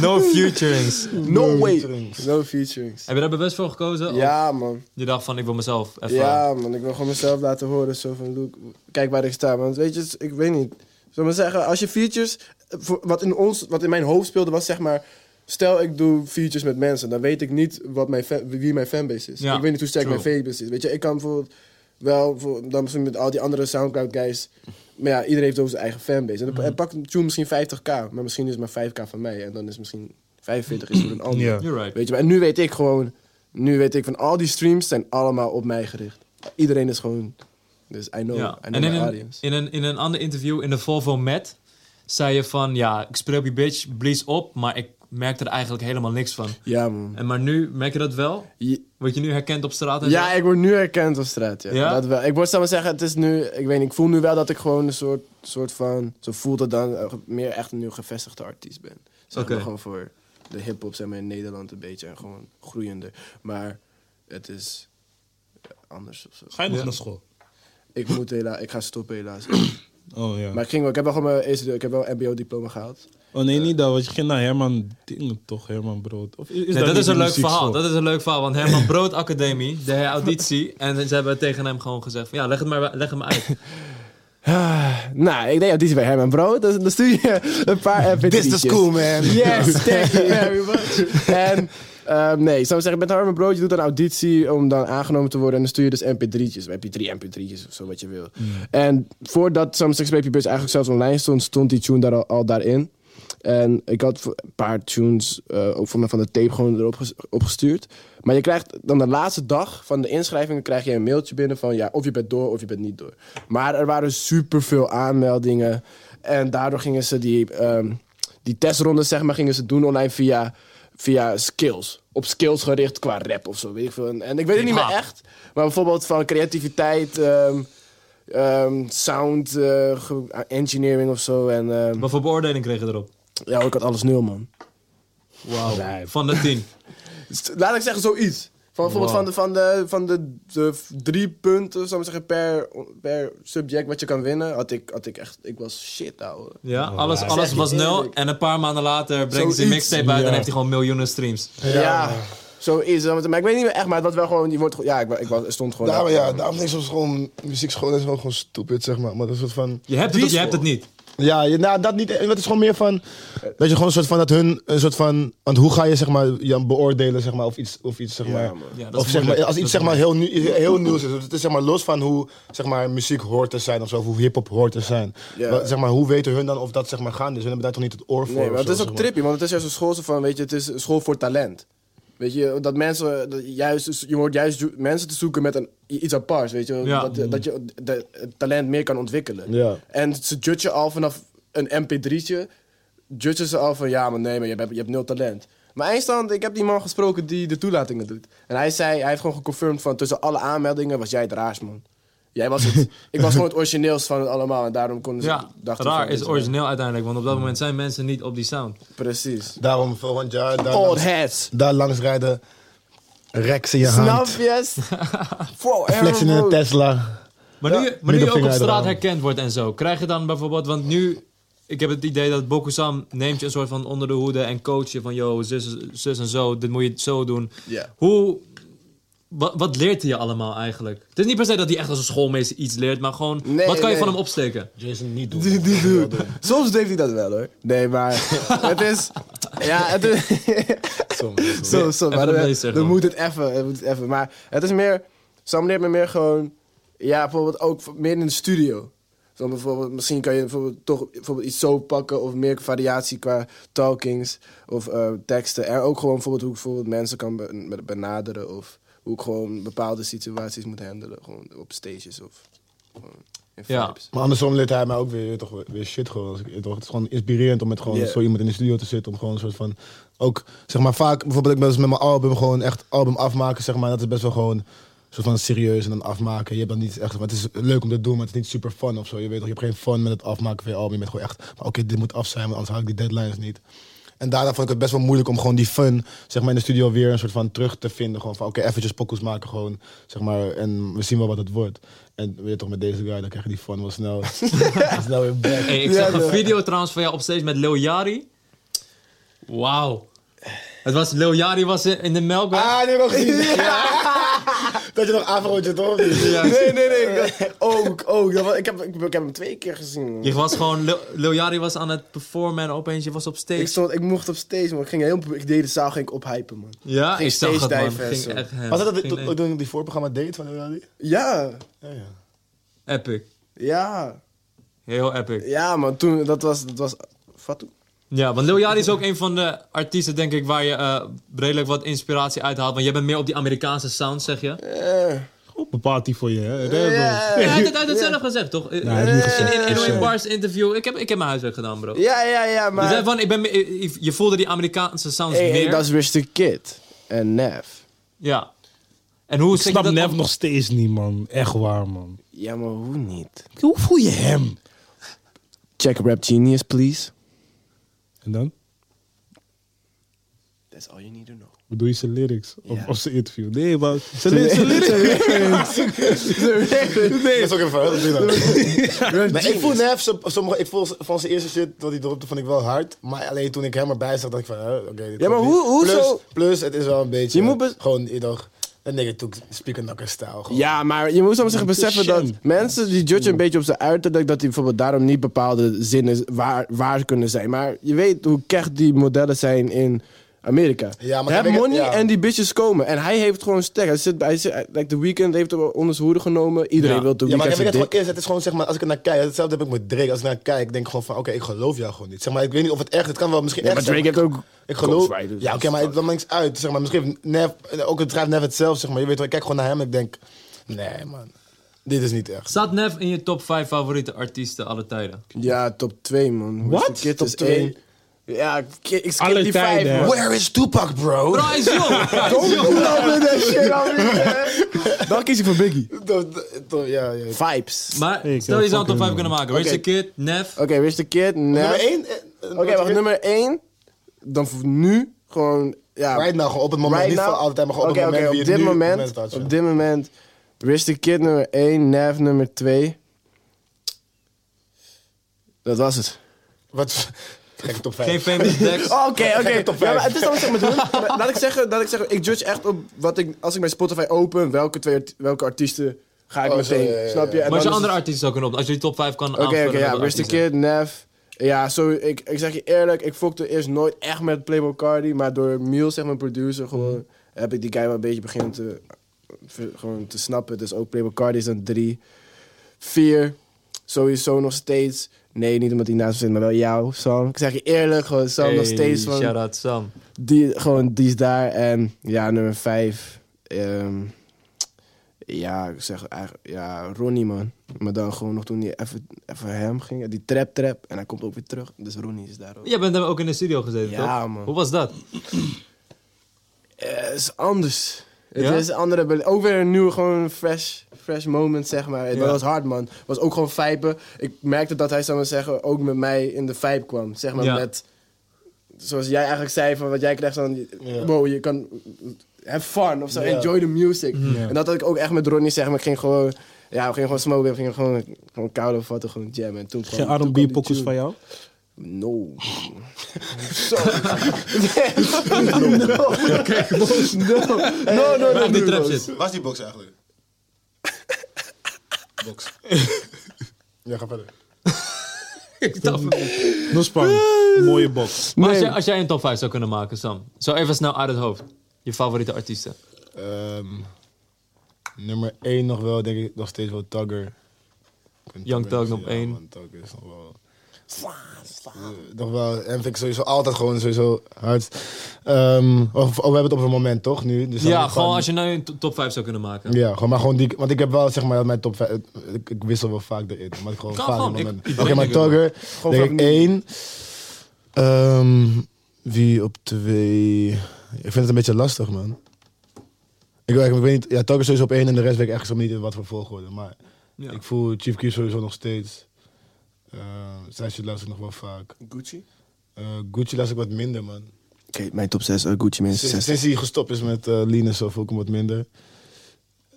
[SPEAKER 1] No futurings.
[SPEAKER 2] No way.
[SPEAKER 3] featurings.
[SPEAKER 2] No featurings.
[SPEAKER 1] Heb je daar bewust voor gekozen? Of
[SPEAKER 2] Ja, man.
[SPEAKER 1] Je dacht van, ik wil mezelf even...
[SPEAKER 2] Ja, man, ik wil gewoon mezelf laten horen. Zo van, look, kijk waar ik sta. Want weet je, ik weet niet. Zal ik maar zeggen, als je features... eh, voor- Wat in, ons, wat in mijn hoofd speelde was zeg maar... Stel ik doe features met mensen, dan weet ik niet wat mijn fan- wie mijn fanbase is.
[SPEAKER 1] Ja,
[SPEAKER 2] ik weet niet hoe sterk
[SPEAKER 1] true.
[SPEAKER 2] mijn fanbase is. Weet je, ik kan bijvoorbeeld wel... voor- dan misschien met al die andere Soundcloud guys... Maar ja, iedereen heeft ook zijn eigen fanbase. En dan en pakt een tune misschien 50k, maar misschien is het maar 5k van mij. En dan is misschien 45 is voor een ander.
[SPEAKER 4] Ja.
[SPEAKER 1] You're right.
[SPEAKER 2] Weet je, maar nu weet ik gewoon, nu weet ik van al die streams zijn allemaal op mij gericht. Iedereen is gewoon, dus I know,
[SPEAKER 1] Ja.
[SPEAKER 2] I
[SPEAKER 1] En
[SPEAKER 2] know
[SPEAKER 1] in
[SPEAKER 2] my
[SPEAKER 1] een,
[SPEAKER 2] audience.
[SPEAKER 1] in, een, in een ander interview in de Volvo Met zei je van, ja, ik speel op je bitch, blies op, maar ik merkte er eigenlijk helemaal niks van.
[SPEAKER 2] Ja man.
[SPEAKER 1] En maar nu merk je dat wel?
[SPEAKER 2] Je-
[SPEAKER 1] Word je nu herkend op straat? En
[SPEAKER 2] Ja,
[SPEAKER 1] zo?
[SPEAKER 2] ik word nu herkend op straat, ja.
[SPEAKER 1] Dus Ja?
[SPEAKER 2] Dat wel. Ik word, zou maar zeggen, het is nu, ik weet niet, ik voel nu wel dat ik gewoon een soort, soort van, zo voelt het dan, eh, meer echt een nieuw gevestigde artiest ben. Zeg maar
[SPEAKER 1] Oké.
[SPEAKER 2] gewoon voor de hip-hop, zeg maar in Nederland een beetje, en gewoon groeiende. Maar het is eh, anders of zo.
[SPEAKER 4] Ga je nog naar school?
[SPEAKER 2] Ik moet helaas, ik ga stoppen helaas.
[SPEAKER 4] Oh ja.
[SPEAKER 2] Maar ik ging wel, ik heb wel gewoon mijn eerste, ik heb wel een mbo-diploma gehaald.
[SPEAKER 4] Oh nee, niet dat, want je ging naar Herman Dingen toch, Herman Brood? Of is, is
[SPEAKER 1] Nee, dat,
[SPEAKER 4] niet
[SPEAKER 1] is een
[SPEAKER 4] die
[SPEAKER 1] leuk verhaal.
[SPEAKER 4] muziekschool?
[SPEAKER 1] Dat is een leuk verhaal. Want Herman Brood Academie, de auditie. En ze hebben tegen hem gewoon gezegd: van, Ja, leg het maar, leg hem uit.
[SPEAKER 2] Ah, nou, ik deed auditie bij Herman Brood. Dus dan stuur je een paar FPT's.
[SPEAKER 3] This is the school man.
[SPEAKER 2] Yes, thank you very much. En ehm, nee, ik zou zeggen, met Herman Brood, je doet een auditie om dan aangenomen te worden. En dan stuur je dus mp3'tjes. Heb je drie mp3'tjes of zo, wat je wil. En voordat Sam 6 Baby Bus eigenlijk zelfs online stond, stond die tune daar al, al daarin. En ik had voor- een paar tunes eh, ook van, de- van de tape gewoon erop ges- opgestuurd. Maar je krijgt dan de laatste dag van de inschrijvingen krijg je een mailtje binnen van ja, of je bent door of je bent niet door. Maar er waren superveel aanmeldingen. En daardoor gingen ze die, ehm die testrondes zeg maar, gingen ze doen online via, via skills. Op skills gericht qua rap of zo, weet ik veel. En, en ik weet het niet meer echt. Maar bijvoorbeeld van creativiteit, ehm, ehm, sound, eh, ge- engineering of zo. En, ehm,
[SPEAKER 1] Wat voor beoordeling kreeg je erop?
[SPEAKER 2] ja, ik had alles nul, man.
[SPEAKER 1] Wauw. Van de tien.
[SPEAKER 2] St- Dus Laat ik zeggen, zoiets. Van, bijvoorbeeld
[SPEAKER 1] Wow.
[SPEAKER 2] van, de, van, de, van de, de v- drie punten, zou ik maar zeggen, per, per subject wat je kan winnen, had ik, had ik echt... Ik was shit, ouwe.
[SPEAKER 1] Ja,
[SPEAKER 4] Oh,
[SPEAKER 1] alles,
[SPEAKER 2] Dat is
[SPEAKER 1] alles
[SPEAKER 2] echt
[SPEAKER 1] was nul.
[SPEAKER 2] eerlijk.
[SPEAKER 1] En een paar maanden later brengt ze een
[SPEAKER 2] Zoiets.
[SPEAKER 1] mixtape uit en
[SPEAKER 4] Ja.
[SPEAKER 1] heeft hij gewoon miljoenen streams.
[SPEAKER 2] Ja, zo is het. Maar ik weet niet meer echt, maar het was wel gewoon... Je wordt, ge- ja, ik, wa- ik was, stond gewoon...
[SPEAKER 3] Daarom, ja, daarom denk ik soms gewoon, muziekschool is wel gewoon stupid, zeg maar. Maar dat is een soort van...
[SPEAKER 1] Je hebt het of je hebt het niet.
[SPEAKER 3] Ja, je- nou, dat niet. Het is gewoon meer van. Dat je gewoon een soort van. Dat hun een soort van. Want hoe ga je zeg maar. Jan beoordelen zeg maar. Of iets. Of iets zeg maar.
[SPEAKER 1] Ja, dat is
[SPEAKER 3] of zeg maar.
[SPEAKER 1] moeilijk.
[SPEAKER 3] Als
[SPEAKER 1] Dat
[SPEAKER 3] iets
[SPEAKER 1] is
[SPEAKER 3] zeg maar heel, nieuw, heel nieuws is. Het is zeg maar los van hoe. Zeg maar muziek hoort te zijn of zo. Of hoe hip-hop hoort te zijn.
[SPEAKER 2] Ja.
[SPEAKER 3] Wat, zeg maar. Hoe weten hun dan of dat zeg maar gaande is? Hun hebben daar toch niet het oor voor.
[SPEAKER 2] Nee, maar
[SPEAKER 3] of
[SPEAKER 2] het
[SPEAKER 3] zo,
[SPEAKER 2] is
[SPEAKER 3] zeg
[SPEAKER 2] ook
[SPEAKER 3] maar.
[SPEAKER 2] trippy, want het is juist een school zo van, weet je, het is een school voor talent. Weet je, dat mensen, dat juist, je hoort juist jo- mensen te zoeken met een, iets aparts, weet je.
[SPEAKER 1] Ja.
[SPEAKER 2] Dat, dat je de- het talent meer kan ontwikkelen.
[SPEAKER 3] Ja.
[SPEAKER 2] En ze judgen al vanaf een mp3'tje, judgen ze al van, ja, maar nee, maar je hebt, je hebt nul talent. Maar eindstand, ik heb die man gesproken die de toelatingen doet. En hij zei, hij heeft gewoon geconfirmed van, tussen alle aanmeldingen was jij het raarst, man. Jij was het. ik was gewoon het origineels van het allemaal en daarom konden
[SPEAKER 4] Dus
[SPEAKER 2] ze...
[SPEAKER 1] Ja,
[SPEAKER 2] dachten
[SPEAKER 1] raar
[SPEAKER 2] van,
[SPEAKER 1] is
[SPEAKER 2] dit-
[SPEAKER 1] origineel uiteindelijk. Want op dat moment zijn mensen niet op die sound.
[SPEAKER 2] Precies.
[SPEAKER 3] Daarom volgend jaar. Daar,
[SPEAKER 2] Old
[SPEAKER 3] langs,
[SPEAKER 2] heads.
[SPEAKER 3] daar langs rijden. Rex in je
[SPEAKER 2] Snap
[SPEAKER 3] hand.
[SPEAKER 2] je? Voor
[SPEAKER 3] Flexen in een Tesla.
[SPEAKER 1] Maar
[SPEAKER 3] Ja,
[SPEAKER 1] nu, je- maar nu je ook op
[SPEAKER 3] middelvinger
[SPEAKER 1] straat
[SPEAKER 3] eraan.
[SPEAKER 1] herkend wordt en zo, krijg je dan bijvoorbeeld, want nu, ik heb het idee dat Bokusam neemt je een soort van onder de hoede en coach je van, yo, zus, zus en zo, dit moet je zo doen.
[SPEAKER 2] Ja.
[SPEAKER 1] Hoe, wat, wat leert hij je allemaal eigenlijk? Het is niet per se dat hij echt als een schoolmeester iets leert, maar gewoon,
[SPEAKER 2] Nee,
[SPEAKER 1] wat kan je
[SPEAKER 2] nee.
[SPEAKER 1] van hem opsteken?
[SPEAKER 3] Jason niet doen.
[SPEAKER 2] Die, die dude. Soms deed hij dat wel hoor. Nee, maar het is. Ja, het
[SPEAKER 3] Soms.
[SPEAKER 2] zo, zo.
[SPEAKER 1] Even
[SPEAKER 2] Maar
[SPEAKER 1] de
[SPEAKER 2] dan,
[SPEAKER 1] blazer
[SPEAKER 2] dan
[SPEAKER 1] gewoon.
[SPEAKER 2] moet het even, het moet het even. Maar het is meer, Sam leert me meer gewoon, ja, bijvoorbeeld ook v- meer in de studio. Zo bijvoorbeeld, misschien kan je bijvoorbeeld toch bijvoorbeeld iets zo pakken of meer variatie qua talkings of eh, teksten. En ook gewoon bijvoorbeeld hoe ik bijvoorbeeld mensen kan be- be- benaderen of hoe ik gewoon bepaalde situaties moet handelen. Gewoon op stages of gewoon in
[SPEAKER 1] Ja.
[SPEAKER 2] vibes.
[SPEAKER 3] Maar andersom leert hij mij ook weer, toch, weer shit gewoon. Als ik- toch, het is gewoon inspirerend om met gewoon
[SPEAKER 2] Ja.
[SPEAKER 3] zo iemand in de studio te zitten. Om gewoon een soort van, ook zeg maar vaak, bijvoorbeeld ik ben eens met mijn album gewoon echt album afmaken zeg maar. Dat is best wel gewoon een soort van serieus en dan afmaken. Je hebt dan niet echt, maar het is leuk om te doen, maar het is niet super fun of zo. Je weet toch, je hebt geen fun met het afmaken van je album. Je bent gewoon echt, maar oké, dit moet af zijn, want anders haal ik die deadlines niet. En daarna vond ik het best wel moeilijk om gewoon die fun zeg maar, in de studio weer een soort van terug te vinden. Gewoon van oké, eventjes pokoes maken gewoon, zeg maar, en we zien wel wat het wordt. En weet je toch, met deze guy, dan krijg je die fun wel snel, snel weer back.
[SPEAKER 1] Hey, ik zag een video trouwens van jou op stage met Lil Yari. Wauw. Het was, Lil Yari was in de Melkweg.
[SPEAKER 3] Ah, die heb ik ook gezien. Dat je nog afrootje toch? Ja.
[SPEAKER 2] Nee, nee, nee. Ook, ook. Dat was- ik, heb, ik, ik heb hem twee keer gezien.
[SPEAKER 1] Je was gewoon, Lil, Lil Yachty was aan het performen en opeens je was op stage.
[SPEAKER 2] Ik, stond, ik mocht op stage, man. Ik, ging heel, ik deed de zaal ging ik ophypen, man.
[SPEAKER 1] ja,
[SPEAKER 2] ging
[SPEAKER 1] ik zag het
[SPEAKER 2] stage
[SPEAKER 1] man.
[SPEAKER 2] diven en
[SPEAKER 1] Ging
[SPEAKER 2] zo.
[SPEAKER 1] echt hem.
[SPEAKER 3] Was dat
[SPEAKER 1] Ging echt-
[SPEAKER 3] toen toen ik die voorprogramma deed van Lil Yachty?
[SPEAKER 2] Ja,
[SPEAKER 3] Ja, ja.
[SPEAKER 1] Epic.
[SPEAKER 2] ja.
[SPEAKER 1] Heel epic.
[SPEAKER 2] Ja, man. Toen, dat was... Dat was Fatou.
[SPEAKER 1] Ja, want Lil Yachty is ook een van de artiesten, denk ik, waar je eh, redelijk wat inspiratie uithaalt. Want jij bent meer op die Amerikaanse sound, zeg je.
[SPEAKER 2] Eh,
[SPEAKER 4] Op een party voor je, hè? Rebel.
[SPEAKER 2] Ja.
[SPEAKER 1] Hij heeft het uit het zelf gezegd, toch? In-
[SPEAKER 4] hij heeft niet gezegd.
[SPEAKER 1] in in een Bars interview. Ik heb, ik heb mijn huiswerk gedaan, bro.
[SPEAKER 2] Ja, ja, ja,
[SPEAKER 1] Je, zei
[SPEAKER 2] maar...
[SPEAKER 1] van, ik ben, me- je voelde die Amerikaanse sounds
[SPEAKER 2] Hey, hey,
[SPEAKER 1] meer.
[SPEAKER 2] dat is Mr. Kid. En Nev.
[SPEAKER 1] Ja. En hoe
[SPEAKER 4] Ik
[SPEAKER 1] zeg je
[SPEAKER 4] snap
[SPEAKER 1] dat
[SPEAKER 4] Nev
[SPEAKER 1] op-
[SPEAKER 4] nog steeds niet, man. Echt waar, man.
[SPEAKER 2] Ja, maar hoe niet?
[SPEAKER 4] Hoe voel je hem?
[SPEAKER 2] Check Rap Genius, please.
[SPEAKER 4] En dan?
[SPEAKER 2] That's all you need to know.
[SPEAKER 4] Bedoel je zijn lyrics? Of,
[SPEAKER 2] Ja.
[SPEAKER 4] of zijn interview? Nee, maar... Zijn lyrics, zijn lyrics.
[SPEAKER 3] Nee. Dat is ook even hè, dat doe je dan. Maar ik voel Nef, zo- sommige, ik voel van zijn eerste shit dat hij dropte, vond ik wel hard. Maar alleen toen ik hem erbij zag, dacht ik van, hè, oké. dit
[SPEAKER 2] Ja, maar
[SPEAKER 3] klopt
[SPEAKER 2] hoe-
[SPEAKER 3] niet.
[SPEAKER 2] hoe
[SPEAKER 3] plus,
[SPEAKER 2] zo-
[SPEAKER 3] Plus, het is wel een beetje,
[SPEAKER 2] Je moet bes-
[SPEAKER 3] gewoon, je toch, dat nigga took speaker knocker style. Gewoon.
[SPEAKER 2] Ja, maar je moet soms zeggen beseffen dat
[SPEAKER 4] Shame.
[SPEAKER 2] mensen die judgen een beetje op zijn uiterlijk, dat die bijvoorbeeld daarom niet bepaalde zinnen waar, waar kunnen zijn. Maar je weet hoe kecht die modellen zijn in Amerika.
[SPEAKER 3] Ja, maar
[SPEAKER 2] Heb
[SPEAKER 3] kijk, ik-
[SPEAKER 2] money
[SPEAKER 3] ja.
[SPEAKER 2] en die bitches komen. En hij heeft gewoon sterk. Hij zit, hij zit, like, de weekend heeft hem onder zijn hoede genomen. Iedereen
[SPEAKER 1] Ja.
[SPEAKER 2] wil de
[SPEAKER 3] Ja,
[SPEAKER 2] weekend
[SPEAKER 3] maar ik weet
[SPEAKER 2] zijn
[SPEAKER 3] het gewoon
[SPEAKER 2] dik.
[SPEAKER 3] eerst. Het is gewoon zeg maar, als ik er naar kijk, hetzelfde heb ik met Drake. Als ik naar kijk, denk ik gewoon van, oké, ik geloof jou gewoon niet. Zeg maar, ik weet niet of het echt, het kan wel misschien
[SPEAKER 2] Ja,
[SPEAKER 3] echt
[SPEAKER 2] maar Drake
[SPEAKER 3] zijn,
[SPEAKER 2] heeft ook
[SPEAKER 3] Ik geloof.
[SPEAKER 2] Ghostwriters, dus
[SPEAKER 3] Ja, oké, maar dan maakt niks uit. Zeg maar, misschien heeft Nev, ook het schrijft Nev het zelf, zeg maar. Je weet wel, ik kijk gewoon naar hem en ik denk, nee man, dit is niet echt.
[SPEAKER 1] Zat Nev in je top 5 favoriete artiesten alle tijden?
[SPEAKER 2] Ja, top 2 man.
[SPEAKER 4] Wat?
[SPEAKER 2] Top
[SPEAKER 4] Top
[SPEAKER 2] 2?
[SPEAKER 4] twee?
[SPEAKER 2] Ja, ik- ik skip
[SPEAKER 4] Alle
[SPEAKER 2] die
[SPEAKER 4] tijden,
[SPEAKER 2] vijf
[SPEAKER 4] hè?
[SPEAKER 2] man.
[SPEAKER 3] Where is Tupac, bro?
[SPEAKER 1] Bro, hij is jong! Hij is jong.
[SPEAKER 2] Dan kies ik voor Biggie.
[SPEAKER 3] Dat- dat- dat- ja, ja.
[SPEAKER 2] Vibes.
[SPEAKER 1] Maar
[SPEAKER 4] Ik
[SPEAKER 1] stel je
[SPEAKER 4] heb
[SPEAKER 1] zou een top
[SPEAKER 4] fucking
[SPEAKER 1] 5 kunnen maken. Rich
[SPEAKER 2] Oké.
[SPEAKER 1] the Kid, Nev.
[SPEAKER 2] Oké, Rich the Kid, Nas.
[SPEAKER 3] Nummer 1?
[SPEAKER 2] Oké,
[SPEAKER 3] eh,
[SPEAKER 2] wacht, nummer 1. Dan voor nu gewoon. Ja,
[SPEAKER 3] Right now, gewoon op het moment.
[SPEAKER 2] Right
[SPEAKER 3] niet
[SPEAKER 2] now.
[SPEAKER 3] voor altijd, maar gewoon op het
[SPEAKER 2] Oké,
[SPEAKER 3] moment.
[SPEAKER 2] oké,
[SPEAKER 3] wie
[SPEAKER 2] op
[SPEAKER 3] het
[SPEAKER 2] dit
[SPEAKER 3] nu op het
[SPEAKER 2] moment.
[SPEAKER 3] staat, ja.
[SPEAKER 2] Op dit moment. Rich the Kid nummer 1, Nav nummer 2. Dat was het.
[SPEAKER 3] Wat? Gekke top 5.
[SPEAKER 1] Geen famous Dex.
[SPEAKER 2] Oké, oké.
[SPEAKER 3] Gekke top
[SPEAKER 2] Ja,
[SPEAKER 3] vijf.
[SPEAKER 2] maar het is dan zeg maar doen. Maar Laat ik zeggen, laat ik zeggen, ik judge echt op wat ik als ik mijn Spotify open, welke twee art- welke artiesten ga ik
[SPEAKER 3] Oh, zo,
[SPEAKER 2] meteen,
[SPEAKER 3] ja, ja, ja.
[SPEAKER 2] snap je? En
[SPEAKER 1] Maar als je
[SPEAKER 2] dan is
[SPEAKER 1] andere
[SPEAKER 2] het-
[SPEAKER 1] artiesten zou kunnen op, als je die top 5 kan
[SPEAKER 2] Oké,
[SPEAKER 1] aanvullen.
[SPEAKER 2] oké, ja.
[SPEAKER 1] met
[SPEAKER 2] Rich the
[SPEAKER 1] artiesten.
[SPEAKER 2] Kid, Nev. Ja, zo, ik, ik zeg je eerlijk, ik fokte eerst nooit echt met Playboy Cardi, maar door Miel, zeg mijn producer, gewoon
[SPEAKER 1] Mhm.
[SPEAKER 2] heb ik die guy wel een beetje beginnen te, ver- gewoon te snappen. Dus ook Playboy Cardi is dan drie. Vier, sowieso nog steeds. Nee, niet omdat hij naast me zit, maar wel jou, Sam. Ik zeg je eerlijk, gewoon Sam nog
[SPEAKER 1] Hey,
[SPEAKER 2] steeds van,
[SPEAKER 1] Shout-out Sam.
[SPEAKER 2] die, gewoon, die is daar. En ja, nummer vijf, ehm, ja, ik zeg eigenlijk, ja, Ronnie man. Maar dan gewoon nog toen hij even, even hem ging. Die trap trap. En hij komt ook weer terug. Dus Ronnie is daar ook.
[SPEAKER 1] Jij bent hem ook in de studio gezeten,
[SPEAKER 2] Ja,
[SPEAKER 1] toch?
[SPEAKER 2] man.
[SPEAKER 1] Hoe was dat?
[SPEAKER 2] Eh, Het is anders. Het
[SPEAKER 1] Ja?
[SPEAKER 2] is een andere bele- Ook weer een nieuwe, gewoon fresh, fresh moment, zeg maar. Het
[SPEAKER 1] Ja.
[SPEAKER 2] was hard, man. Het was ook gewoon vijpen. Ik merkte dat hij, zou maar zeggen, ook met mij in de vijp kwam. Zeg maar
[SPEAKER 1] Ja.
[SPEAKER 2] met... Zoals jij eigenlijk zei, van wat jij krijgt dan... Wow, je kan... Have fun of zo.
[SPEAKER 3] Ja.
[SPEAKER 2] Enjoy the music. En dat had ik ook echt met Ronnie, zeg maar. Ik ging gewoon... Ja, we gingen gewoon smoken. We gingen gewoon, gewoon koude vatten, gewoon jammen. En toen kwam- toen kwam
[SPEAKER 4] Geen
[SPEAKER 2] die
[SPEAKER 4] R&B-pokkels
[SPEAKER 2] tune.
[SPEAKER 4] van jou?
[SPEAKER 2] No. Zo. no. No. No. No, no, no.
[SPEAKER 1] Op die trap
[SPEAKER 2] no.
[SPEAKER 1] zit.
[SPEAKER 3] Was die box eigenlijk? box. ja, ga verder.
[SPEAKER 4] Noespan, mooie box.
[SPEAKER 1] Maar als,
[SPEAKER 5] Nee.
[SPEAKER 1] jij, als jij een top 5 zou kunnen maken, Sam. Zo even snel uit het hoofd. Je favoriete artiesten.
[SPEAKER 3] Ehm, nummer 1 nog wel, denk ik, nog steeds wel Tugger.
[SPEAKER 1] Young Thug op één.
[SPEAKER 3] Man, Tugger is nog wel... Eh, Nog wel, en vind ik sowieso altijd gewoon sowieso hard. Ehm, of, oh, we hebben het op een moment toch nu? Dus dan
[SPEAKER 1] ja,
[SPEAKER 3] ik
[SPEAKER 1] gewoon als je nou een to- top 5 zou kunnen maken.
[SPEAKER 3] Ja, gewoon, maar gewoon die. Want ik heb wel zeg maar dat mijn top 5. Ik, ik wissel wel vaak erin. Maar ik gewoon
[SPEAKER 1] Kan
[SPEAKER 3] vaak
[SPEAKER 1] gewoon,
[SPEAKER 3] in
[SPEAKER 1] ik-
[SPEAKER 3] momenten.
[SPEAKER 1] ik
[SPEAKER 3] Oké,
[SPEAKER 1] weet
[SPEAKER 3] maar
[SPEAKER 1] niet wat.
[SPEAKER 3] Togger.
[SPEAKER 2] Gewoon
[SPEAKER 3] Denk ik
[SPEAKER 2] vaak
[SPEAKER 3] één. Ehm, wie op twee. Ik vind het een beetje lastig, man. Ik, weet- ik weet niet. Ja, Togger sowieso op één en de rest weet ik echt zo niet in wat voor volgorde. Maar
[SPEAKER 1] Ja.
[SPEAKER 3] ik voel Chief Keef sowieso nog steeds. Ehm, Zij shit luister ik nog wel vaak.
[SPEAKER 2] Gucci?
[SPEAKER 3] Eh, Gucci luister ik wat minder, man.
[SPEAKER 2] Oké, mijn top 6, Gucci mensen
[SPEAKER 3] Sinds,
[SPEAKER 2] 6.
[SPEAKER 3] sinds hij gestopt is met eh Lean en zo, voel ik hem wat minder.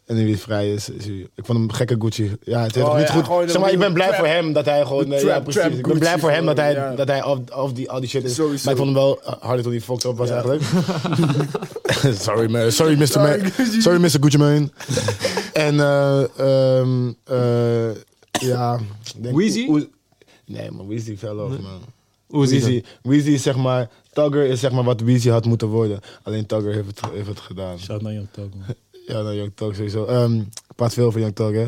[SPEAKER 3] En nu weer vrij is, is hij... Ik vond hem gekke Gucci. Ja, het is
[SPEAKER 2] Oh
[SPEAKER 3] nog niet
[SPEAKER 2] ja, gewoon
[SPEAKER 3] goed.
[SPEAKER 2] de
[SPEAKER 3] Zeg maar, ik ben
[SPEAKER 2] nieuwe
[SPEAKER 3] blij
[SPEAKER 2] trap-
[SPEAKER 3] voor hem dat hij gewoon...
[SPEAKER 2] de
[SPEAKER 3] eh, ja,
[SPEAKER 2] trap-
[SPEAKER 3] precies.
[SPEAKER 2] trap
[SPEAKER 3] ik ben blij
[SPEAKER 2] Gucci
[SPEAKER 3] voor hem dat hij,
[SPEAKER 2] gewoon, ja.
[SPEAKER 3] dat hij af, af die, al die shit is.
[SPEAKER 2] Sowieso.
[SPEAKER 3] Maar ik vond hem wel eh, harder toen hij fucked up was eigenlijk. sorry, man. Sorry, Mr.
[SPEAKER 2] Sorry,
[SPEAKER 3] Man.
[SPEAKER 2] Gucci.
[SPEAKER 3] Sorry, Mr. Gucci Man. en, eh, ehm, eh, ja... ik denk-
[SPEAKER 1] Weezy?
[SPEAKER 3] Oe- Oe- Nee, man. Weezy fell off, man.
[SPEAKER 1] Oezie dan.
[SPEAKER 3] Weezy, Weezy is zeg maar, Tugger is zeg maar wat Weezy had moeten worden. Alleen Tugger heeft het, heeft het gedaan.
[SPEAKER 4] Shout naar Young Thug, man.
[SPEAKER 3] Ja, nou, Young Tug sowieso. Ehm, ik praat veel van Young Tug, hè.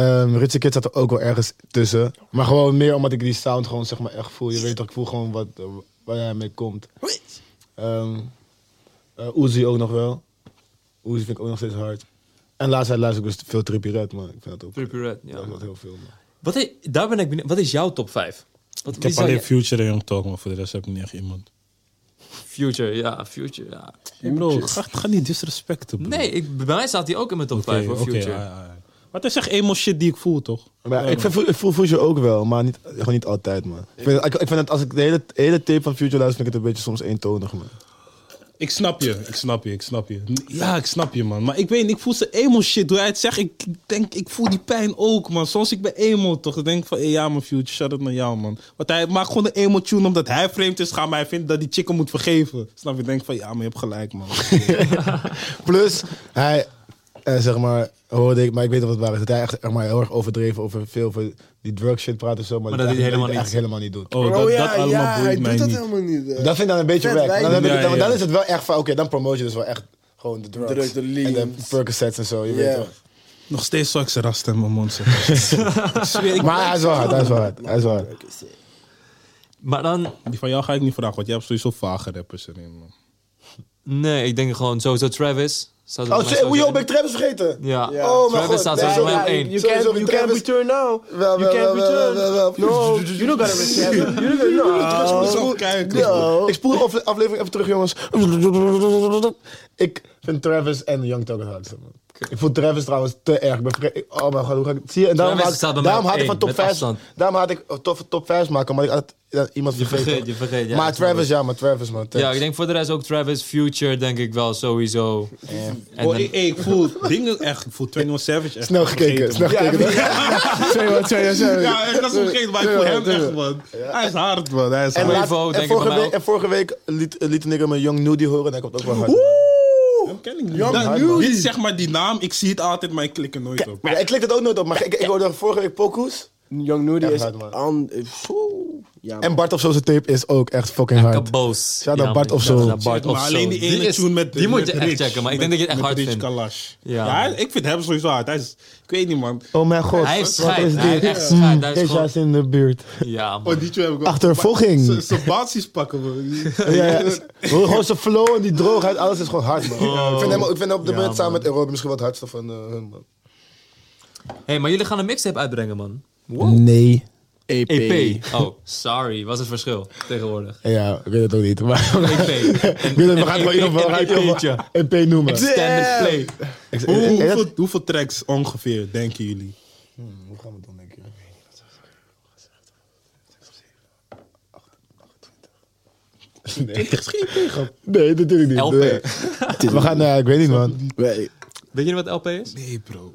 [SPEAKER 3] Ehm Richie Kid zat er ook wel ergens tussen. Maar gewoon meer omdat ik die sound gewoon zeg maar echt voel. Je weet toch, ik voel gewoon wat, eh, waar hij mee komt. Ehm eh, Uzi ook nog wel. Uzi vind ik ook nog steeds hard. En laatst tijd luister ik dus veel Trippie Red, maar ik vind dat ook...
[SPEAKER 1] Trippie Redd, ja.
[SPEAKER 3] Ik vind dat heel veel, man.
[SPEAKER 1] Wat is, daar ben ik benieuwd. Wat is jouw top 5? Wat,
[SPEAKER 4] Ik
[SPEAKER 1] wie
[SPEAKER 4] heb
[SPEAKER 1] zou
[SPEAKER 4] alleen
[SPEAKER 1] je-
[SPEAKER 4] Future en Young Thug, maar voor de rest heb ik niet echt iemand.
[SPEAKER 1] Future, ja, Future, ja.
[SPEAKER 4] Bro, ga, ga niet disrespecten, bro.
[SPEAKER 1] Nee, ik, bij mij staat hij ook in mijn top
[SPEAKER 4] Oké,
[SPEAKER 1] 5
[SPEAKER 4] oké,
[SPEAKER 1] voor Future.
[SPEAKER 4] ah, ah, ah. Maar het is echt emo shit die ik voel, toch?
[SPEAKER 3] Maar ik, vind, ik voel Future ook wel, maar niet, gewoon niet altijd, man. Ik vind, ik, ik vind het, als ik de hele, hele tape van Future luister, vind ik het een beetje soms eentonig, man.
[SPEAKER 4] Ik snap je, ik snap je, ik snap je. Ja, ik snap je, man. Maar ik weet niet, ik voel ze emo shit. Hoe hij het zegt, ik ik denk, ik voel die pijn ook, man. Soms ik ben emo, toch? Ik denk van, hey, ja, mijn future, shout out naar jou, man. Want hij maakt gewoon een emo tune omdat hij vreemd is gaan, maar hij vindt dat die chicken moet vergeven. Snap je? Ik denk van, ja, maar je hebt gelijk, man.
[SPEAKER 3] Plus, hij, eh, zeg maar, hoorde ik, maar ik weet niet of het waar is, dat hij echt echt maar heel erg overdreven over veel van die drug shit praat en zo, maar,
[SPEAKER 1] Maar dat hij het helemaal
[SPEAKER 3] eigenlijk helemaal niet doet.
[SPEAKER 4] Oh, dat, dat allemaal boeit mij niet.
[SPEAKER 2] niet.
[SPEAKER 1] Oh.
[SPEAKER 2] eh.
[SPEAKER 3] Dat vind ik dan een beetje
[SPEAKER 2] Vet,
[SPEAKER 3] weg.
[SPEAKER 2] wij-
[SPEAKER 3] Dan, heb ik-
[SPEAKER 4] Ja,
[SPEAKER 3] dan-
[SPEAKER 4] ja.
[SPEAKER 3] dan is het wel echt van, oké, dan promote je dus wel echt gewoon de drugs.
[SPEAKER 2] Drugs, de
[SPEAKER 3] en de
[SPEAKER 2] leans.
[SPEAKER 3] Percocets en zo, je
[SPEAKER 2] Ja.
[SPEAKER 3] weet toch.
[SPEAKER 4] Nog steeds zou ik ze rasten in mijn mond zetten.
[SPEAKER 3] Maar hij is wel hard, hij is wel hard, hij is wel hard.
[SPEAKER 1] Maar dan,
[SPEAKER 4] Die van jou ga ik niet vragen, want jij hebt sowieso vage rappers erin, man.
[SPEAKER 1] nee, ik denk gewoon sowieso Travis. Staat er bij
[SPEAKER 3] Oh,
[SPEAKER 1] mij
[SPEAKER 3] shit,
[SPEAKER 1] sowieso
[SPEAKER 3] oei, joh,
[SPEAKER 1] in.
[SPEAKER 3] ben ik Travis vergeten?
[SPEAKER 1] Ja,
[SPEAKER 2] Ja.
[SPEAKER 3] Oh, mijn
[SPEAKER 1] Travis
[SPEAKER 3] god.
[SPEAKER 1] staat
[SPEAKER 3] Nee,
[SPEAKER 1] sowieso
[SPEAKER 3] sorry.
[SPEAKER 1] op één.
[SPEAKER 2] You
[SPEAKER 3] Sowieso
[SPEAKER 2] can't, you can't
[SPEAKER 3] Travis.
[SPEAKER 2] return now. you
[SPEAKER 3] Wel, wel,
[SPEAKER 2] can't
[SPEAKER 3] wel, wel,
[SPEAKER 2] return.
[SPEAKER 3] wel, wel,
[SPEAKER 2] No, you don't gotta return. You don't gotta
[SPEAKER 3] Ik
[SPEAKER 2] no.
[SPEAKER 3] spoel-
[SPEAKER 4] kijken.
[SPEAKER 3] Oh. Ik spoel de afle- aflevering even terug, jongens. Ik vind Travis en Young Thug het hardste, man. Ik voel Travis trouwens te erg. Ik ben vre- ik- Oh mijn god, hoe ga ik... Zie je, en daarom
[SPEAKER 1] Travis
[SPEAKER 3] had,
[SPEAKER 1] staat bij mij
[SPEAKER 3] daarom
[SPEAKER 1] op
[SPEAKER 3] had ik van
[SPEAKER 1] één,
[SPEAKER 3] top
[SPEAKER 1] met
[SPEAKER 3] 5...
[SPEAKER 1] afstand.
[SPEAKER 3] Daarom had ik top, top 5 maken, maar ik had eh, iemand vergeten.
[SPEAKER 1] vergeet, je vergeet, ja,
[SPEAKER 3] maar
[SPEAKER 1] dat snap
[SPEAKER 3] Travis,
[SPEAKER 1] ik.
[SPEAKER 3] ja, maar Travis, man.
[SPEAKER 1] Ja, ik denk voor de rest ook Travis. Future denk ik wel sowieso. En
[SPEAKER 4] Oh,
[SPEAKER 1] dan-
[SPEAKER 4] ik, ik voel dingen echt, ik voel 21 Savage echt.
[SPEAKER 3] Snel gekeken,
[SPEAKER 4] vergeten,
[SPEAKER 3] snel gekeken. Sorry, man, sorry, sorry.
[SPEAKER 4] Ja, ik was hem vergeten, maar ik voel hem echt, man. Hij is hard, man. Hij is
[SPEAKER 3] En,
[SPEAKER 4] hard.
[SPEAKER 3] laatst-
[SPEAKER 1] Quavo, denk
[SPEAKER 3] en,
[SPEAKER 1] ik
[SPEAKER 3] vorige
[SPEAKER 1] bij mij
[SPEAKER 3] week, en vorige week liet, liet een nigger mijn Young Nudie horen en hij komt ook wel hard.
[SPEAKER 4] Hem ken ik niet. Dat- dit is zeg maar die naam, ik zie het altijd, maar ik klik er nooit op.
[SPEAKER 3] Ja, ik klik het ook nooit op, maar ik, ik hoorde vorige week Pokus.
[SPEAKER 2] Young Nudie
[SPEAKER 3] Echt
[SPEAKER 2] is
[SPEAKER 3] hard, man.
[SPEAKER 2] on... eh, poeh. Ja,
[SPEAKER 3] Oh. En Bart of zo zijn tape is ook echt fucking hard.
[SPEAKER 1] Kaboos.
[SPEAKER 3] Shout out
[SPEAKER 1] Ja,
[SPEAKER 3] Bart
[SPEAKER 1] man,
[SPEAKER 3] of
[SPEAKER 1] shout
[SPEAKER 3] zo.
[SPEAKER 1] out Bart
[SPEAKER 4] maar
[SPEAKER 1] of zo.
[SPEAKER 4] alleen die ene
[SPEAKER 1] is-
[SPEAKER 4] tune met
[SPEAKER 1] Die moet
[SPEAKER 4] met
[SPEAKER 1] je echt
[SPEAKER 4] Rich.
[SPEAKER 1] checken, maar ik denk dat
[SPEAKER 4] Met-
[SPEAKER 1] je het echt
[SPEAKER 4] met
[SPEAKER 1] hard
[SPEAKER 4] Rich
[SPEAKER 1] vindt.
[SPEAKER 4] Kalash.
[SPEAKER 1] Ja.
[SPEAKER 4] Ja, hij- ik vind hem sowieso hard. Hij is, ik weet niet, man.
[SPEAKER 3] Oh mijn god.
[SPEAKER 1] Hij heeft
[SPEAKER 3] Wat
[SPEAKER 1] schijt,
[SPEAKER 3] is
[SPEAKER 1] hij heeft
[SPEAKER 3] dit?
[SPEAKER 1] echt schijt, hij is
[SPEAKER 3] Deze
[SPEAKER 1] gewoon-
[SPEAKER 3] is in de buurt.
[SPEAKER 1] Ja, man.
[SPEAKER 4] Oh, die tune heb ik wel-
[SPEAKER 3] Achtervolging.
[SPEAKER 4] Maar Zijn basis pakken, man.
[SPEAKER 3] Ja, ja. Gewoon zijn flow en die droogheid, alles is gewoon hard, man. Ik, vind hem, ik vind hem op de
[SPEAKER 1] Oh. Ja,
[SPEAKER 3] moment
[SPEAKER 1] man.
[SPEAKER 3] samen met Europa misschien wat hardste van eh, hun, man.
[SPEAKER 1] hey, maar jullie gaan een mixtape uitbrengen, man.
[SPEAKER 5] Nee.
[SPEAKER 4] E
[SPEAKER 2] EP.
[SPEAKER 1] EP. Oh, sorry. Wat is het verschil tegenwoordig?
[SPEAKER 3] Ja, ik weet het ook niet. Maar
[SPEAKER 1] EP.
[SPEAKER 3] Ik weet het, we
[SPEAKER 1] Een-
[SPEAKER 3] gaan het wel in ieder geval- we gaan het in
[SPEAKER 1] een
[SPEAKER 3] ieder
[SPEAKER 1] EP'tje.
[SPEAKER 3] geval EP noemen.
[SPEAKER 1] Standard play.
[SPEAKER 3] Ik-
[SPEAKER 4] Hoe,
[SPEAKER 3] eh, eh,
[SPEAKER 4] hoeveel, hoeveel tracks ongeveer, denken jullie?
[SPEAKER 3] Hoe gaan we het doen, denk je? Nee.
[SPEAKER 4] is geen tegen.
[SPEAKER 3] nee, natuurlijk niet.
[SPEAKER 1] LP.
[SPEAKER 3] Nee. We gaan, eh, ik weet niet, man.
[SPEAKER 2] Wait.
[SPEAKER 1] Weet jullie wat LP is?
[SPEAKER 4] Nee, bro.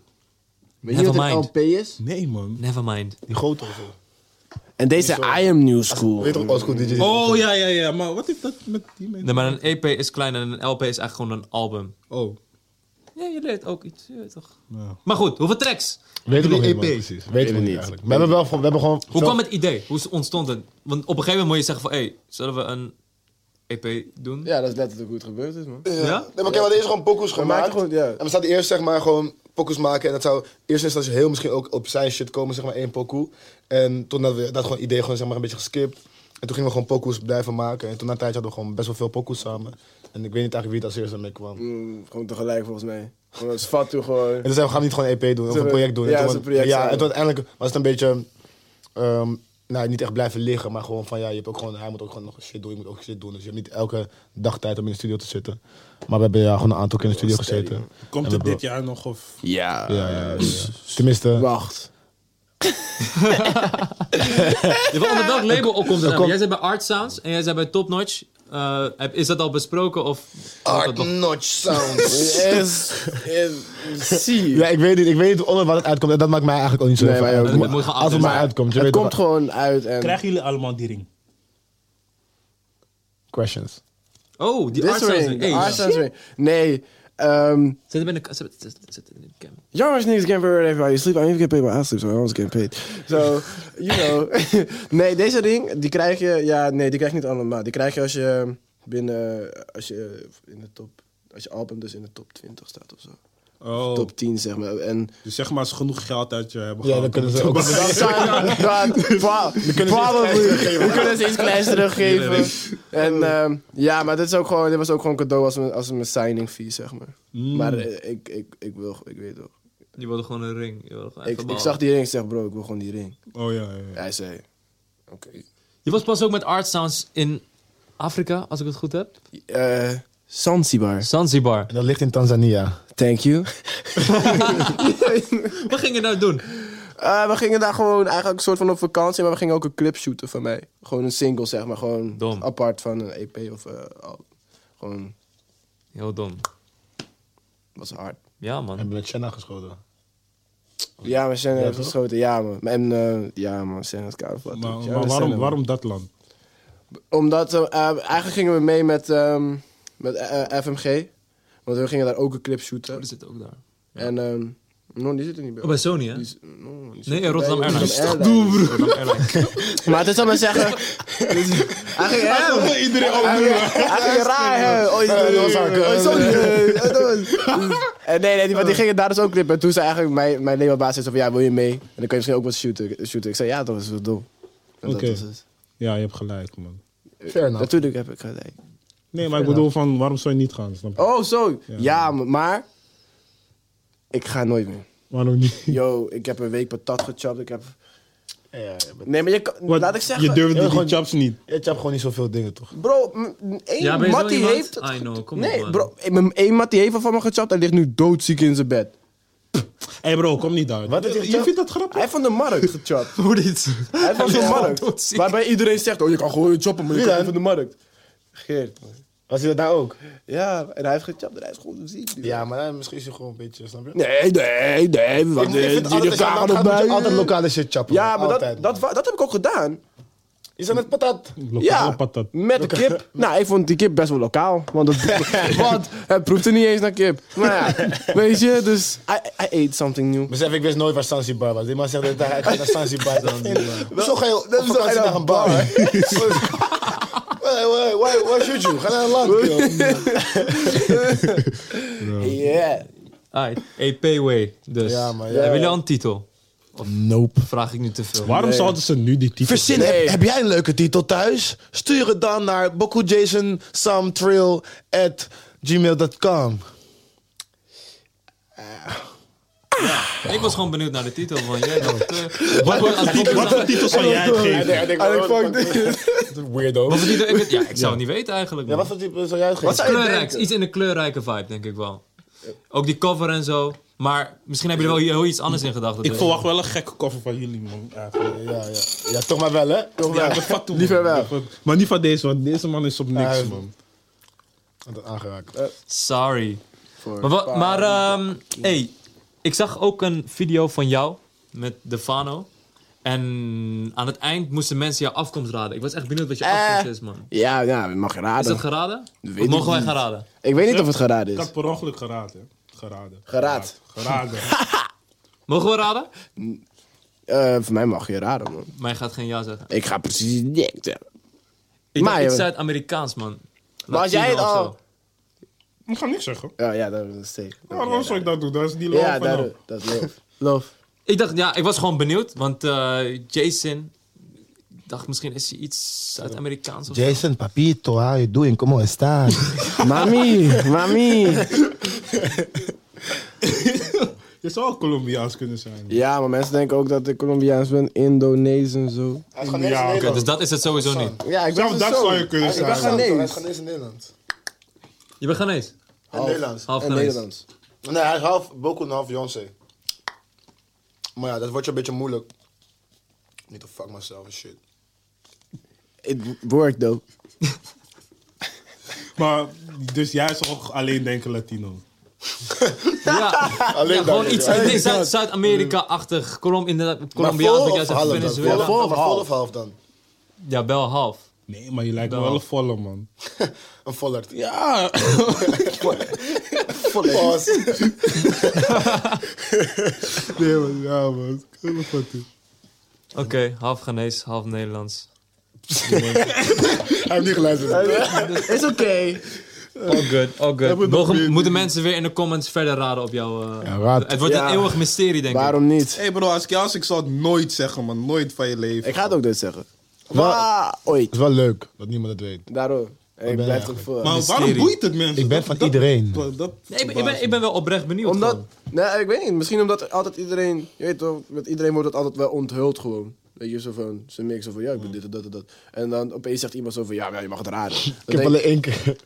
[SPEAKER 2] Weet je wat een
[SPEAKER 1] Nevermind.
[SPEAKER 2] LP is?
[SPEAKER 4] Nee, man.
[SPEAKER 1] Nevermind.
[SPEAKER 3] Die grote of zo.
[SPEAKER 2] En deze I Am New School.
[SPEAKER 3] Weet toch, als goed DJ.
[SPEAKER 4] Oh, ja, ja, ja.
[SPEAKER 1] E
[SPEAKER 4] Maar wat heeft dat met die mensen?
[SPEAKER 1] Nee, maar een EP is klein en een LP is echt gewoon een album.
[SPEAKER 4] Oh.
[SPEAKER 1] Ja, je leert ook iets. Je weet toch. Maar goed, hoeveel tracks?
[SPEAKER 3] Weet ik nog
[SPEAKER 4] Drie
[SPEAKER 3] niet, man.
[SPEAKER 2] E
[SPEAKER 4] EP's is.
[SPEAKER 3] Weet ik nog
[SPEAKER 2] het
[SPEAKER 3] niet
[SPEAKER 2] niet.
[SPEAKER 3] eigenlijk. We hebben wel gewoon- we hebben gewoon...
[SPEAKER 1] Hoe
[SPEAKER 3] veel-
[SPEAKER 1] kwam het idee? Hoe ontstond het? Want op een gegeven moment moet je zeggen van... Hé, hey, zullen we een EP doen?
[SPEAKER 2] Ja, dat is letterlijk hoe het gebeurd is, man.
[SPEAKER 1] Ja?
[SPEAKER 3] Nee, maar kijk, we hadden eerst gewoon pokus gemaakt.
[SPEAKER 2] maken gewoon, ja.
[SPEAKER 3] En we zouden eerst zeg maar gewoon pokus maken. En dat zou in eerste instantie heel misschien ook op zijn shit komen, zeg maar één pokoe. En toen hadden we dat gewoon idee gewoon zeg maar een beetje geskipt. En toen gingen we gewoon pokus blijven maken. En toen na een tijdje hadden we gewoon best wel veel pokus samen. En ik weet niet eigenlijk wie het als eerste mee kwam.
[SPEAKER 2] Mm, gewoon tegelijk volgens mij. Gewoon als vat toe gewoon.
[SPEAKER 3] En toen zeiden we, gaan we niet gewoon een EP doen of
[SPEAKER 2] Zullen
[SPEAKER 3] een
[SPEAKER 2] we-
[SPEAKER 3] project doen.
[SPEAKER 2] ja,
[SPEAKER 3] en
[SPEAKER 2] zo'n
[SPEAKER 3] toen,
[SPEAKER 2] project
[SPEAKER 3] ja,
[SPEAKER 2] samen.
[SPEAKER 3] en toen uiteindelijk was het een beetje, ehm, nou niet echt blijven liggen, maar gewoon van ja, je hebt ook gewoon, hij moet ook gewoon nog shit doen, je moet ook shit doen. Dus je hebt niet elke dag tijd om in de studio te zitten. Maar we hebben ja, gewoon een aantal keer in de studio gezeten.
[SPEAKER 4] Komt
[SPEAKER 3] En
[SPEAKER 4] het
[SPEAKER 3] we hebben-
[SPEAKER 4] dit jaar nog of...
[SPEAKER 2] Ja.
[SPEAKER 3] Ja, ja, ja, ja. Tenminste,
[SPEAKER 2] Wacht.
[SPEAKER 1] Ja, maar onder welk label ook komt het? aan? Jij zit bij Art Sounds en jij zit bij Top Notch. Eh, heb- is dat al besproken of...
[SPEAKER 3] Art Notch Sounds.
[SPEAKER 2] Is. Is. Zie.
[SPEAKER 3] Ja, ik weet niet, ik weet niet onder wat het uitkomt. En dat maakt mij eigenlijk ook niet zo
[SPEAKER 2] Nee,
[SPEAKER 3] heel
[SPEAKER 2] maar
[SPEAKER 3] veel
[SPEAKER 2] ja,
[SPEAKER 3] uit.
[SPEAKER 1] het moet gewoon
[SPEAKER 3] Als het maar
[SPEAKER 1] altijd-
[SPEAKER 3] uitkomt, je
[SPEAKER 2] Het
[SPEAKER 3] weet
[SPEAKER 2] komt
[SPEAKER 3] toch-
[SPEAKER 2] gewoon uit en.
[SPEAKER 6] Krijgen jullie allemaal die ring?
[SPEAKER 3] Questions.
[SPEAKER 1] Oh, die
[SPEAKER 2] This
[SPEAKER 1] Art Sounds.
[SPEAKER 2] ring,
[SPEAKER 1] Hey,
[SPEAKER 2] de Art Sounds ring. Nee. ehm
[SPEAKER 1] Zit hem in de, zit, zit, zit in de cam.
[SPEAKER 2] Young niggas can't pay where they you sleep. I even get paid by I sleep, so I always get paid. So, you know. nee, deze ding, die krijg je... Ja, nee, die krijg je niet allemaal. Die krijg je als je binnen... Als je in de top... Als je album dus in de top 20 staat of zo.
[SPEAKER 4] Oh,
[SPEAKER 2] Top 10, zeg maar. En...
[SPEAKER 4] dus zeg maar als ze genoeg geld uit je hebben
[SPEAKER 3] Ja,
[SPEAKER 4] gehaald,
[SPEAKER 3] dan kunnen ze
[SPEAKER 4] moeten
[SPEAKER 3] ook...
[SPEAKER 2] Dat zijn... Probably. We kunnen ze iets kleins teruggeven. En ehm, ja, maar dit, is ook gewoon, dit was ook gewoon cadeau als een, als een signing fee, zeg maar. Maar eh, ik, ik, ik wil... Ik weet wel.
[SPEAKER 1] Die wilde gewoon een ring. Die wilde gewoon
[SPEAKER 2] Ik,
[SPEAKER 1] even
[SPEAKER 2] ik
[SPEAKER 1] ballen.
[SPEAKER 2] zag die ring en ik zeg, bro, ik wil gewoon die ring.
[SPEAKER 4] Oh ja, ja, ja.
[SPEAKER 2] Hij zei... Oké.
[SPEAKER 1] Je was pas ook met Art Sounds in Afrika, als ik het goed heb.
[SPEAKER 2] Eh, Zanzibar.
[SPEAKER 1] Zanzibar.
[SPEAKER 3] En dat ligt in Tanzania.
[SPEAKER 2] Thank you.
[SPEAKER 1] Wat ging je nou doen?
[SPEAKER 2] Eh, we gingen daar gewoon eigenlijk een soort van op vakantie, maar we gingen ook een clip shooten van mij. Gewoon een single, zeg maar. Gewoon
[SPEAKER 1] Dom.
[SPEAKER 2] apart van een EP of eh, al- gewoon
[SPEAKER 1] Heel dom.
[SPEAKER 2] was hard.
[SPEAKER 1] Ja, man. Oh,
[SPEAKER 3] Hebben we Chenna geschoten.
[SPEAKER 4] Oh.
[SPEAKER 2] Ja, maar Senna heeft
[SPEAKER 3] toch?
[SPEAKER 2] geschoten. Ja, man. En eh, ja, man. Senna is koud.
[SPEAKER 4] Maar, maar waarom, waarom dat land?
[SPEAKER 2] Omdat, eh, eh, eigenlijk gingen we mee met, ehm, met eh, eh, FMG. Want we gingen daar ook een clip shooten.
[SPEAKER 1] Die zit ook daar.
[SPEAKER 2] En, ehm no, die zit er niet bij.
[SPEAKER 1] Oh, bij Sony, hè?
[SPEAKER 2] Die is- no, die zit
[SPEAKER 1] Nee,
[SPEAKER 2] bij
[SPEAKER 1] Rotterdam Airlines.
[SPEAKER 2] Rotterdam Maar het is dan maar zeggen. Hij ging hem.
[SPEAKER 4] Iedereen ook
[SPEAKER 2] Hij ging raar hè. Oei,
[SPEAKER 3] dat was haar,
[SPEAKER 2] oei, sorry. Eh, dat was- Eh, Nee, nee, die, want die gingen daar dus ook clippen. En toen zei eigenlijk mijn, mijn labelbaas zei zo van, ja, wil je mee? En dan kun je misschien ook wat shooten. shooten. Ik zei, ja, dat is wel dom. En dat
[SPEAKER 4] Oké. Nou.
[SPEAKER 2] was het.
[SPEAKER 4] Ja, je hebt gelijk, man.
[SPEAKER 3] Fair enough.
[SPEAKER 2] Natuurlijk heb ik gelijk.
[SPEAKER 4] Nee, maar ik bedoel van, waarom zou je niet gaan? Snap je?
[SPEAKER 2] Oh, zo. Ja, m- maar... Ik ga nooit meer.
[SPEAKER 4] Waarom niet?
[SPEAKER 2] Yo, ik heb een week patat gechapt. Ik heb... Nee, maar je kan,
[SPEAKER 4] Wat,
[SPEAKER 2] laat ik zeggen...
[SPEAKER 4] Je durfde
[SPEAKER 3] Ja,
[SPEAKER 4] die
[SPEAKER 3] gewoon-
[SPEAKER 4] chaps niet.
[SPEAKER 3] Je hebt gewoon niet zoveel dingen, toch?
[SPEAKER 2] Bro, m- m- één
[SPEAKER 1] Ja, ben je zo
[SPEAKER 2] mattie
[SPEAKER 1] iemand?
[SPEAKER 2] heeft...
[SPEAKER 1] I know, kom op,
[SPEAKER 2] nee,
[SPEAKER 1] man.
[SPEAKER 2] bro, één- m- één mattie heeft al van me gechapt. Hij ligt nu doodziek in zijn bed.
[SPEAKER 4] Hé hey bro, kom niet daar.
[SPEAKER 3] Wat is dit,
[SPEAKER 4] je
[SPEAKER 3] chap?
[SPEAKER 4] vindt dat grappig?
[SPEAKER 2] Hij heeft van de markt gechapt.
[SPEAKER 1] Hoe dit?
[SPEAKER 2] Hij heeft van de
[SPEAKER 1] gewoon
[SPEAKER 2] markt.
[SPEAKER 1] doodziek.
[SPEAKER 2] Waarbij iedereen zegt, oh, je kan gewoon choppen, maar je kan
[SPEAKER 3] Wie dan?
[SPEAKER 2] niet van de markt. Geert. man.
[SPEAKER 3] Was hij dat nou ook?
[SPEAKER 2] Ja, en hij heeft gechapt en hij is gewoon ziek. nu.
[SPEAKER 3] Ja, maar dan misschien is hij gewoon een beetje, snap je?
[SPEAKER 2] Nee, nee, nee.
[SPEAKER 3] Ik-
[SPEAKER 2] Want eh,
[SPEAKER 3] ik vind
[SPEAKER 2] die
[SPEAKER 3] altijd,
[SPEAKER 2] elkaar
[SPEAKER 3] als je
[SPEAKER 2] nog
[SPEAKER 3] gaat, moet je
[SPEAKER 2] bij.
[SPEAKER 3] altijd lokale shit chappen.
[SPEAKER 2] Ja,
[SPEAKER 3] man.
[SPEAKER 2] maar
[SPEAKER 3] Altijd,
[SPEAKER 2] dat,
[SPEAKER 3] man.
[SPEAKER 2] dat, wa- dat heb ik ook gedaan.
[SPEAKER 3] Is dat met patat?
[SPEAKER 4] Lokale
[SPEAKER 2] Ja,
[SPEAKER 4] patat.
[SPEAKER 2] met de kip. Nou, ik vond die kip best wel lokaal. Want het, want het proefde niet eens naar kip. Maar ja, weet je, dus I, I ate something new.
[SPEAKER 3] Besef, ik wist nooit waar Zanzibar was. Die man zegt dat hij hij gaat naar Zanzibar. Zo ga je op
[SPEAKER 2] is toch
[SPEAKER 3] vakantie
[SPEAKER 2] geen
[SPEAKER 3] naar een bar. Hey, hey, Why why should you? Ga naar een land, joh.
[SPEAKER 2] Yeah.
[SPEAKER 1] Alright, EP Way, dus.
[SPEAKER 3] Ja, maar ja.
[SPEAKER 1] Hebben jullie al een titel?
[SPEAKER 5] Nope.
[SPEAKER 1] Vraag ik nu te veel.
[SPEAKER 4] Waarom zouden ze nu die titel...
[SPEAKER 5] Verzin,
[SPEAKER 2] Nee.
[SPEAKER 5] heb, heb jij een leuke titel thuis? Stuur het dan naar bokujason.samtrill@gmail.com. at gmail.com.
[SPEAKER 1] Ik was gewoon benieuwd naar de titel, man. Jij dacht, eh,
[SPEAKER 4] Wat voor titel- wat voor titel zou jij het geven?
[SPEAKER 3] Ik denk,
[SPEAKER 2] En ik
[SPEAKER 3] oh,
[SPEAKER 2] fuck dit.
[SPEAKER 3] Weirdo.
[SPEAKER 1] Wat voor titel? Ik, weet- ja, ik zou het niet weten eigenlijk.
[SPEAKER 3] Ja,
[SPEAKER 1] man.
[SPEAKER 3] wat voor type zou jij het
[SPEAKER 2] Wat
[SPEAKER 3] geven?
[SPEAKER 2] zou je
[SPEAKER 1] Kleurrijks,
[SPEAKER 2] denken?
[SPEAKER 1] iets in de kleurrijke vibe, denk ik wel. Ook die cover en zo. Maar misschien hebben jullie wel heel iets anders in gedachten.
[SPEAKER 4] Ik
[SPEAKER 1] dus.
[SPEAKER 4] verwacht wel een gekke cover van jullie, man. Ja, van-
[SPEAKER 3] Ja, ja. ja, toch maar wel, hè?
[SPEAKER 2] Toch
[SPEAKER 4] ja,
[SPEAKER 2] wel.
[SPEAKER 4] de fatu, man.
[SPEAKER 2] Liever wel.
[SPEAKER 4] Maar niet van deze, want deze man is op niks,
[SPEAKER 3] Ja,
[SPEAKER 4] man.
[SPEAKER 3] Dat aangeraakt.
[SPEAKER 1] Sorry.
[SPEAKER 2] Voor
[SPEAKER 1] Maar, wa- maar ehm, hey, ik zag ook een video van jou met Defano. En aan het eind moesten mensen jouw afkomst raden. Ik was echt benieuwd wat je
[SPEAKER 2] Eh.
[SPEAKER 1] afkomst is, man.
[SPEAKER 2] Ja, ja, mag je
[SPEAKER 1] Is dat
[SPEAKER 2] raden.
[SPEAKER 1] geraden? Of
[SPEAKER 2] ik
[SPEAKER 1] mogen wij
[SPEAKER 2] niet.
[SPEAKER 1] gaan raden?
[SPEAKER 2] Ik weet niet of het geraden
[SPEAKER 4] Ik
[SPEAKER 2] is.
[SPEAKER 4] had per ongeluk geraden. hè. Geraden.
[SPEAKER 2] Geraad.
[SPEAKER 4] Geraden.
[SPEAKER 1] Mogen we raden?
[SPEAKER 2] Eh, voor mij mag je raden, man.
[SPEAKER 1] Maar je gaat geen ja zeggen.
[SPEAKER 2] Ik ga precies niks zeggen.
[SPEAKER 1] Ik
[SPEAKER 2] Maar,
[SPEAKER 1] maar, iets
[SPEAKER 2] joh.
[SPEAKER 1] Zuid-Amerikaans, man.
[SPEAKER 2] Maar als jij het
[SPEAKER 1] Latino of
[SPEAKER 2] al-
[SPEAKER 1] zo.
[SPEAKER 4] Ik ga niks zeggen.
[SPEAKER 2] Oh, Ja, ja, dat is zeker.
[SPEAKER 4] Ja, waarom zou ik dat doen? Dat is niet lopen.
[SPEAKER 2] Ja, daar, dat is loof. loof.
[SPEAKER 1] Ik dacht, ja, ik was gewoon benieuwd. Want eh, Jason... Ik dacht, misschien is hij iets Zuid-Amerikaans of zo.
[SPEAKER 5] Jason, papito, how you doing? Como estás?
[SPEAKER 2] Mami, mami.
[SPEAKER 4] Je zou ook Colombiaans kunnen zijn.
[SPEAKER 2] Ja, maar mensen denken ook dat ik Colombiaans ben, Indonesisch en zo.
[SPEAKER 3] Hij is Ghanese
[SPEAKER 4] Ja,
[SPEAKER 3] in
[SPEAKER 4] oké,
[SPEAKER 1] Oké,
[SPEAKER 3] Nederland.
[SPEAKER 1] dus dat is het sowieso niet.
[SPEAKER 2] Ja, ik ben
[SPEAKER 4] Zelfs dat zou je kunnen
[SPEAKER 2] Ik ben
[SPEAKER 4] zijn.
[SPEAKER 3] Hij is
[SPEAKER 2] Ghanese.
[SPEAKER 3] Ghanese in Nederland.
[SPEAKER 1] Je bent Ghanese.
[SPEAKER 3] En Nederlands.
[SPEAKER 1] Half
[SPEAKER 2] En
[SPEAKER 1] Ghanese.
[SPEAKER 2] Nederlands.
[SPEAKER 3] Nee, hij is half Boku en half Beyoncé. Maar ja, dat wordt je een beetje moeilijk. Niet to fuck myself en shit.
[SPEAKER 2] It worked though.
[SPEAKER 4] Maar, dus jij zou ook alleen denken Latino.
[SPEAKER 1] Ja, ja,
[SPEAKER 3] Alleen dat,
[SPEAKER 1] gewoon
[SPEAKER 3] ja.
[SPEAKER 1] iets
[SPEAKER 3] Alleen
[SPEAKER 1] nee,
[SPEAKER 3] dat.
[SPEAKER 1] Zuid- Zuid-Amerika-achtig. Colom, inderdaad,
[SPEAKER 3] Maar
[SPEAKER 1] Colombiaans.
[SPEAKER 3] vol
[SPEAKER 1] wat
[SPEAKER 3] of
[SPEAKER 1] jij zegt,
[SPEAKER 3] half dan?
[SPEAKER 1] Venezuela.
[SPEAKER 3] Vol- maar vol of half dan?
[SPEAKER 1] Ja, wel half.
[SPEAKER 4] Nee, maar je lijkt me
[SPEAKER 1] Nou.
[SPEAKER 4] wel een volle man.
[SPEAKER 3] Een vollert.
[SPEAKER 4] Ja.
[SPEAKER 3] Pause.
[SPEAKER 4] nee, man. Ja, man. Heel goed. Hij
[SPEAKER 1] Oké, half Ghanese, half Nederlands.
[SPEAKER 4] heeft niet geluisterd.
[SPEAKER 2] Is oké.
[SPEAKER 1] All good, all
[SPEAKER 4] we
[SPEAKER 1] good.
[SPEAKER 4] nog
[SPEAKER 1] Mogen-
[SPEAKER 4] meer-
[SPEAKER 1] moeten mensen weer in de comments verder raden op jou? eh,
[SPEAKER 5] raad.
[SPEAKER 1] Het wordt
[SPEAKER 2] Ja.
[SPEAKER 1] een eeuwig mysterie, denk ik.
[SPEAKER 2] Waarom niet?
[SPEAKER 4] hey bro, als ik jou was, ik zou het nooit zeggen, man. Nooit van je leven.
[SPEAKER 2] Ik ga het ook dit zeggen. Waar? Ooit.
[SPEAKER 5] is wel leuk dat niemand het weet.
[SPEAKER 2] Daarom.
[SPEAKER 5] ben
[SPEAKER 2] Ik blijf
[SPEAKER 5] je
[SPEAKER 2] toch voor.
[SPEAKER 4] Maar waarom
[SPEAKER 1] Mysterie.
[SPEAKER 4] boeit het mensen?
[SPEAKER 5] Ik ben van iedereen.
[SPEAKER 4] Dat, dat-
[SPEAKER 1] Nee, ik ben, ik, ben, ik ben wel oprecht benieuwd.
[SPEAKER 2] Omdat,
[SPEAKER 1] gewoon.
[SPEAKER 2] nee, ik weet niet. Misschien omdat altijd iedereen, je weet toch, met iedereen wordt het altijd wel onthuld gewoon. Weet je, zo van, ze merken zo van, ja, ik ben dit en dat en dat. En dan opeens zegt iemand zo van, ja, maar ja, je mag het raden.
[SPEAKER 5] Ik heb alleen één keer.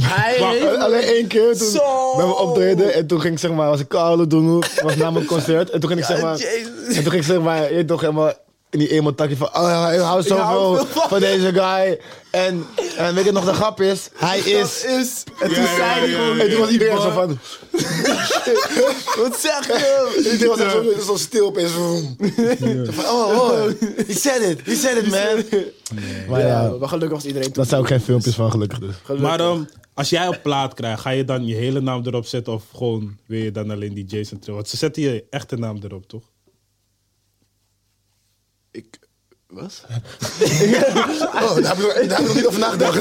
[SPEAKER 2] Hij heeft-
[SPEAKER 5] Alleen één keer toen
[SPEAKER 2] Zo.
[SPEAKER 5] bij mijn optreden en toen ging ik zeg maar, was ik Carlo doen, was na mijn concert en toen ging ik zeg maar, en
[SPEAKER 2] Jezus.
[SPEAKER 5] toen ging ik zeg maar, je weet toch helemaal in die emo takje van, oh, ik hou
[SPEAKER 2] hou
[SPEAKER 5] zoveel
[SPEAKER 2] veel van
[SPEAKER 5] van deze guy en, en weet je nog de grap is, hij is,
[SPEAKER 2] is.
[SPEAKER 5] en toen
[SPEAKER 4] Ja, ja,
[SPEAKER 5] zei hij
[SPEAKER 4] ja,
[SPEAKER 5] gewoon,
[SPEAKER 4] ja,
[SPEAKER 5] en toen
[SPEAKER 4] ja.
[SPEAKER 5] was iedereen zo van,
[SPEAKER 2] Wat zeg je?
[SPEAKER 3] Iedereen was echt zo- zo stil opeens.
[SPEAKER 5] van, oh, oh, he said it, he said it man. Maar ja,
[SPEAKER 2] maar gelukkig was iedereen
[SPEAKER 5] daar
[SPEAKER 2] toen.
[SPEAKER 5] zijn ook geen filmpjes van gelukkig dus.
[SPEAKER 4] Maar ehm, als jij een plaat krijgt, ga je dan je hele naam erop zetten of gewoon wil je dan alleen die Jason Trill? Want ze zetten je echte naam erop, toch?
[SPEAKER 2] Ik. Wat?
[SPEAKER 3] Oh, daar heb ik nog- daar heb ik nog niet over nagedacht.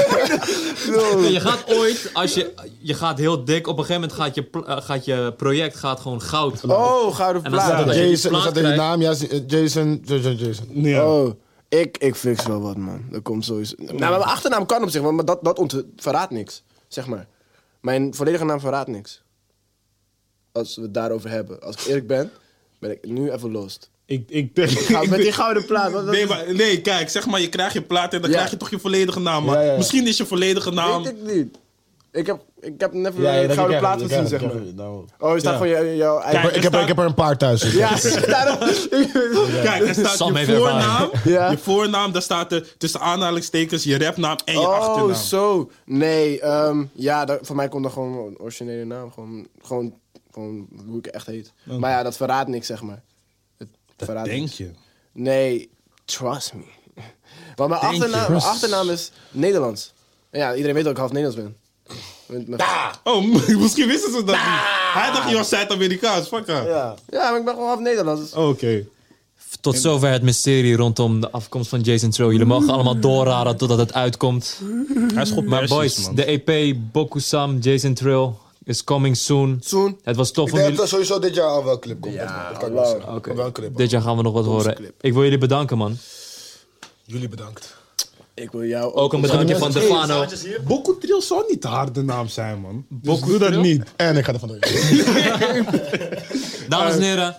[SPEAKER 1] Nee, je gaat ooit, als je, je gaat heel dik, op een gegeven moment gaat je, pl- eh, gaat je project gaat gewoon goud.
[SPEAKER 2] Oh, gouden
[SPEAKER 1] En dan staat
[SPEAKER 2] plaat.
[SPEAKER 1] er- je die
[SPEAKER 5] Jason,
[SPEAKER 1] plaat
[SPEAKER 5] dan staat er je
[SPEAKER 1] krijgt-
[SPEAKER 5] naam, ja, Jason, Jason, Jason.
[SPEAKER 4] Ja.
[SPEAKER 2] Oh, ik, ik fix wel wat, man. Dat komt sowieso. Nou, maar mijn achternaam kan op zich, wel, maar dat, dat ont- verraadt niks. Zeg maar. Mijn volledige naam verraadt niks. Als we het daarover hebben. Als ik eerlijk ben, ben ik nu even lost.
[SPEAKER 4] Ik, ik denk...
[SPEAKER 2] Ga-
[SPEAKER 4] ik
[SPEAKER 2] Met die
[SPEAKER 4] denk-
[SPEAKER 2] gouden plaat. Wat, wat-
[SPEAKER 4] Nee, maar, nee, kijk, zeg maar, je krijgt je plaat en dan
[SPEAKER 2] Ja.
[SPEAKER 4] krijg je toch je volledige naam. Maar
[SPEAKER 5] Ja, ja, ja.
[SPEAKER 4] misschien is je volledige naam...
[SPEAKER 2] Weet ik niet. Ik heb, ik heb net een gouden plaat gezien, zeg maar. Oh, is dat
[SPEAKER 4] Ja.
[SPEAKER 2] van jou- jouw eigen...
[SPEAKER 4] Kijk,
[SPEAKER 5] Ik heb, ik heb er een paar thuis. zitten.
[SPEAKER 2] Ja, daarom.
[SPEAKER 4] Kijk, er staat
[SPEAKER 1] Sam
[SPEAKER 4] je
[SPEAKER 1] heeft ervaring.
[SPEAKER 4] voornaam,
[SPEAKER 2] Ja.
[SPEAKER 4] je voornaam, daar staat er tussen aanhalingstekens je rapnaam en je
[SPEAKER 2] Oh,
[SPEAKER 4] achternaam.
[SPEAKER 2] zo. Nee, ehm, ja, dat, voor mij komt dan gewoon een originele naam. Gewoon, gewoon, gewoon hoe ik echt heet. Maar ja, dat verraadt niks, zeg maar. Het verraadt
[SPEAKER 4] Oh. Denk
[SPEAKER 2] niks.
[SPEAKER 4] je?
[SPEAKER 2] Nee, trust me. Want mijn
[SPEAKER 4] Denk je?
[SPEAKER 2] achternaam, mijn achternaam is Nederlands. En ja, iedereen weet dat ik half Nederlands ben. Met mijn-
[SPEAKER 4] Oh, misschien wisten ze dat niet. Hij dacht, je was Zuid-Amerikaans, fuck haar.
[SPEAKER 2] Ja, maar ik ben gewoon half Nederlands. dus-
[SPEAKER 4] Oh, Oké.
[SPEAKER 1] Tot zover het mysterie rondom de afkomst van Jason Tro. Jullie mogen allemaal doorraden totdat het uitkomt.
[SPEAKER 4] Hij is goed
[SPEAKER 1] Maar boys, de EP Bokusam Jason Trill is coming soon.
[SPEAKER 2] Soon.
[SPEAKER 1] Het was tof
[SPEAKER 3] Ik
[SPEAKER 1] om
[SPEAKER 3] denk dat
[SPEAKER 1] jullie...
[SPEAKER 3] er sowieso dit jaar al wel een clip komt. Ja, dat kan ik wel zeggen.
[SPEAKER 1] Oké,
[SPEAKER 3] Wel een clip.
[SPEAKER 1] dit jaar gaan we nog wat horen. Ik wil jullie bedanken, man.
[SPEAKER 3] Jullie bedankt.
[SPEAKER 2] Ik wil jou
[SPEAKER 1] Ook een bedankje van Defano.
[SPEAKER 4] Boku Trill zou niet de harde naam zijn, man. Dus
[SPEAKER 1] Boku
[SPEAKER 4] doe dat
[SPEAKER 1] Trill?
[SPEAKER 4] niet.
[SPEAKER 5] En ik ga er vandoor.
[SPEAKER 1] Dames en heren,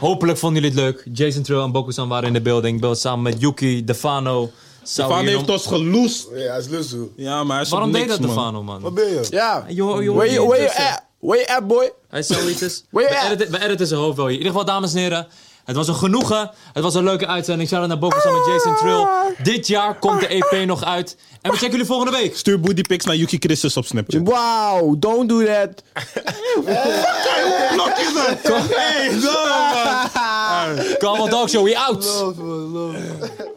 [SPEAKER 1] hopelijk vonden jullie het leuk. Jason Trill en Bokusan waren in de building. Beeld samen met Yuki, Defano. Sao
[SPEAKER 4] Van
[SPEAKER 1] Hierom.
[SPEAKER 4] heeft ons geloest.
[SPEAKER 3] Ja, hij is luzu.
[SPEAKER 4] Ja, maar hij is
[SPEAKER 1] Waarom
[SPEAKER 4] op
[SPEAKER 1] deed
[SPEAKER 4] niks,
[SPEAKER 1] dat Defano, man?
[SPEAKER 3] Wat ben je?
[SPEAKER 2] Ja.
[SPEAKER 1] Yo, yo, yo,
[SPEAKER 2] where you, where you
[SPEAKER 1] yo, yo.
[SPEAKER 2] at? Where you at, boy?
[SPEAKER 1] Hij is zoiets. is- We
[SPEAKER 2] Where you at?
[SPEAKER 1] editen, we editen zijn hoofd wel hier. In ieder geval, dames en heren. Het was een genoegen. Het was een leuke uitzending. Shout-out naar Bokusan
[SPEAKER 2] Ah.
[SPEAKER 1] met Jason Trill. Dit jaar komt de EP nog uit. En we checken jullie volgende week.
[SPEAKER 4] Stuur bootypics naar Yuki Christus op Snapchat.
[SPEAKER 2] Wow, don't do that.
[SPEAKER 4] Blok is dat? Hey, zo, man.
[SPEAKER 1] Come on, Talk Show. We out.